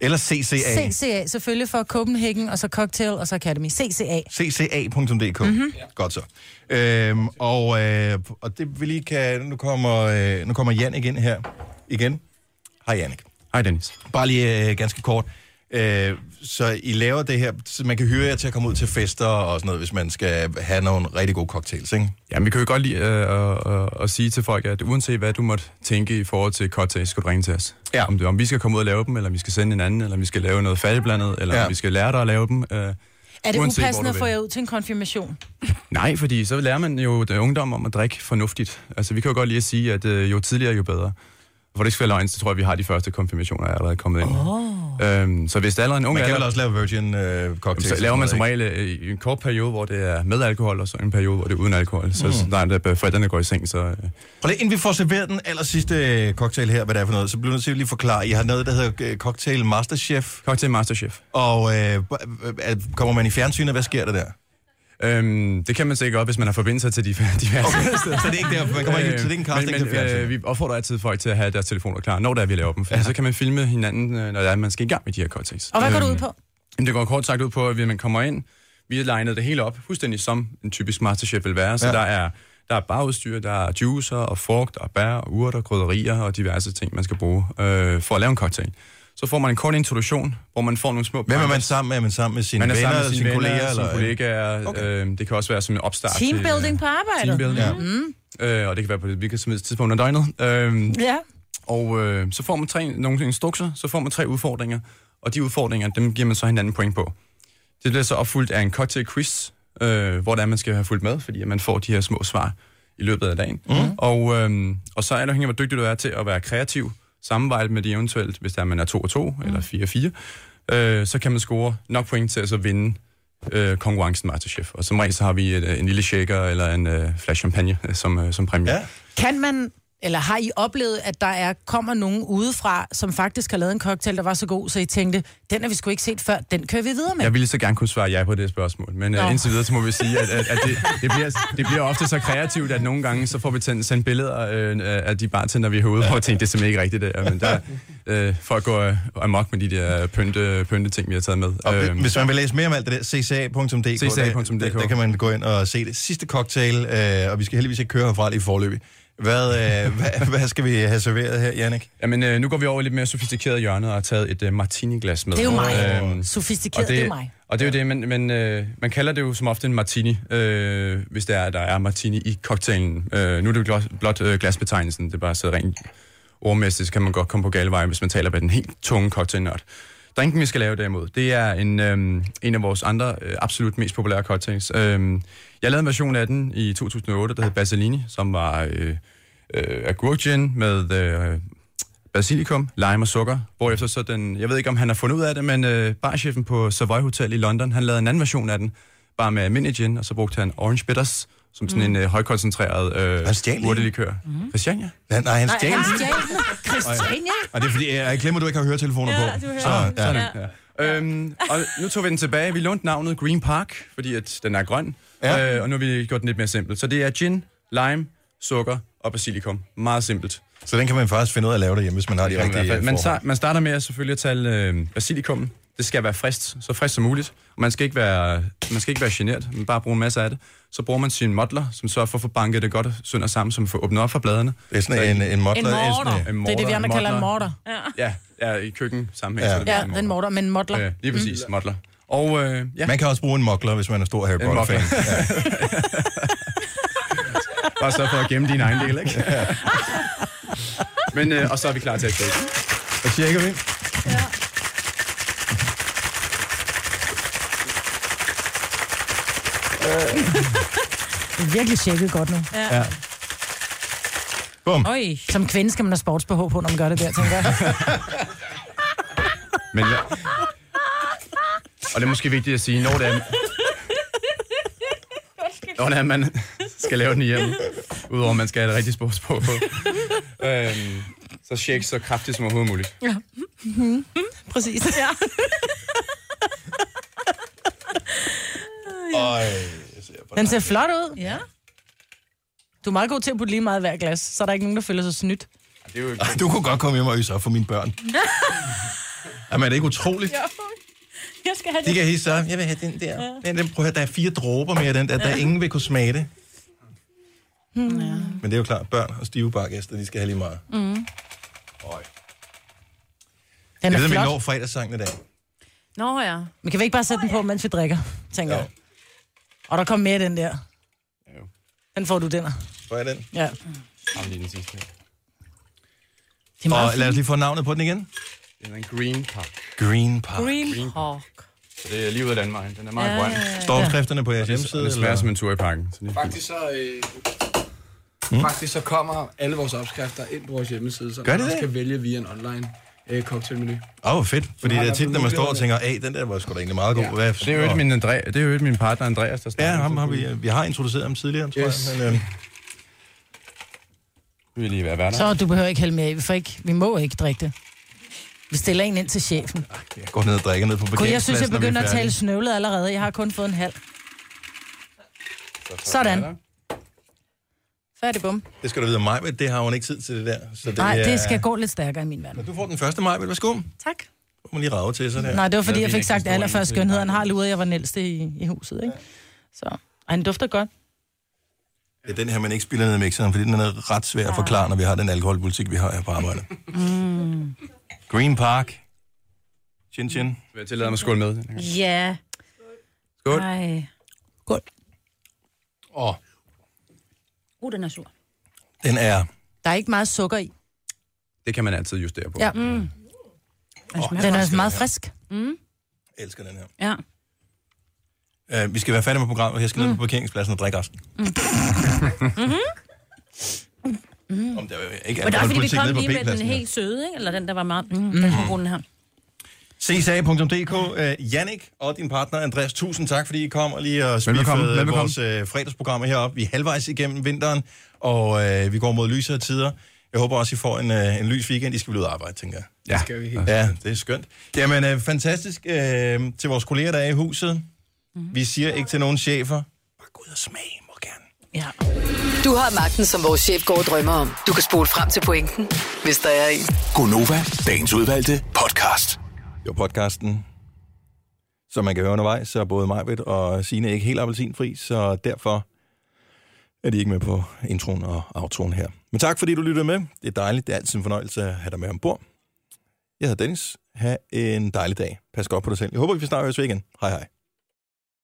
[SPEAKER 1] Eller CCA.
[SPEAKER 3] CCA, selvfølgelig for Copenhagen, og så Cocktail, og så Academy. CCA.
[SPEAKER 1] cca.dk.
[SPEAKER 3] Mhm.
[SPEAKER 1] Mm-hmm. Godt så. Øhm, og, øh, og det vi lige kan... Nu kommer, øh, nu kommer Jannik ind her. Igen. Hej Jannik.
[SPEAKER 12] Hej Dennis.
[SPEAKER 1] Bare lige øh, ganske kort. Øh, så I laver det her, så man kan hyre jer til at komme ud til fester og sådan noget, hvis man skal have nogle rigtig gode cocktails, ikke?
[SPEAKER 12] Jamen, vi kan jo godt lide øh, at, at, at sige til folk, at uanset hvad du måtte tænke i forhold til cocktails, skal du ringe til os. Ja. Om, det, om vi skal komme ud og lave dem, eller om vi skal sende en anden, eller om vi skal lave noget fattigblandet, eller ja. om vi skal lære dig at lave dem. Øh,
[SPEAKER 3] Er det
[SPEAKER 12] uanset, hvor
[SPEAKER 3] upassende
[SPEAKER 12] du
[SPEAKER 3] at få
[SPEAKER 12] vil.
[SPEAKER 3] jer ud til en konfirmation?
[SPEAKER 12] Nej, fordi så lærer man jo øh, ungdom om at drikke fornuftigt. Altså, vi kan jo godt lige at sige, at øh, jo tidligere, jo bedre. For det ikke skal være løgn, så tror jeg, vi har de første konfirmationer der er allerede kommet ind. Oh. Øhm, så hvis der er allerede en ung
[SPEAKER 1] Man kan
[SPEAKER 12] alder,
[SPEAKER 1] vel også lave virgin øh, cocktails.
[SPEAKER 12] så laver man som
[SPEAKER 1] ikke?
[SPEAKER 12] regel øh, i en kort periode, hvor det er med alkohol, og så en periode, hvor det er uden alkohol.
[SPEAKER 1] Mm.
[SPEAKER 12] Så, så der er, da forældrene går i seng, så... Øh,
[SPEAKER 1] Prøv lige, inden vi får serveret den aller sidste cocktail her, hvad det er for noget, så bliver jeg nødt til at lige forklare. I har noget, der hedder øh, Cocktail Masterchef.
[SPEAKER 12] Cocktail Masterchef.
[SPEAKER 1] Og øh, øh, kommer man i fjernsynet, hvad sker der der?
[SPEAKER 12] Øhm, det kan man sikkert godt, hvis man har forbindelser til de, [laughs] de værste.
[SPEAKER 1] Okay, så det er ikke der, man kommer ikke,
[SPEAKER 12] Øh,
[SPEAKER 1] så det er ikke en casting
[SPEAKER 12] men,
[SPEAKER 1] til
[SPEAKER 12] men,
[SPEAKER 1] fjernsynet.
[SPEAKER 12] øh, Vi opfordrer altid folk til at have deres telefoner klar, når der er, vi laver dem. For ja. så kan man filme hinanden, øh, når der er, man skal i gang med de her cocktails.
[SPEAKER 3] Og hvad går du ud
[SPEAKER 12] Øhm,
[SPEAKER 3] på?
[SPEAKER 12] Jamen, det går kort sagt ud på, at vi- man kommer ind, vi har legnet det hele op, fuldstændig som en typisk masterchef vil være. Så
[SPEAKER 1] Ja.
[SPEAKER 12] ja. der er Der er bagudstyr, der er juicer og frugt og bær og urter, krydderier og diverse ting, man skal bruge øh, for at lave en cocktail. Så får man en kort introduktion, hvor man får nogle små...
[SPEAKER 1] Hvem er man sammen med? Er man sammen med sine
[SPEAKER 12] man er
[SPEAKER 1] venner,
[SPEAKER 12] sammen med
[SPEAKER 1] og sine
[SPEAKER 12] sine venner,
[SPEAKER 1] kolleger?
[SPEAKER 12] sine
[SPEAKER 1] eller-
[SPEAKER 12] kollegaer. Okay. Øh, det kan også være som en opstart. til, øh,
[SPEAKER 3] Teambuilding på arbejdet.
[SPEAKER 12] Teambuilding.
[SPEAKER 3] Mm.
[SPEAKER 12] Øh, og det kan være på et hvilket som helst tidspunkt af døgnet. Øh,
[SPEAKER 3] Ja.
[SPEAKER 12] og øh, så får man tre, nogle instrukser, så får man tre udfordringer, og de udfordringer, dem giver man så hinanden point på. Det bliver så opfuldt af en cocktail quiz, øh, hvor det er, man skal have fulgt med, fordi at man får de her små svar i løbet af dagen. Mm. Og, øh, og så er det afhængig af, hvor dygtig du er til at være kreativ, samarbejde med de eventuelt, hvis der man er 2 og 2 mm. eller 4-4, øh, så kan man score nok point til at så vinde øh, konkurrencen Masterchef. Og som regel så har vi et, øh, en lille shaker eller en øh, flaske champagne øh, som, øh, som præmie. Ja.
[SPEAKER 3] Kan man, eller har I oplevet, at der er, kommer nogen udefra, som faktisk har lavet en cocktail, der var så god, så I tænkte, den har vi sgu ikke set før, den kører vi videre med?
[SPEAKER 12] Jeg ville så gerne kunne svare ja på det spørgsmål, men
[SPEAKER 3] Nå.
[SPEAKER 12] uh, indtil videre så må vi sige, at, at, at det, det, bliver, det bliver ofte så kreativt, at nogle gange så får vi tændt, sendt billeder øh, af de bartender, vi har herude, hvor jeg tænkte, det er simpelthen ikke rigtigt det her, men der, øh, folk går øh, amok med de der pynte, pynte ting, vi har taget med.
[SPEAKER 1] Og
[SPEAKER 12] Øhm,
[SPEAKER 1] hvis man vil læse mere om alt det der, cca.dk,
[SPEAKER 12] CCA.dk.
[SPEAKER 1] Der, der, der kan man gå ind og se det. Sidste cocktail, øh, og vi skal heldigvis ikke køre herfra lige forløbig. Hvad, øh, [laughs] hvad, hvad skal vi have serveret her, Jannik?
[SPEAKER 12] Jamen, øh, nu går vi over i lidt mere sofistikeret hjørne og har taget et øh, martini-glas med.
[SPEAKER 3] Det er jo mig.
[SPEAKER 12] Øhm,
[SPEAKER 3] Sofistikeret,
[SPEAKER 12] og
[SPEAKER 3] det er mig.
[SPEAKER 12] Og det er jo det, men, men øh, man kalder det jo som ofte en martini, øh, hvis der er, der er martini i cocktailen. Øh, nu er det jo blot, blot øh, glasbetegnelsen, det er bare så rent ordmæssigt, så kan man godt komme på gale veje, hvis man taler med den helt tunge cocktailnørd. Drinken, vi skal lave derimod, det er en, øhm, en af vores andre øh, absolut mest populære cocktails. Øhm, jeg lavede en version af den i 2008, der hed Basilini, som var øh, øh, agurkgin med øh, basilikum, lime og sukker, hvorefter så den, jeg ved ikke om han har fundet ud af det, men øh, barchefen på Savoy Hotel i London, han lavede en anden version af den, bare med almindelig gin, og så brugte han orange bitters, som sådan mm. en øh, højkoncentreret øh, urtelikør. Mm. Christiania?
[SPEAKER 1] Nej, nej, han stjal.
[SPEAKER 3] Christiania?
[SPEAKER 1] Og det er fordi, jeg glemmer, du ikke har høretelefoner
[SPEAKER 12] Ja,
[SPEAKER 1] på.
[SPEAKER 12] du hører.
[SPEAKER 1] Så,
[SPEAKER 12] Ja. Sådan, ja. Øhm, og nu tog vi den tilbage. Vi lånte navnet Green Park, fordi at den er grøn. Ja. Øh, og nu har vi gjort den lidt mere simpel. Så det er gin, lime, sukker og basilikum. Meget simpelt.
[SPEAKER 1] Så den kan man faktisk finde ud af at lave derhjemme, hvis man har de
[SPEAKER 12] Det kan man i
[SPEAKER 1] rigtige øh,
[SPEAKER 12] hvert fald. man,
[SPEAKER 1] forhold.
[SPEAKER 12] tager, man starter med at selvfølgelig at tale øh, basilikum. Det skal være frist, så frist som muligt. Og Man skal ikke være, man skal ikke være generet, men bare bruge en masse af det. Så bruger man sin modler, som sørger for at få banket det godt sønder sammen, som får åbnet op for bladene.
[SPEAKER 1] Det er sådan en, en
[SPEAKER 3] En morter. Det er det, vi andre kalder en morter. Ja,
[SPEAKER 12] Ja, ja, i køkken sammenhæng. så er det
[SPEAKER 3] ja
[SPEAKER 12] en
[SPEAKER 3] den morter, men en modler.
[SPEAKER 12] Ja, lige præcis, mm. modler. Og, øh, ja.
[SPEAKER 1] Man kan også bruge en mokler, hvis man er stor Harry Potter-fan.
[SPEAKER 12] [laughs] Bare så for at gemme din egen del, ikke? Ja. [laughs] Men, øh, og så er vi klar til at tjekke.
[SPEAKER 1] Så tjekker vi.
[SPEAKER 3] Mm. Virkelig tjekket godt nu.
[SPEAKER 1] Ja. Bum.
[SPEAKER 3] Oj. Som kvinde skal man have sports på, når man gør det der, tænker jeg.
[SPEAKER 12] Men, ja. Og det er måske vigtigt at sige, når det er, når det er man skal lave den hjemme, udover at man skal have et rigtigt sports på. øhm, så shake så kraftigt som overhovedet muligt.
[SPEAKER 3] ja. Mhm. [laughs] Præcis.
[SPEAKER 13] [laughs]
[SPEAKER 3] Ja.
[SPEAKER 1] Øj.
[SPEAKER 3] Den ser flot ud.
[SPEAKER 4] Ja.
[SPEAKER 3] Du er meget god til at putte lige meget i hver glas, så er der ikke nogen, der føler sig snydt.
[SPEAKER 12] Det er jo
[SPEAKER 1] Du kunne godt komme hjem og øse op for mine børn. Jamen, er det ikke utroligt?
[SPEAKER 4] Jeg skal have
[SPEAKER 1] De kan hisse op. Jeg vil have den der. Den, den, prøv at høre, der er fire dråber mere i den der. Der er ingen vil kunne smage det.
[SPEAKER 3] Hmm. Ja.
[SPEAKER 1] Men det er jo klart, børn og stive bargæster, de skal have lige meget.
[SPEAKER 3] Mm.
[SPEAKER 1] Øj.
[SPEAKER 3] Den
[SPEAKER 1] jeg
[SPEAKER 3] er
[SPEAKER 1] ved, om vi
[SPEAKER 3] flot.
[SPEAKER 1] når fredagssangen i dag.
[SPEAKER 3] Nå ja. Men kan vi ikke bare sætte den på, mens vi drikker, tænker
[SPEAKER 1] Jo.
[SPEAKER 3] jeg. Og der kom mere af den der. Den får du, Denner.
[SPEAKER 1] Får jeg den?
[SPEAKER 3] Ja.
[SPEAKER 12] Jamen, lige den sidste. Det
[SPEAKER 3] er meget
[SPEAKER 1] Og lad os lige få navnet på den igen.
[SPEAKER 12] er en green park.
[SPEAKER 1] Green Park.
[SPEAKER 4] Green, Green Park.
[SPEAKER 12] Så det er lige ud af Danmark. Den er meget
[SPEAKER 4] Ja,
[SPEAKER 12] grøn.
[SPEAKER 4] ja, ja.
[SPEAKER 1] Stormskrifterne på jeres hjemmeside,
[SPEAKER 12] Det er
[SPEAKER 1] eller?
[SPEAKER 12] svært som en tur i parken. Så det er
[SPEAKER 1] Mm-hmm.
[SPEAKER 12] fint.
[SPEAKER 14] Faktisk så, øh, faktisk så kommer alle vores opskrifter ind på vores hjemmeside, så
[SPEAKER 1] Mm. Gør
[SPEAKER 14] man
[SPEAKER 1] det
[SPEAKER 14] også
[SPEAKER 1] det?
[SPEAKER 14] kan vælge via en online øh, cocktailmenu.
[SPEAKER 1] Åh, oh, fedt. Fordi
[SPEAKER 14] har
[SPEAKER 1] det er
[SPEAKER 14] der
[SPEAKER 1] tit, når man står og tænker,
[SPEAKER 14] muligheder.
[SPEAKER 1] at den der var sgu da egentlig meget god. Hvad,
[SPEAKER 12] Det er jo ikke min, Andrea, det er jo ikke min partner Andreas, der snakker.
[SPEAKER 1] Ja, ham har vi, vi har introduceret ham tidligere, tror
[SPEAKER 12] Yes.
[SPEAKER 1] jeg. Men, øh,
[SPEAKER 12] Vi vil lige være værter.
[SPEAKER 3] Så du behøver ikke hælde mere i. Vi, får ikke, vi må ikke drikke det. Vi stiller en ind til chefen.
[SPEAKER 1] jeg går ned og drikker ned på
[SPEAKER 3] Kun jeg
[SPEAKER 1] parkeringspladsen,
[SPEAKER 3] synes, jeg
[SPEAKER 1] når vi er
[SPEAKER 3] begynder at
[SPEAKER 1] færdige.
[SPEAKER 3] tale snøvlet allerede. Jeg har kun fået en halv. Sådan. Færdig bum.
[SPEAKER 1] Det skal du vide, mig, det har hun ikke tid til det der. Så det
[SPEAKER 3] Nej,
[SPEAKER 1] er-
[SPEAKER 3] det skal gå lidt stærkere i min verden.
[SPEAKER 1] Men du får den første maj, værsgo.
[SPEAKER 3] Tak.
[SPEAKER 1] Du må lige rave til sådan her.
[SPEAKER 3] Nej, det var fordi, jeg fik sagt allerførst skønheden har luret, jeg var den ældste i, i huset, ikke? Så, ej, den dufter godt.
[SPEAKER 1] Det er den her, man ikke spiller ned i mixeren, fordi den er ret svær at forklare, når vi har den alkoholpolitik, vi har her på arbejde.
[SPEAKER 4] Mm.
[SPEAKER 1] Green Park. Chin chin.
[SPEAKER 12] Vil jeg tillade mig at skåle med?
[SPEAKER 4] Ja.
[SPEAKER 12] Skål.
[SPEAKER 4] Ej.
[SPEAKER 12] Åh,
[SPEAKER 13] Uh, den er sur.
[SPEAKER 1] den er...
[SPEAKER 3] Der er ikke meget sukker i.
[SPEAKER 12] Det kan man altid justere på.
[SPEAKER 3] Ja. Mm. Den er altså meget frisk. Mm.
[SPEAKER 1] Jeg elsker den her.
[SPEAKER 13] Ja.
[SPEAKER 1] Uh, vi skal være færdige med programmet. Jeg skal ned på parkeringspladsen og drikke resten. Mm. Om der er ikke
[SPEAKER 13] Men det er også, fordi vi
[SPEAKER 1] alkoholpolitik
[SPEAKER 13] kom
[SPEAKER 1] nede på
[SPEAKER 13] lige med den
[SPEAKER 1] P-pladsen her.
[SPEAKER 13] helt søde, ikke? Eller den, der var meget... Mm, Den er god, den her.
[SPEAKER 1] CSA.dk, uh, Jannik og din partner Andreas, tusind tak, fordi I kom og lige og spiffede
[SPEAKER 12] Velbekomme, velbekomme.
[SPEAKER 1] vores uh, fredagsprogrammer heroppe. Vi er halvvejs igennem vinteren, og uh, vi går mod lysere tider. Jeg håber også, I får en, uh, en lys weekend. I skal blive ud og arbejde, tænker jeg.
[SPEAKER 14] Ja. Det skal vi helt
[SPEAKER 1] Ja, det er skønt. Jamen, øh, fantastisk øh, til vores kolleger, der er i huset.
[SPEAKER 14] Mhm.
[SPEAKER 1] Mm-hmm. Vi siger ikke til nogen chefer.
[SPEAKER 5] Du har magten, som vores chef går og drømmer om. Du kan spole frem til pointen, hvis der er en.
[SPEAKER 2] Gonova, dagens udvalgte podcast.
[SPEAKER 1] Det var podcasten, som man kan høre undervejs, så er både Majbet og Signe ikke helt appelsinfri, så derfor er de ikke med på introen og outroen her. Men tak, fordi du lyttede med. Det er dejligt. Det er altid en fornøjelse at have dig med ombord. Jeg hedder Dennis. Ha' en dejlig dag. Pas godt på dig selv. Jeg håber, vi snart høres ved igen. Hej hej.